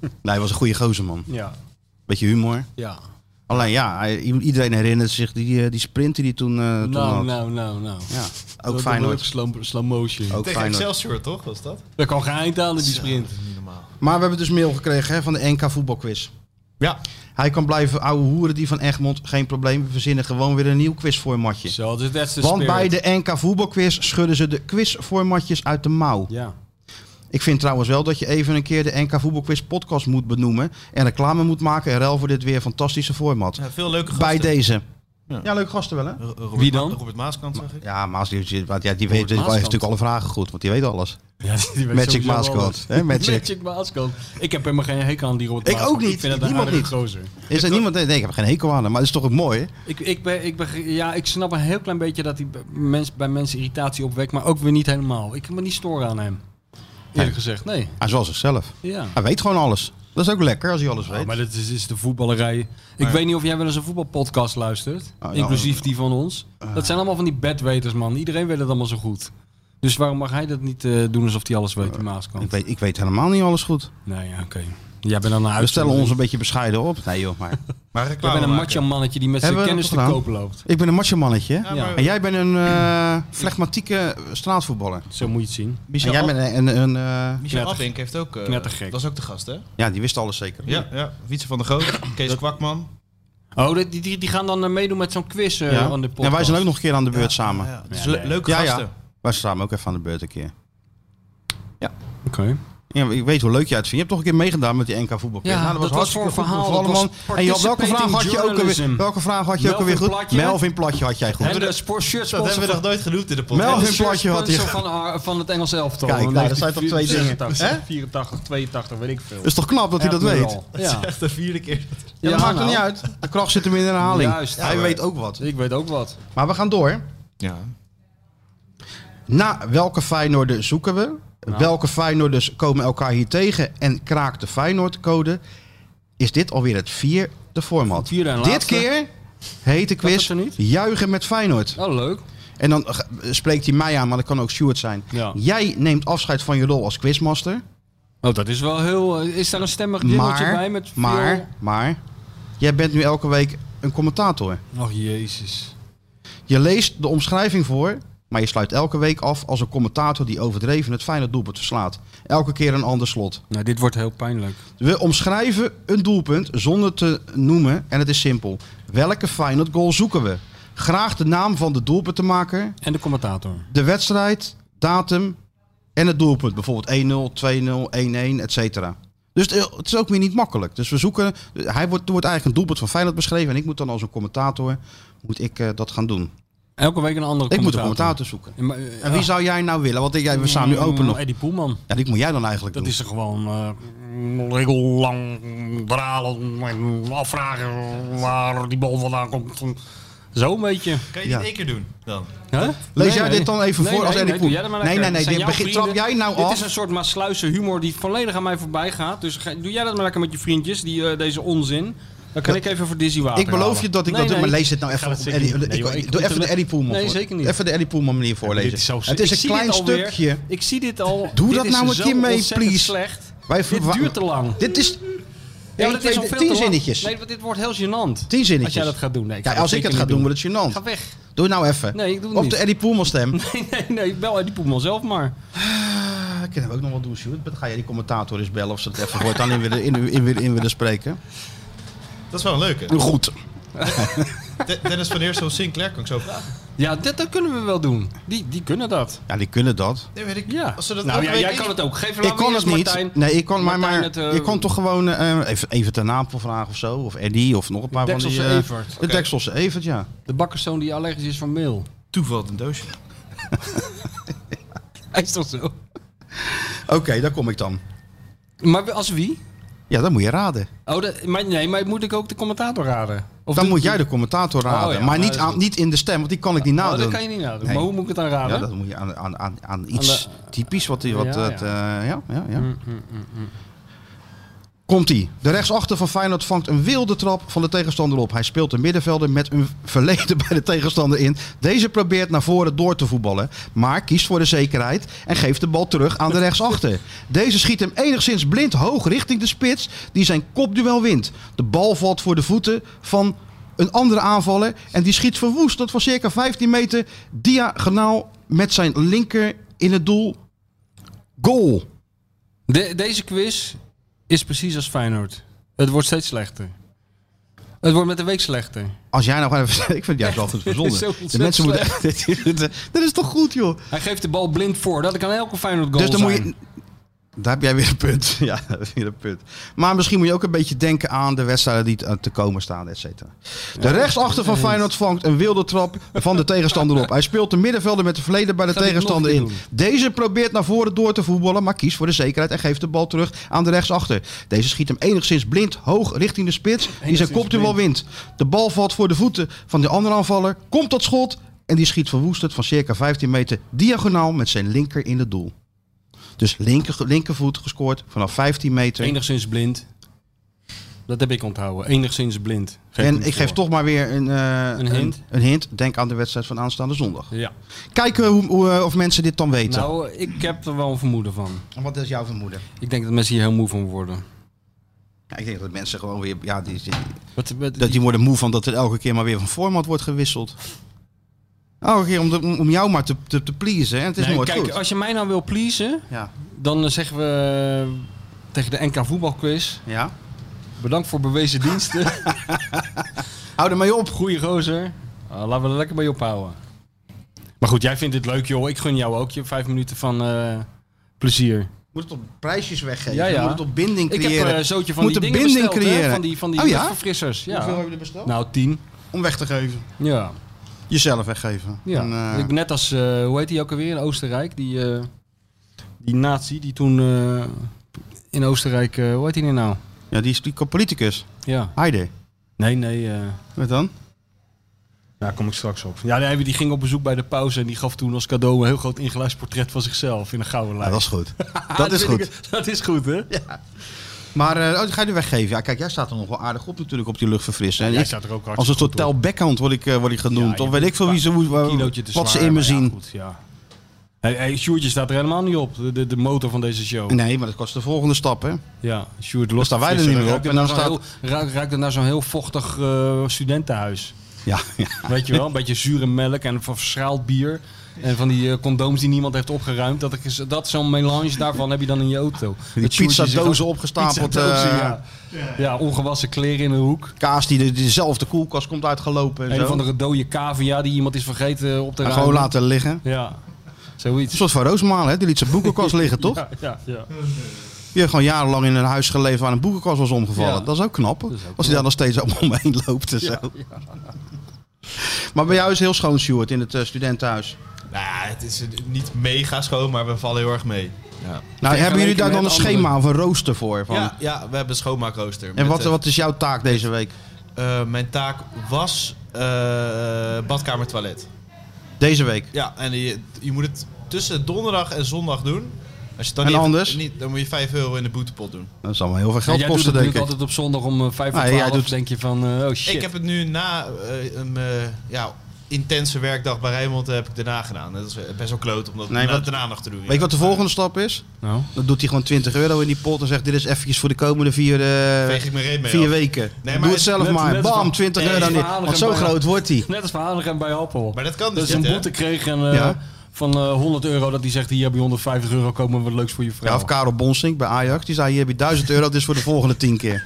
S4: nee, hij was een goede gozer, man.
S5: Ja,
S4: Beetje humor.
S5: ja.
S4: Alleen ja, hij- i- iedereen herinnert zich die, eh, die sprint die hij toen, eh toen
S5: Nou,
S4: had.
S5: nou, nou, nou.
S4: Ja,
S5: Dat-
S4: ook
S5: Dat
S4: Feyenoord.
S5: slow, slow motion.
S4: Ook
S6: Tegen
S4: Feyenoord.
S6: Excelsior toch, was dat?
S5: Daar kan geen eind aan in die sprint.
S4: Maar we hebben dus mail gekregen hè, van de NK voetbalquiz.
S6: Ja.
S4: Hij kan blijven ouwe hoeren die van Egmond. Geen probleem, we verzinnen gewoon weer een nieuw quizformatje.
S5: Zo, dus that's the
S4: Want bij
S5: spirit.
S4: de NK voetbalquiz schudden ze de quizformatjes uit de mouw.
S5: Ja.
S4: Ik vind trouwens wel dat je even een keer de NK voetbalquiz podcast moet benoemen. En reclame moet maken en ruil voor dit weer fantastische format.
S6: Ja, veel leuke gasten.
S4: Bij deze.
S6: Ja.
S4: Ja, leuke gasten wel hè?
S6: R- Robert
S5: Wie dan?
S6: Ma- Robert Maaskant, zag ik.
S4: Ja, Maas die, die- want ja, die weet, die heeft
S5: Maaskant.
S4: natuurlijk alle vragen goed, want die weet alles.
S5: ja die- die weet
S4: Magic
S5: sowieso
S4: Maaskant,
S5: alles.
S4: hè, Magic.
S5: Maaskant. Ik heb helemaal geen hekel aan die rot.
S4: Ik ook niet.
S5: Ik vind het een
S4: Niemand
S5: aardige
S4: niet.
S5: gozer.
S4: Is er niemand? Nee, nee, ik heb geen hekel aan hem, maar dat is toch ook mooi? hè?
S5: Ik, ik, ben, ik, ben, ja, ik snap een heel klein beetje dat hij bij mens, bij mensen irritatie opwekt, maar ook weer niet helemaal. Ik kan me niet storen aan hem. Eerlijk
S4: Nee.
S5: gezegd, nee.
S4: Hij is wel zichzelf.
S5: Ja.
S4: Hij weet gewoon alles. Dat is ook lekker als hij alles weet.
S5: Oh, maar dat is, is de voetballerij. Ik weet niet of jij wel eens een voetbalpodcast luistert,
S4: Oh, ja. Ah.
S5: inclusief die van ons. dat zijn allemaal van die bedweters, man. Iedereen weet het allemaal zo goed. Dus waarom mag hij dat niet eh, doen alsof hij alles weet, die
S4: ik,
S5: Maaskant?
S4: weet, ik weet helemaal niet alles goed.
S5: Nee, ja, oké. Jij bent dan een
S4: We stellen
S5: uitstelling.
S4: ons een beetje bescheiden op. Nee joh, maar...
S6: Maar
S5: Jij
S6: reclame
S5: bent een
S6: maken.
S5: matcha-mannetje die met zijn
S4: Hebben we
S5: kennis
S4: dat
S5: te
S4: gedaan?
S5: koop loopt.
S4: ik ben een machemannetje.
S5: Ja.
S6: Ja, maar
S4: En jij bent een eh flegmatieke straatvoetballer.
S5: Zo moet je het zien.
S4: En
S6: Michel,
S4: jij
S6: Ab-
S4: bent een... een, een, eh,
S6: Michel
S5: Knettergek.
S6: Abink heeft ook... eh,
S5: Knettergek.
S6: was ook de gast, hè?
S4: ja, die wist alles zeker.
S6: Ja, ja. Wietse van der Goot, Kees Kwakman.
S5: Oh, die, die, die gaan dan eh, meedoen met zo'n quiz eh,
S4: Ja.
S5: aan de podcast.
S4: En wij zijn ook nog een keer aan de beurt samen.
S6: Ja, dus
S5: Ja,
S6: le-
S5: nee.
S6: leuke
S4: Ja,
S6: gasten.
S4: ja. Wij staan ook even aan de beurt een keer.
S5: Oké.
S4: Ja, ik weet hoe leuk jij het vindt. Je hebt toch een keer meegedaan met die NK voetbal.
S5: Ja, dat was voor een verhaal,
S4: bevallen,
S5: dat was
S4: man. En je had- welke vraag had je ook
S5: journalism.
S4: alweer? Welke vraag had je ook
S5: Melvin
S4: alweer goed?
S5: Platje.
S4: Melvin Platje had jij goed.
S5: En de sportshirt
S6: Dat hebben
S5: sponsor
S6: we nog
S5: van,
S6: nooit genoemd in de podcast.
S4: Melvin
S5: de shirt
S4: Platje had hij.
S5: sponsor van, haar- van het Engels elftal.
S4: Kijk, nou, dat zijn toch twee dingen.
S5: 1984,
S4: Hè?
S5: 84, 82, weet ik veel.
S4: is toch knap dat hij dat weet?
S5: Admiral. Ja.
S6: Echt de vierde keer.
S4: Ja, dat maakt er
S5: nou.
S4: niet uit. De kracht zit hem in de herhaling.
S5: Juist.
S4: hij
S5: Ja,
S4: weet ook wat.
S5: Ik weet ook wat.
S4: Maar we gaan door.
S6: Ja.
S4: Na welke Feyenoorden zoeken we?
S5: Nou.
S4: Welke Feyenoorders komen elkaar hier tegen? En kraakt de Feyenoord-code? Is dit alweer het vierde format?
S5: Vierde en
S4: Dit
S5: laatste.
S4: keer heet de
S5: het
S4: quiz
S5: er niet?
S4: Juichen met Feyenoord.
S5: Oh, leuk.
S4: En dan eh, spreekt hij mij aan, maar dat kan ook Stuart zijn.
S5: Ja.
S4: Jij neemt afscheid van je rol als quizmaster.
S5: Oh, dat is wel heel... eh, Is daar een stemmig jingeltje
S4: Maar,
S5: bij met veel-
S4: maar, maar, jij bent nu elke week een commentator.
S5: Och, jezus.
S4: Je leest de omschrijving voor Maar je sluit elke week af als een commentator die overdreven het fijne doelpunt verslaat. Elke keer een ander slot.
S5: Nou, dit wordt heel pijnlijk.
S4: We omschrijven een doelpunt zonder te noemen en het is simpel. Welke Feyenoord goal zoeken we? Graag de naam van de doelpuntenmaker,
S5: En de commentator.
S4: de wedstrijd, datum en het doelpunt. Bijvoorbeeld 1-0, 2-0, 1-1, et cetera. Dus het het is ook weer niet makkelijk. Dus we zoeken, hij wordt, er wordt eigenlijk een doelpunt van Feyenoord beschreven en ik moet dan als een commentator moet ik eh, dat gaan doen.
S5: Elke week een andere
S4: Ik moet een commentator
S5: commentator.
S4: zoeken.
S5: Ja, maar, eh,
S4: En wie zou jij nou willen? Want jij, we staan nu open nog.
S5: Eddie Poelman.
S4: Ja, die moet jij dan eigenlijk
S5: Dat
S4: doen.
S5: is er gewoon eh regellang dralen en afvragen waar die bal vandaan komt. Zo'n beetje.
S6: Kan je dit
S4: Ja.
S6: één keer doen dan?
S5: Huh?
S4: Lees jij dit dan even voor als Eddie
S5: doe
S4: Poel?
S5: jij dat maar
S4: Nee,
S5: lekker.
S4: nee, nee,
S5: Dat
S4: dit
S5: zijn jouw
S4: begint- trap
S5: vrienden.
S4: jij nou
S5: Dit
S4: af?
S5: is een soort Maasluise humor die volledig aan mij voorbij gaat. Dus ga- doe jij dat maar lekker met je vriendjes, die, eh, deze onzin. Dan kan ik even voor Dizzy water
S4: Ik beloof je
S5: halen.
S4: dat ik
S5: Nee,
S4: dat doe,
S5: nee.
S4: maar lees dit nou even.
S11: dat
S4: op
S11: zeker
S4: Eddie-
S11: niet. Nee,
S4: ik-
S11: joh, ik
S4: doe
S11: moet
S4: even de
S11: hem-
S4: Eddie Poelman.
S5: Nee,
S4: voor-
S5: zeker niet.
S4: Even de Eddie Poelman manier voorlezen.
S11: dit is zo-
S4: het is
S5: Ik
S4: een
S5: zie dit
S4: klein
S5: alweer.
S4: stukje.
S5: Ik zie dit al.
S4: Doe
S5: Dit
S4: dat
S5: is
S4: nou een
S5: zo
S4: keer mee,
S5: ontzettend
S4: please.
S5: slecht.
S4: Wij
S5: Dit
S4: verwa-
S5: duurt te lang.
S4: Dit is
S5: Ja,
S4: Eén,
S5: maar dat
S4: twee,
S5: is al veel
S4: tien
S5: te lang.
S4: zinnetjes.
S5: Nee, want dit wordt heel gênant.
S4: tien zinnetjes.
S5: Als jij dat gaat doen. Nee, ik ga
S4: Ja,
S5: dat
S4: als ik
S5: zeker
S4: het ga
S5: niet
S4: doen, wordt het gênant.
S5: Ga weg.
S4: Doe nou even.
S5: Nee, ik doe het
S4: Op
S5: niet.
S4: de Eddie Poelman stem.
S5: Nee, nee, nee. Bel Eddie Poelman zelf maar.
S4: Ah, Dat kunnen we ook nog wel doen, Sjoerd. Dan ga jij die commentator eens bellen of ze het even voortaan in willen, in, in, willen- in willen spreken.
S6: Dat is wel een leuke.
S4: Goed.
S6: De- Dennis van Eersel Sinclair kan ik zo vragen.
S5: Ja, dat, dat kunnen we wel doen. Die, die kunnen dat.
S4: Ja, die kunnen dat.
S6: Nee, weet ik.
S5: Ja.
S6: Als ze dat
S5: nou
S6: elke
S5: ja,
S6: week
S5: jij
S6: in-
S5: kan het ook. Geef
S4: Nou Ik kon het niet.
S5: Martijn,
S4: nee, ik kon, maar, maar
S5: Martijn het, eh,
S4: je kon toch gewoon eh, even, even ten Napel vragen of zo. Of Eddie of nog een paar van die...
S5: Dekselse
S4: eh,
S5: Evert.
S4: De Dekselse Evert, ja.
S5: De bakkerszoon die allergisch is voor meel.
S6: Toeval een doosje.
S5: Hij is toch zo?
S4: Oké, daar kom ik dan.
S5: Maar als wie?
S4: Ja, dan moet je raden.
S5: Oh, dat, maar nee, maar moet ik ook de commentator raden? Of
S4: Dan
S5: doe-
S4: moet jij de commentator raden.
S5: ja,
S4: maar
S5: nou,
S4: niet,
S5: dat is
S4: aan,
S5: goed.
S4: niet in de stem, want die kan ik niet
S5: Oh,
S4: nadoen.
S5: dat kan je niet nadoen.
S4: Nee.
S5: Maar hoe moet ik het dan raden?
S4: Ja, dat moet je aan, aan, aan, aan iets
S5: Aan
S4: typisch. Wat, die- wat,
S5: Ja,
S4: het, eh, ja, ja, ja. Komt-ie. De rechtsachter van Feyenoord vangt een wilde trap van de tegenstander op. Hij speelt de middenvelder met een verleden bij de tegenstander in. Deze probeert naar voren door te voetballen, maar kiest voor de zekerheid en geeft de bal terug aan de rechtsachter. Deze schiet hem enigszins blind hoog richting de spits, die zijn kopduel wint. De bal valt voor de voeten van een andere aanvaller en die schiet verwoestend van circa 15 meter diagonaal met zijn linker in het doel. Goal.
S5: De- deze quiz is precies als Feyenoord. Het wordt steeds slechter. Het wordt met de week slechter.
S4: Als jij nou gewoon even... Ik vind het juist altijd verzonnen.
S5: Zo
S4: De
S5: ontzettend
S4: mensen moeten... dat is toch goed, joh?
S5: Hij geeft de bal blind voor. Dat kan elke Feyenoord goal
S4: dus dan
S5: zijn.
S4: moet je... Daar heb jij weer een punt. Ja, daar heb je weer een punt. Maar misschien moet je ook een beetje denken aan de wedstrijden die eh, te- te komen staan, et cetera. De rechtsachter van Feyenoord vangt een wilde trap van de tegenstander op. Hij speelt de middenvelder met de verleden bij de
S5: Gaat hij het
S4: tegenstander
S5: nog
S4: in.
S5: een keer
S4: Deze probeert naar voren door te voetballen, maar kiest voor de zekerheid en geeft de bal terug aan de rechtsachter. Deze schiet hem enigszins blind hoog richting de spits, die zijn
S5: Enigszins
S4: kopduel wint. De bal valt voor de voeten van de andere aanvaller, komt dat schot en die schiet verwoestend van circa 15 meter diagonaal met zijn linker in het doel. Dus linker, linkervoet gescoord vanaf 15 meter.
S5: Enigszins blind. Dat heb ik onthouden. Enigszins blind. Geef
S4: en
S5: hem
S4: ik geef
S5: voor.
S4: toch maar weer een, eh,
S5: Een hint.
S4: Een, hint. Denk aan de wedstrijd van aanstaande zondag.
S5: Ja.
S4: Kijken hoe, hoe, eh, of mensen dit dan weten.
S5: Nou, ik heb er wel een vermoeden van.
S4: En Wat is jouw vermoeden?
S5: Ik denk dat mensen hier heel moe van worden.
S4: Ja, ik denk dat mensen gewoon weer. Ja, die, die-
S5: Wat, wat-
S4: dat die worden moe van dat er elke keer maar weer van format wordt gewisseld. Elke keer om, de- om- om jou maar te, te, te pleasen. hè. Het is
S5: Nee,
S4: nooit
S5: kijk,
S4: goed.
S5: als je mij nou wil pleasen,
S4: Ja.
S5: dan eh, zeggen we eh, tegen de NK voetbalquiz.
S4: ja.
S5: Bedankt voor bewezen diensten.
S4: Hou er mee op.
S5: Goeie gozer. Ah, laten we er lekker mee ophouden. Maar goed, jij vindt dit leuk, joh. Ik gun jou ook je vijf minuten van eh, plezier.
S4: Moet het op prijsjes weggeven.
S5: Ja, ja.
S4: Moet het op binding
S5: Ik heb eh,
S4: creëren.
S5: een zootje van
S4: Moet
S5: die
S4: een
S5: dingen
S4: binding
S5: besteld, hè,
S4: creëren.
S5: Van die, van die
S4: Oh ja?
S5: verfrissers. Ja.
S4: Hoeveel hebben we er besteld?
S5: Nou, tien.
S4: Om weg te geven.
S5: Ja.
S4: Jezelf weggeven.
S5: ja.
S4: En, eh,
S5: Ik ben net als, eh, hoe heet die ook alweer in Oostenrijk? Die, eh, die nazi die toen eh, in Oostenrijk, eh, hoe heet die nu nou?
S4: ja, die is die politicus.
S5: Ja.
S4: Heide.
S5: Nee, nee. eh
S4: Wat dan?
S5: daar kom ik straks op. Ja, nee, die ging op bezoek bij de pauze en die gaf toen als cadeau een heel groot ingelijstportret van zichzelf in een gouden
S4: Ja,
S5: lijst.
S4: dat is goed. dat is
S5: vind
S4: goed.
S5: ik- dat is goed, hè?
S4: Maar eh, oh, die ga je er weggeven. Ja, kijk, jij staat er nog wel aardig op natuurlijk op die luchtverfrisser. En
S5: jij
S4: ik-
S5: staat er ook hartstikke
S4: als een
S5: goed
S4: totaal backhand word ik, eh, word ik genoemd.
S5: Ja,
S4: of
S5: je
S4: weet ik veel wie ze, hoe- eh,
S5: Een kilootje te
S4: wat ze
S5: zwaar,
S4: in me
S5: maar ja,
S4: zien.
S5: goed, ja. Hey, hey, Sjoerdje staat er helemaal niet op, de, de, de motor van deze show.
S4: Nee, maar dat kost de volgende stap, hè?
S5: Ja, Sjoerd lost
S4: staan wij er niet meer op.
S5: Ruikt het
S4: En
S5: naar
S4: dan
S5: zo'n heel- ruikt- ruikt het naar zo'n heel vochtig eh, studentenhuis.
S4: Ja, ja.
S5: Weet je wel, een beetje zure melk en van verschaald bier. En van die eh, condooms die niemand heeft opgeruimd. Dat, ik eens- dat zo'n melange daarvan heb je dan in je auto.
S4: Die
S5: Dat sjoerd je zich
S4: pizzadozen
S5: ook-
S4: opgestapeld,
S5: pizzadozen,
S4: eh,
S5: ja. ja, ongewassen kleren in de hoek.
S4: Kaas die de, diezelfde koelkast komt uitgelopen. En zo.
S5: Een van de dode cavia die iemand is vergeten eh, op te
S4: En
S5: ruimen.
S4: gewoon laten liggen.
S5: Ja,
S4: Een
S5: zoiets.
S4: soort van Roosmalen, hè? die liet zijn boekenkast liggen, toch?
S5: Ja, ja, ja.
S4: Die heeft gewoon jarenlang in een huis geleefd waar een boekenkast was omgevallen.
S5: Ja.
S4: Dat is ook knap.
S5: is ook
S4: als hij daar nog steeds allemaal omheen loopt en zo. Maar bij jou is het heel schoon, Stuart, in het eh, studentenhuis.
S6: Nou ja, het is eh, niet mega schoon, maar we vallen heel erg mee. Ja,
S4: Nou, hebben jullie daar
S5: met
S4: dan een
S5: anderen.
S4: schema of een rooster voor? Van?
S6: ja, ja, we hebben een schoonmaakrooster.
S4: en
S6: Met,
S4: wat,
S6: eh,
S4: wat is jouw taak deze week?
S6: eh, mijn taak was eh badkamer toilet.
S4: Deze week?
S6: Ja, en je, je moet het tussen donderdag en zondag doen. Als je het dan
S4: En
S6: niet,
S4: anders?
S6: Niet, dan moet je 5 euro in de boetepot doen.
S4: Dat zal wel heel veel
S5: Ja,
S4: geld
S5: jij doet
S4: kosten,
S5: het
S4: denk
S5: natuurlijk
S4: ik.
S5: altijd op zondag om eh, vijf of
S4: Nee, jij
S5: twaalf.
S4: doet-
S5: denk je van, eh, oh shit.
S6: Ik heb het nu na eh, een eh, ja, intense werkdag bij Rijnmond heb ik daarna gedaan. Dat is eh, best wel kloot om dat
S4: Nee,
S6: na-
S4: wat-
S6: daarna nog te doen.
S4: Weet je wat de volgende stap is?
S5: Nou.
S4: Dan doet hij gewoon 20 euro in die pot en zegt: Dit is eventjes voor de komende vier, eh,
S6: Veeg ik mijn reet mee
S4: vier
S6: af.
S4: weken.
S6: maar
S4: Doe het
S6: het-
S4: zelf
S5: net-
S4: maar.
S5: net
S4: Bam,
S5: van-
S4: 20
S5: Nee,
S4: euro.
S5: van
S4: niet.
S5: Hanegem
S4: Want zo
S5: bij-
S4: groot wordt hij.
S5: Net als van Hanegem bij Appel.
S6: Maar dat kan dus
S5: Dat ze een
S6: niet, hè?
S5: boete kreeg en, eh,
S4: Ja.
S5: van eh, 100 euro dat die zegt, hier heb je 150 euro, komen wat leuks voor je vrouw.
S4: Ja, of Karel Bonsink bij Ajax. Die zei: Hier heb je 1000 euro, dit is voor de volgende 10 keer.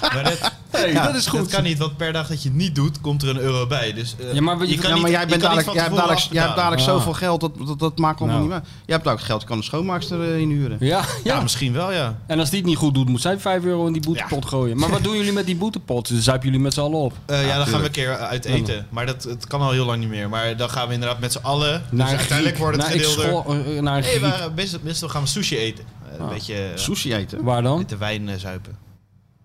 S6: Maar dat,
S5: Hey, dat is
S6: dat
S5: goed.
S6: kan niet, want per dag dat je het niet doet, komt er een euro bij. Dus, eh,
S5: Ja, maar we-
S6: je kan
S4: Ja, maar
S6: niet-
S4: jij,
S6: je
S4: bent
S6: kan
S4: dadelijk,
S6: niet
S4: jij,
S6: van
S4: hebt
S6: tevoren
S4: dadelijk, jij hebt
S6: afbetalen.
S4: dadelijk
S5: Ah.
S4: zoveel geld, dat, dat, dat maakt allemaal
S5: Nou.
S4: niet meer. Jij hebt ook geld, kan een schoonmaakster eh, inhuren.
S5: Ja, ja.
S6: Ja, misschien wel, ja.
S5: En als die het niet goed doet, moet zij 5 euro in die boetepot gooien. Maar wat doen jullie met die boetepot? Dus zuipen jullie met z'n allen op.
S6: Eh, ja, dan gaan we een keer uit eten. Maar dat het kan al heel lang niet meer. Maar dan gaan we inderdaad met z'n allen. Dus
S5: een
S6: uiteindelijk
S5: Griek.
S6: wordt het
S5: naar ik
S6: gedeelde.
S5: school- eh, eh, Naar een
S6: Nee,
S5: Griek.
S6: we, best, best wel gaan we sushi eten. Eh, Een beetje eh,
S4: Ah. Sushi eten.
S5: Waar dan?
S6: witte wijn eh, zuipen.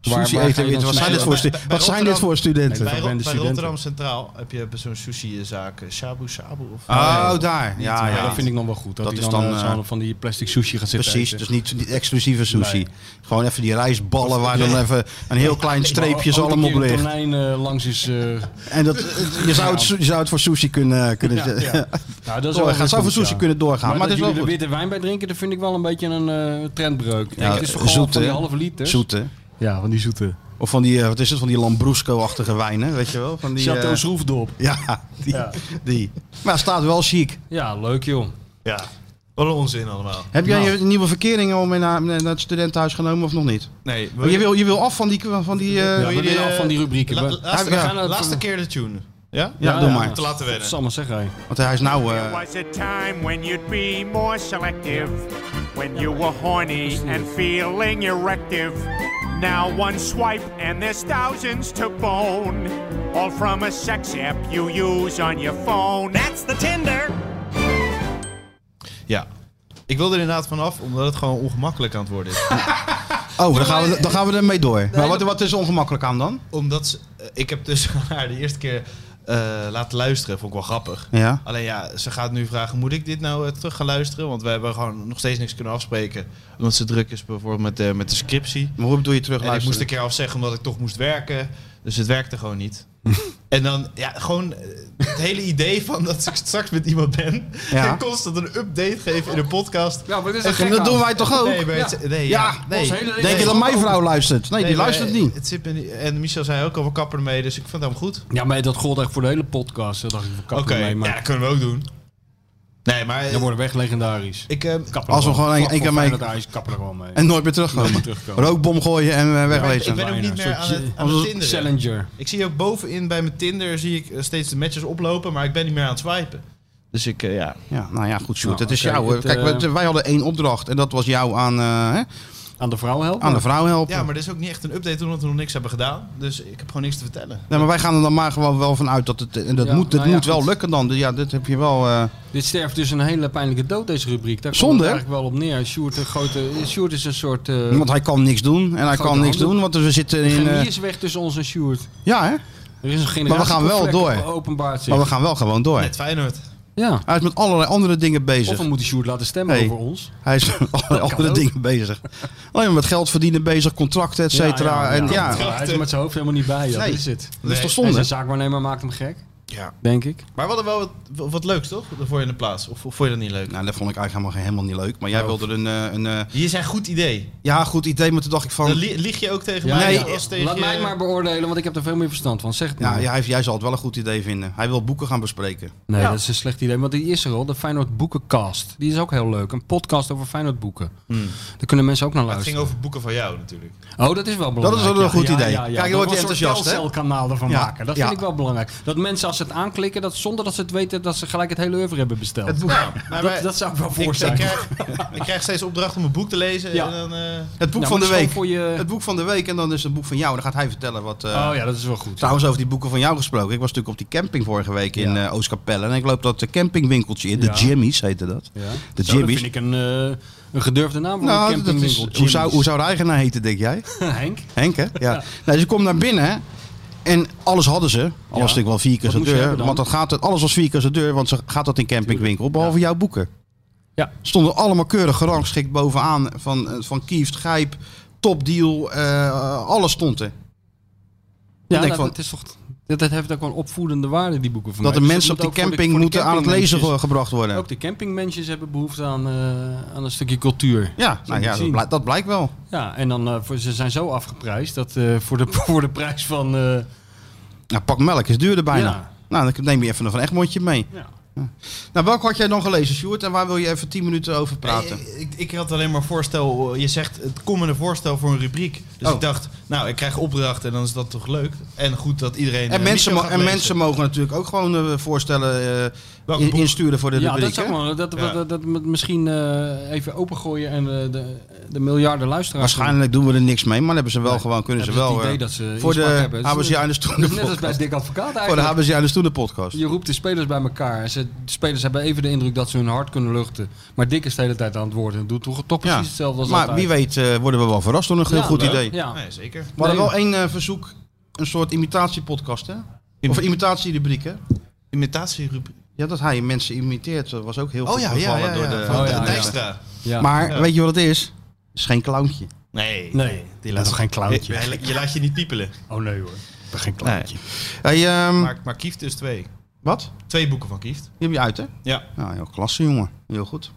S5: Waar-
S4: Sushi
S5: waar ga
S4: eten.
S5: je dan
S4: weet je, Wat zijn
S5: smijten?
S4: dit voor, stu-
S6: Bij- bij
S4: wat zijn dit voor studenten?
S6: bij, Ro-
S5: verwende
S6: bij
S5: studenten.
S6: Rotterdam Centraal heb je zo'n sushi-zaak. eh, Shabu Shabu of...
S4: Oh, daar. Ja,
S5: Ja,
S4: ja.
S5: dat vind ik nog wel goed. Dat,
S4: Dat
S5: hij
S4: is
S5: dan,
S4: dan,
S5: eh,
S4: eh,
S5: zo'n van die plastic sushi gaat zitten
S4: Precies,
S5: eten.
S4: dus niet, niet exclusieve sushi. Gewoon even die rijstballen waar dan even een heel klein streepje
S5: Als er
S4: zalm
S5: een
S4: op
S5: keer een
S4: ligt.
S5: tonijn eh, langs is... eh,
S4: En dat, je, zou het, je zou het voor sushi kunnen, kunnen
S5: Ja, ja. Nou, dat is wel
S4: doorgaan.
S5: weer
S4: zou voor
S5: goed,
S4: sushi
S5: ja.
S4: kunnen doorgaan.
S5: maar
S4: Maar,
S5: dat
S4: het is
S5: jullie
S4: wel
S5: er
S4: goed.
S5: witte wijn bij drinken, dat vind ik wel een beetje een eh, trendbreuk. Kijk,
S4: Ja, eh,
S5: het is vooral
S4: zoete,
S5: van die
S4: hè?
S5: halve liter.
S4: Zoete.
S5: Ja, van die zoete.
S4: Of van die, eh, wat is het, van die Lambrusco-achtige wijnen, weet je wel? Van die,
S5: Chateau
S4: eh,
S5: Schroefdop.
S4: ja, die,
S5: Ja.
S4: die. Maar het staat wel chic.
S5: Ja, leuk joh.
S6: Ja. Wat een onzin allemaal.
S4: Heb jij je nieuwe verkeringen al mee naar, naar het studentenhuis genomen of nog niet? Oh,
S6: Nee, wil
S4: Je, wil, je wil af van die... Van die eh,
S5: Ja, we willen af van die rubrieken.
S6: La-
S5: We-
S6: laatste,
S4: we gaan
S5: het-
S6: laatste keer de tune. Ja?
S4: ja, doe maar.
S6: Te laten
S5: Dat
S6: wennen.
S5: is allemaal zeg hij.
S4: Want hij is nou... eh,
S11: was a time when you'd be more selective, when you were horny and feeling erective. Now one swipe and there's thousands to bone, all from a sex app you use on your phone. That's the Tinder.
S6: Ja. Ik wil er inderdaad vanaf, omdat het gewoon ongemakkelijk aan het worden is.
S4: oh, dan gaan, we, dan gaan we ermee door. maar wat, wat is er ongemakkelijk aan dan?
S6: omdat ze, eh, ik heb dus haar de eerste keer eh, laten luisteren. Vond ik wel grappig.
S4: Ja.
S6: Alleen ja, ze gaat nu vragen, moet ik dit nou eh, terug gaan luisteren? Want we hebben gewoon nog steeds niks kunnen afspreken. Omdat ze druk is bijvoorbeeld met, de- met de scriptie.
S4: Maar hoe bedoel je terug
S6: En ik moest
S4: luisteren?
S6: een keer afzeggen omdat ik toch moest werken. Dus het werkte gewoon niet. en dan, ja, gewoon eh, het hele idee van dat ik straks met iemand ben.
S4: Ja.
S6: En constant een update geven in een podcast. Oh,
S5: Ja, maar dit is
S4: En dat doen wij toch ook?
S6: Nee, maar het- nee,
S4: Ja,
S6: ja, nee.
S5: ons hele leven-
S4: Denk je dat mijn vrouw luistert? Nee,
S6: Nee,
S4: die
S6: maar,
S4: luistert
S6: eh,
S4: niet.
S6: Het zit me niet. En Michel zei ook al, we kappen ermee, dus ik vond hem goed.
S5: Ja, maar dat gold echt voor de hele podcast. Dat dacht ik, we
S6: Oké,
S5: kappen mee.
S6: ja,
S5: Maar
S6: dat kunnen we ook doen. Nee, maar eh,
S5: dan worden we echt legendarisch.
S6: ik, eh,
S5: Kappen
S4: Als we
S5: er
S4: gewoon één-
S5: Vlak
S4: één
S5: voor
S4: keer mee-
S5: Feyenoord Ajax, kappen er gewoon mee.
S4: En nooit meer terugkomen.
S5: Nooit meer terugkomen.
S4: Rookbom gooien en eh,
S6: ik
S4: wegwezen.
S6: ben ook niet meer aan het, aan het
S5: Als een
S6: tinderen.
S5: challenger.
S6: Ik zie ook bovenin bij mijn Tinder zie ik eh, steeds de matches oplopen, maar ik ben niet meer aan het swipen. Dus ik, eh, ja.
S4: Ja, nou ja, goed, Sjoerd.
S5: Nou,
S4: het is
S5: oké,
S4: jou. hoor.
S5: het,
S4: Kijk,
S5: eh,
S4: we- wij hadden één opdracht. En dat was jou aan, eh, hè,
S5: Aan de vrouw helpen.
S4: aan de vrouw helpen.
S6: Ja, maar er is ook niet echt een update omdat we nog niks hebben gedaan. Dus ik heb gewoon niks te vertellen.
S4: Nee, maar wij gaan er dan maar gewoon wel van uit dat het. En dat
S5: Ja,
S4: moet, dat
S5: nou ja,
S4: moet wel
S5: goed.
S4: lukken dan. Dus Ja, dit heb je wel. eh,
S5: Dit sterft dus een hele pijnlijke dood, deze rubriek. Daar komt
S4: Zonde,
S5: het
S4: hè?
S5: eigenlijk wel op neer. Sjoerd, een grote, Sjoerd is een soort... eh
S4: want hij kan niks doen. En hij
S5: Grote
S4: kan niks
S5: handdoek.
S4: doen, want we zitten in. eh,
S5: chemie is weg tussen ons en Sjoerd.
S4: ja, hè?
S5: Er is een generatie
S4: gaan wel door.
S5: Openbaart zich.
S4: Maar we gaan wel gewoon door.
S6: Net Feyenoord.
S5: Ja.
S4: Hij is met allerlei andere dingen
S5: Of
S4: bezig.
S5: we moeten Sjoerd laten stemmen
S4: Hey.
S5: over ons.
S4: Hij is met allerlei andere
S5: ook.
S4: dingen bezig. Alleen maar met geld verdienen bezig, contracten, et cetera.
S5: Ja, ja, ja.
S4: En ja,
S5: Hij is er met zijn hoofd helemaal niet bij. Ja.
S4: Nee.
S5: Dat is het.
S4: dat is toch
S5: En
S4: zonde?
S5: zijn zaakwaarnemer maakt hem gek.
S6: Ja.
S5: denk ik.
S6: Maar we hadden wel wat, wat leuks, toch? Voor je in de plaats. Of, of vond je dat niet leuk?
S4: Nou, dat vond ik eigenlijk helemaal, helemaal niet leuk. Maar jij
S6: Oh.
S4: wilde er een... eh, een eh,
S6: Hier zijn goed idee.
S4: ja, goed idee, maar toen dacht ik van...
S6: Dan li- lieg je ook tegen
S4: Ja,
S6: mij.
S4: ja.
S6: als tegen
S5: eh, Laat
S6: je-
S5: mij maar beoordelen, want ik heb er veel meer verstand van. Zeg het
S4: Ja,
S5: maar.
S4: ja, hij- jij zal het wel een goed idee vinden. Hij wil boeken gaan bespreken.
S5: Nee,
S6: Ja.
S5: dat is een slecht idee. Want die is er al, de Feyenoord Boekencast. Die is ook heel leuk. Een podcast over Feyenoord boeken.
S4: Hmm.
S5: Daar kunnen mensen ook naar
S6: Maar het ging
S5: luisteren.
S6: over boeken van jou natuurlijk.
S5: Oh, dat is wel belangrijk.
S4: wel een
S5: ja.
S4: goed
S5: Ja,
S4: idee.
S5: Ja, ja,
S4: Kijk, dan wordt hij enthousiast, hè?
S5: een kanaal ervan
S4: Ja,
S5: maken. Dat
S4: ja.
S5: vind ik wel belangrijk. Dat mensen als ze het aanklikken, dat zonder dat ze het weten, dat ze gelijk het hele oeuvre hebben besteld.
S6: boek.
S5: dat, dat zou ik wel voor
S6: Nou, ik,
S5: zijn.
S6: ik, krijg, ik krijg steeds opdracht om een boek te lezen.
S5: Ja.
S6: En dan, eh,
S4: Het boek van
S5: Nou,
S4: de
S5: maar dat is
S4: week.
S5: gewoon Voor je...
S4: Het boek van de week en dan is het boek van jou. Dan gaat hij vertellen wat... eh,
S5: Oh ja, dat is wel goed.
S4: Trouwens, over die boeken van jou gesproken. Ik was natuurlijk op die camping vorige week in eh Oostkapelle. En ik loop dat eh, campingwinkeltje in.
S5: Ja.
S4: De Jimmy's heette dat.
S5: Ja.
S4: De
S5: Zo, dat
S4: Jimmy's.
S5: vind ik een, eh, een gedurfde naam voor
S4: Nou,
S5: een
S4: dat is-
S5: campingwinkel.
S4: hoe, zou,
S5: Jimmy's.
S4: hoe zou de eigenaar heten, denk jij?
S5: Henk?
S4: Henk, hè? Ja. Nou, dus ik kom naar binnen en alles hadden ze. Alles natuurlijk wel vier keer
S5: Wat
S4: zijn
S5: moest je
S4: deur.
S5: hebben dan?
S4: Want dat gaat, alles was vier keer zijn deur, want ze gaat dat in campingwinkel. Behalve jouw boeken.
S5: Ja.
S4: Stonden allemaal keurig gerangschikt bovenaan. Van, eh, van Kieft, Gijp, topdeal. eh alles stond er.
S5: Ja,
S4: denk
S5: nou,
S4: van-
S5: dat, is toch, dat, dat heeft ook wel opvoedende waarde, die boeken van
S4: Dat de
S5: mij. Dus
S4: mensen op
S5: moet
S4: die
S5: ook voor
S4: camping
S5: voor de
S4: moeten aan het lezen
S5: campingmensjes-
S4: ge- gebracht worden.
S5: Ook de campingmensjes hebben behoefte aan, eh, aan een stukje cultuur.
S4: Ja, nou
S5: moet
S4: ja dat,
S5: zien.
S4: blijkt, dat blijkt wel.
S5: Ja, en dan, eh, voor, ze zijn zo afgeprijsd dat eh, voor, de, voor de prijs van... eh,
S4: Nou, pak melk is duurder bijna.
S5: Ja.
S4: Nou, dan neem je even een Van Egmondje mee.
S5: Ja.
S4: Ja. Nou, welk had jij dan gelezen, Sjoerd? En waar wil je even 10 minuten over praten?
S6: eh, ik, ik had alleen maar voorstel. eh, Je zegt het komende voorstel voor een rubriek. Dus
S4: Oh.
S6: ik dacht, nou, ik krijg opdracht en dan is dat toch leuk. En goed dat iedereen.
S4: En,
S6: eh,
S4: mensen,
S6: Michel
S4: mo-
S6: gaat
S4: en
S6: lezen.
S4: mensen mogen natuurlijk ook gewoon eh, voorstellen eh,
S6: Welk
S4: in-
S6: boek?
S4: insturen voor de
S5: ja, dat
S4: rubriek.
S5: zou
S4: hè?
S5: maar. Dat,
S6: Ja.
S5: dat, dat, moet misschien eh, even opengooien en eh, de, de miljarden luisteraars...
S4: Waarschijnlijk doen we er niks mee, maar hebben ze wel gewoon, kunnen ze
S5: hebben
S4: wel.
S5: het idee
S4: eh,
S5: dat ze
S4: voor de
S5: inspraak hebben. Het is
S4: HBC aan de Stoende
S5: Net als bij
S4: podcast.
S5: Dick Advocaat
S4: Voor de
S5: eigenlijk.
S4: HBC aan de Stoende podcast.
S5: Je roept de spelers bij elkaar. En ze, de spelers hebben even de indruk dat ze hun hart kunnen luchten. Maar Dick is de hele tijd aan het woord en doet toch, toch precies hetzelfde als
S4: maar
S5: altijd.
S4: wie weet eh, worden we wel verrast door een heel
S5: Ja,
S4: goed
S5: leuk.
S4: idee.
S5: Ja.
S6: Nee, zeker.
S4: We hadden
S5: Nee.
S4: wel één eh, verzoek, een soort imitatiepodcast, hè?
S6: Imi-
S4: Of imitatierubriek, hè?
S6: Imitatierubriek.
S4: Ja, dat hij mensen imiteert, dat was ook heel
S6: Oh
S4: goed
S6: ja, ja,
S4: bevallen
S6: ja.
S4: door
S6: ja.
S4: de...
S6: Van
S5: Oh, ja,
S6: de
S5: ja.
S6: Dijkstra.
S5: Ja.
S4: Maar
S6: Ja.
S4: weet je wat het is? Het is geen clowntje.
S6: Nee.
S5: Nee, die laat geen clownetje.
S4: Eh,
S6: Je, je- je laat je niet piepelen.
S5: Oh nee hoor. Ik ben geen
S4: clowntje. Hey, ehm,
S6: Maar, maar Kieft dus twee.
S4: Wat?
S6: Twee boeken van Kieft.
S4: Die heb je uit, hè?
S6: Ja.
S4: Nou, heel klasse, jongen. Heel goed.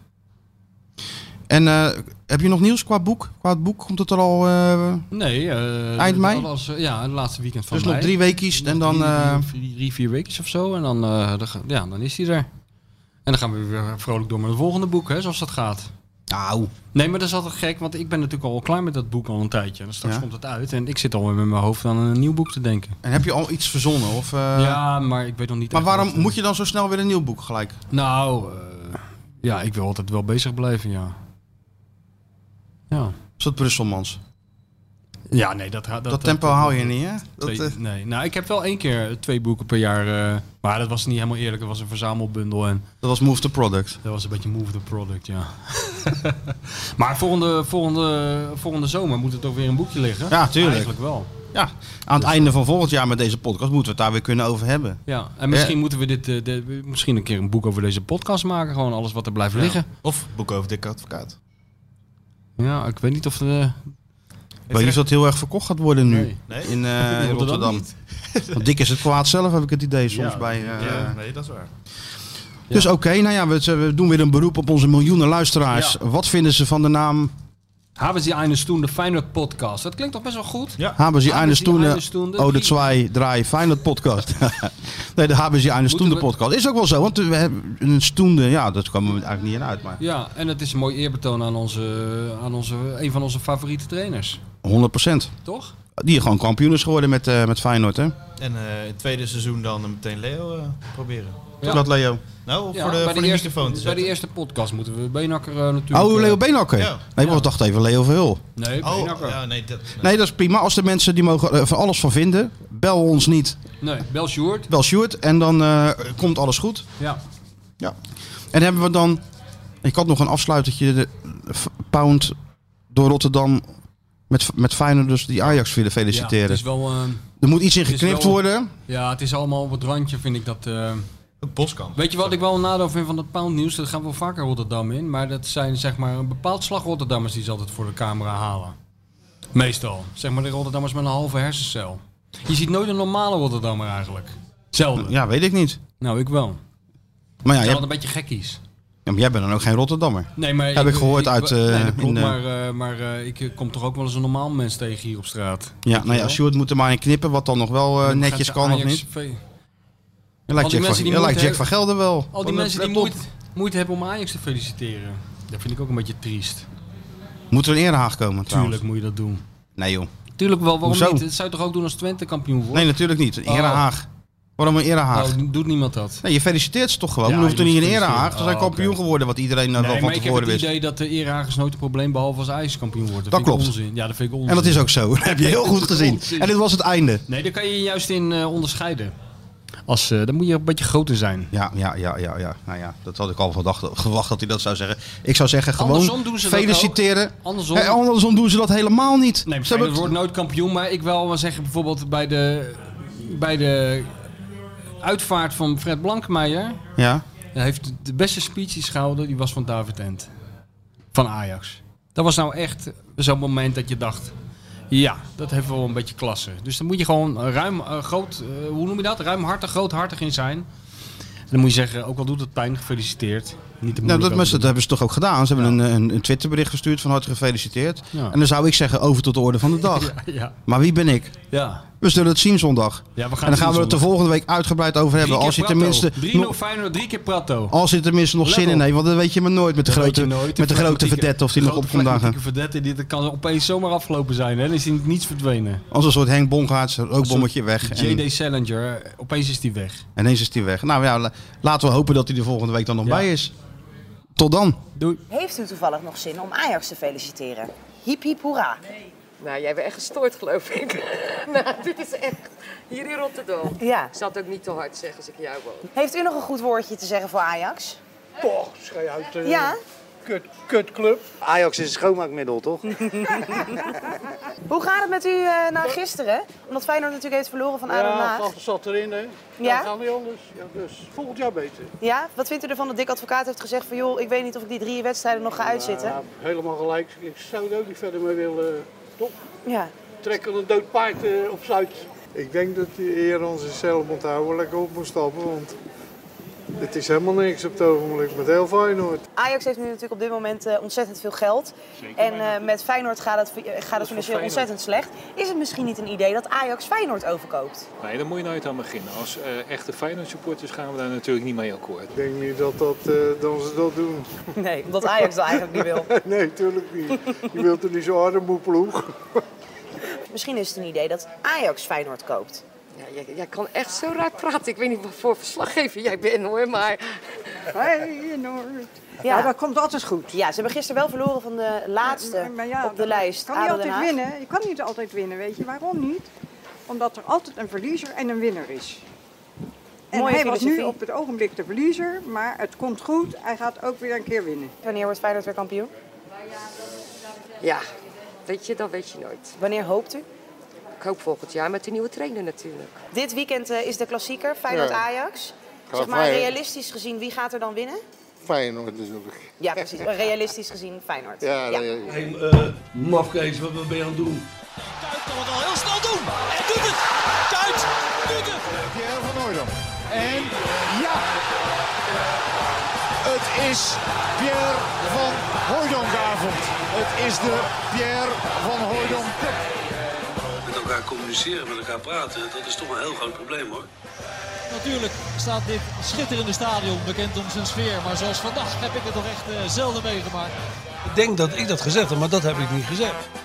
S4: En eh, heb je nog nieuws qua boek? Qua het boek komt het er al... eh,
S5: Nee. eh,
S4: Eind mei?
S5: alles, eh, ja, het laatste weekend van
S4: dus
S5: mei.
S4: nog drie weekjes en dan...
S5: Drie,
S4: eh,
S5: drie, drie, vier weken of zo. En dan, eh, dan ga- ja, dan is hij er. En dan gaan we weer vrolijk door met het volgende boek, hè, zoals dat gaat.
S4: Nou,
S5: Nee, maar dat is altijd gek, want ik ben natuurlijk al klaar met dat boek al een tijdje. En straks
S4: Ja.
S5: komt het uit en ik zit alweer met mijn hoofd aan een nieuw boek te denken.
S4: en heb je al iets verzonnen? Of, eh,
S5: ja, maar ik weet nog niet
S4: Maar
S5: echt
S4: waarom
S5: wat, eh,
S4: moet je dan zo snel weer een nieuw boek gelijk?
S5: Nou, eh, ja, ik wil altijd wel bezig blijven, ja. Ja,
S4: Is dat Brusselmans?
S5: ja nee, dat... Dat,
S4: Dat, tempo haal je niet, hè? Dat,
S5: Twee-
S4: eh,
S5: nee, nou, ik heb wel één keer twee boeken per jaar... eh, maar dat was niet helemaal eerlijk, dat was een verzamelbundel en
S4: dat was Move the Product.
S5: dat was een beetje move the product, ja. maar volgende, volgende, volgende zomer moet het ook weer een boekje liggen.
S4: Ja, tuurlijk.
S5: Eigenlijk wel.
S4: Ja, aan het einde van volgend jaar met deze podcast moeten we het daar weer kunnen over hebben.
S5: Ja, en misschien moeten we dit, eh, de- misschien een keer een boek over deze podcast maken. Gewoon alles wat er blijft liggen.
S6: Of boeken over Dikke Advocaat.
S5: Ja, ik weet niet of de...
S4: Ik weet niet of dat heel erg verkocht gaat worden nu
S5: Nee.
S6: Nee.
S4: in eh, Rotterdam. Want dik is het kwaad zelf, heb ik het idee soms bij. eh,
S6: Ja, nee, dat is waar.
S4: Dus oké, nou ja, we, we doen weer een beroep op onze miljoenen luisteraars.
S5: Ja.
S4: Wat vinden ze van de naam
S5: Hebben ze eines toen de Feyenoord podcast? Dat klinkt toch best wel goed?
S6: Ja.
S4: Habers die
S5: Haben
S4: eines
S5: Sie
S4: Toende?
S5: eines Toende?
S4: Oh, de
S5: Die-
S4: Zwei, Draai, Feyenoord podcast. nee, de Habers die eines
S5: Moeten
S4: Toende
S5: we-
S4: podcast. Is ook wel zo, want we hebben een Stoende, ja, dat kwam er eigenlijk niet in uit. Maar
S5: Ja, en het is een mooi eerbetoon aan, onze, aan onze, een van onze favoriete trainers.
S4: 100%.
S5: Toch?
S4: Die gewoon kampioen is geworden met, eh, met Feyenoord, hè?
S6: En eh, het tweede seizoen dan meteen Leo eh, proberen.
S5: Ja.
S4: Dat Leo.
S6: Nou, of
S5: Ja,
S6: voor de,
S5: bij
S6: voor de
S5: eerste,
S6: microfoon te
S5: Bij de
S6: zetten.
S5: eerste podcast moeten we Benakker eh, natuurlijk...
S4: Oh,
S5: eh,
S4: Leo Beenhakker.
S6: Ja.
S4: Nee, ik
S5: Ja.
S4: dacht even Leo Verhul.
S5: Nee,
S6: Oh,
S5: Benakker.
S6: ja, nee, dat,
S4: Nee, dat is prima. Als de mensen die mogen eh, van alles van vinden, bel ons niet.
S5: Nee, Bel Sjoerd.
S4: Bel Sjoerd en dan eh, komt alles goed.
S5: Ja.
S4: Ja. En hebben we dan. Ik had nog een afsluitertje. De F- Pound door Rotterdam. Met, met Feyenoord dus die Ajax willen
S5: Ja, het
S4: feliciteren.
S5: is wel... eh,
S4: er moet iets in
S5: is
S4: geknipt
S5: wel-
S4: worden.
S5: ja, het is allemaal op het randje, vind ik dat... eh,
S6: het boskamp.
S5: Weet je wat ik wel een nadeel vind van dat poundnieuws? Dat gaan wel vaker Rotterdam in. Maar dat zijn zeg maar een bepaald slag Rotterdammers die ze altijd voor de camera halen. Meestal. Zeg maar de Rotterdammers met een halve hersencel. Je ziet nooit een normale Rotterdammer eigenlijk. Ze Zelden.
S4: Ja, weet ik niet.
S5: Nou, ik wel.
S4: Maar ja,
S5: je
S4: jij,
S5: had een beetje gekkies.
S4: ja, maar jij bent dan ook geen Rotterdammer.
S5: Nee, maar
S4: Heb ik gehoord uit...
S5: nee,
S4: eh,
S5: dat
S4: in,
S5: klopt,
S4: eh,
S5: maar, eh, maar eh, ik eh, kom toch ook wel eens een normaal mens tegen hier op straat.
S4: ja, nou ja, Sjoerd moet er maar in knippen, wat dan nog wel eh,
S5: Dan gaat
S4: netjes
S5: de
S4: kan of
S5: Ajax
S4: niet.
S5: V-
S4: Je lijkt
S5: die
S4: Jack,
S5: mensen
S4: van,
S5: die
S4: je lijkt
S5: moeite
S4: Jack van Gelder wel.
S5: Al die
S4: Wat-
S5: mensen die
S4: let op.
S5: moeite, moeite hebben om Ajax te feliciteren. Dat vind ik ook een beetje triest.
S4: Moet er een erehaag komen trouwens?
S5: Tuurlijk moet je dat doen.
S4: Nee joh.
S5: Tuurlijk wel, waarom
S4: Hoezo?
S5: niet? Dat zou je toch ook doen als Twente kampioen wordt?
S4: Nee, natuurlijk niet. Een
S5: Oh.
S4: erehaag. Waarom een erehaag?
S5: Nou, doet niemand dat.
S4: Nee, je feliciteert ze toch gewoon?
S5: Ja,
S4: Dan hoeft
S5: je
S4: er niet een
S5: moet feliciteren.
S4: erehaag. Ze zijn
S5: Oh,
S4: kampioen
S5: oké.
S4: geworden, wat iedereen dan wel
S5: Nee,
S4: van
S5: maar ik heb
S4: tevoren
S5: het
S4: wist.
S5: idee dat de eerhagers nooit een probleem behalve als Ajax kampioen wordt. Dat,
S4: Dat
S5: vind ik
S4: klopt.
S5: Onzin. Ja, dat vind ik onzin.
S4: En dat is ook zo. Dat heb je heel goed gezien.
S5: Onzin.
S4: En dit was het einde.
S5: Nee, daar kan je je juist in eh, onderscheiden. Als, eh, daar moet je een beetje groter zijn.
S4: Ja, ja, ja, ja, ja. Nou ja, dat had ik al verdacht, gewacht dat hij dat zou zeggen. Ik zou zeggen, gewoon
S5: Andersom doen ze dat
S4: feliciteren.
S5: ook. Andersom.
S4: Hé, andersom doen ze dat helemaal niet.
S5: Nee,
S4: Ze
S5: Feyenoord
S4: hebben-
S5: wordt nooit kampioen, maar ik wil wel zeggen bijvoorbeeld bij de, bij de uitvaart van Fred Blankmeijer.
S4: Ja,
S5: Hij heeft de beste speeches gehouden, die was van David Ent. Van Ajax. Dat was nou echt zo'n moment dat je dacht, ja, dat heeft wel een beetje klasse. Dus dan moet je gewoon ruim, eh, groot, eh, hoe noem je dat? Ruimhartig, groothartig in zijn. En dan moet je zeggen, ook al doet het pijn, gefeliciteerd. Niet te
S4: nou, dat,
S5: moeilijk over
S4: mensen, dat hebben ze toch ook gedaan. Ze hebben een, een, een Twitterbericht gestuurd van harte gefeliciteerd.
S5: Ja.
S4: En dan zou ik zeggen, over tot de orde van de dag.
S5: doen. Ja,
S4: Maar wie ben ik?
S5: ja.
S4: We zullen het zien zondag.
S5: ja we
S4: en
S5: gaan
S4: dan gaan we
S5: zien
S4: het de
S5: zondag.
S4: volgende week uitgebreid over hebben.
S5: Drie
S4: Als je,
S5: keer Prato.
S4: tenminste,
S5: 3-0
S4: nog,
S5: Feyenoord, drie keer Prato.
S4: als je tenminste nog
S5: Let
S4: zin in
S5: op.
S4: heeft. Want dat weet je maar nooit met de
S5: Dat weet je
S4: grote, met
S5: nooit.
S4: de grote
S5: flegmatieke-
S4: vedette of die nog
S5: grote
S4: op komt dagen.
S5: flegmatieke vedette, die- dat kan opeens zomaar afgelopen zijn. Hè? Dan is hij niets verdwenen.
S4: Als een soort Henk Bongaerts, ook bommetje weg. En,
S5: J.D. Salinger, eh, opeens is die weg.
S4: en ineens is hij weg. Nou ja, la- laten we hopen dat hij de volgende week dan nog
S5: Ja.
S4: bij is. Tot dan.
S5: Doei.
S12: Heeft u toevallig nog zin om Ajax te feliciteren? Hiep hiep hoera.
S13: Nou, jij bent echt gestoord, geloof ik. nou, dit is echt... Hier in Rotterdam.
S12: Ja.
S13: Ik zal het ook niet te hard zeggen als ik jou woon.
S12: Heeft u nog een goed woordje te zeggen voor Ajax?
S14: Poch, schei uit. eh,
S12: Ja?
S14: Kut, kutclub. Ajax is een schoonmaakmiddel, toch?
S12: Hoe gaat het met u eh, na gisteren? Omdat Feyenoord natuurlijk heeft verloren van Ado Den
S14: ja,
S12: Haag.
S14: dat zat erin, hè.
S12: Ja?
S14: Dat kan niet anders. Ja, dus volgend jaar beter.
S12: Ja? Wat vindt u ervan dat Dick Advocaat heeft gezegd van... joh, ik weet niet of ik die drie wedstrijden nog ga
S14: Ja,
S12: uitzitten?
S14: Nou, helemaal gelijk. Ik zou er ook niet verder mee willen. eh, Toch?
S12: Ja.
S14: Trekken een dood paard eh, op Zuid. Ik denk dat die eer onze zelf onthouden lekker op moet stappen, want... Het is helemaal niks op het ogenblik met heel Feyenoord.
S12: Ajax heeft nu natuurlijk op dit moment eh, ontzettend veel geld. en eh, met Feyenoord gaat het, eh, gaat het financieel
S15: Feyenoord.
S12: ontzettend slecht. Is het misschien niet een idee dat Ajax Feyenoord overkoopt?
S15: Nee, daar moet je nooit aan beginnen. Als eh, echte Feyenoord supporters gaan we daar natuurlijk niet mee akkoord.
S14: Ik denk niet dat, dat, eh, dat ze dat doen.
S12: Nee, omdat Ajax dat eigenlijk niet wil.
S14: nee, tuurlijk niet. Je wilt er niet zo hard op moe ploeg.
S12: Misschien is het een idee dat Ajax Feyenoord koopt.
S13: Ja, jij, jij kan echt zo raak praten. Ik weet niet wat voor verslaggever jij bent, hoor. Maar...
S16: Feyenoord. Ja. dat komt altijd goed.
S12: Ja, ze hebben gisteren wel verloren van de laatste
S16: Maar ja,
S12: op de
S16: dat
S12: lijst.
S16: Kan
S12: ADO
S16: niet
S12: Den
S16: altijd
S12: Haag.
S16: winnen. Je kan niet altijd winnen, weet je. Waarom niet? Omdat er altijd een verliezer en een winnaar is. En
S12: Mooie
S16: hij was nu
S12: filosofie.
S16: op het ogenblik de verliezer, maar het komt goed. Hij gaat ook weer een keer winnen.
S12: Wanneer wordt Feyenoord weer kampioen?
S13: Ja, weet je, dat weet je nooit.
S12: Wanneer hoopt u?
S13: Ik hoop volgend jaar met de nieuwe trainer natuurlijk.
S12: Dit weekend eh, is de klassieker, Feyenoord-Ajax.
S17: Ga
S12: Zeg maar
S17: Feyenoord.
S12: realistisch gezien, wie gaat er dan winnen?
S17: Feyenoord natuurlijk.
S12: Ja, precies. Maar Realistisch gezien Feyenoord.
S17: Ja, ja. ja.
S1: Hé, eh, mafkees, wat, wat ben je aan het doen?
S2: Heel snel doen. En doet het. Kuit doet het.
S3: Pierre van Hooydonk. En ja! Het is Pierre van Hooydonkavond. Het is de Pierre van Hooydonk Cup.
S1: Met elkaar communiceren, met elkaar praten, dat is toch een heel groot probleem hoor.
S2: Natuurlijk staat dit schitterende stadion bekend om zijn sfeer. Maar zoals vandaag heb ik het toch echt eh, zelden meegemaakt.
S18: Ik denk dat ik dat gezegd heb, maar dat heb ik niet gezegd.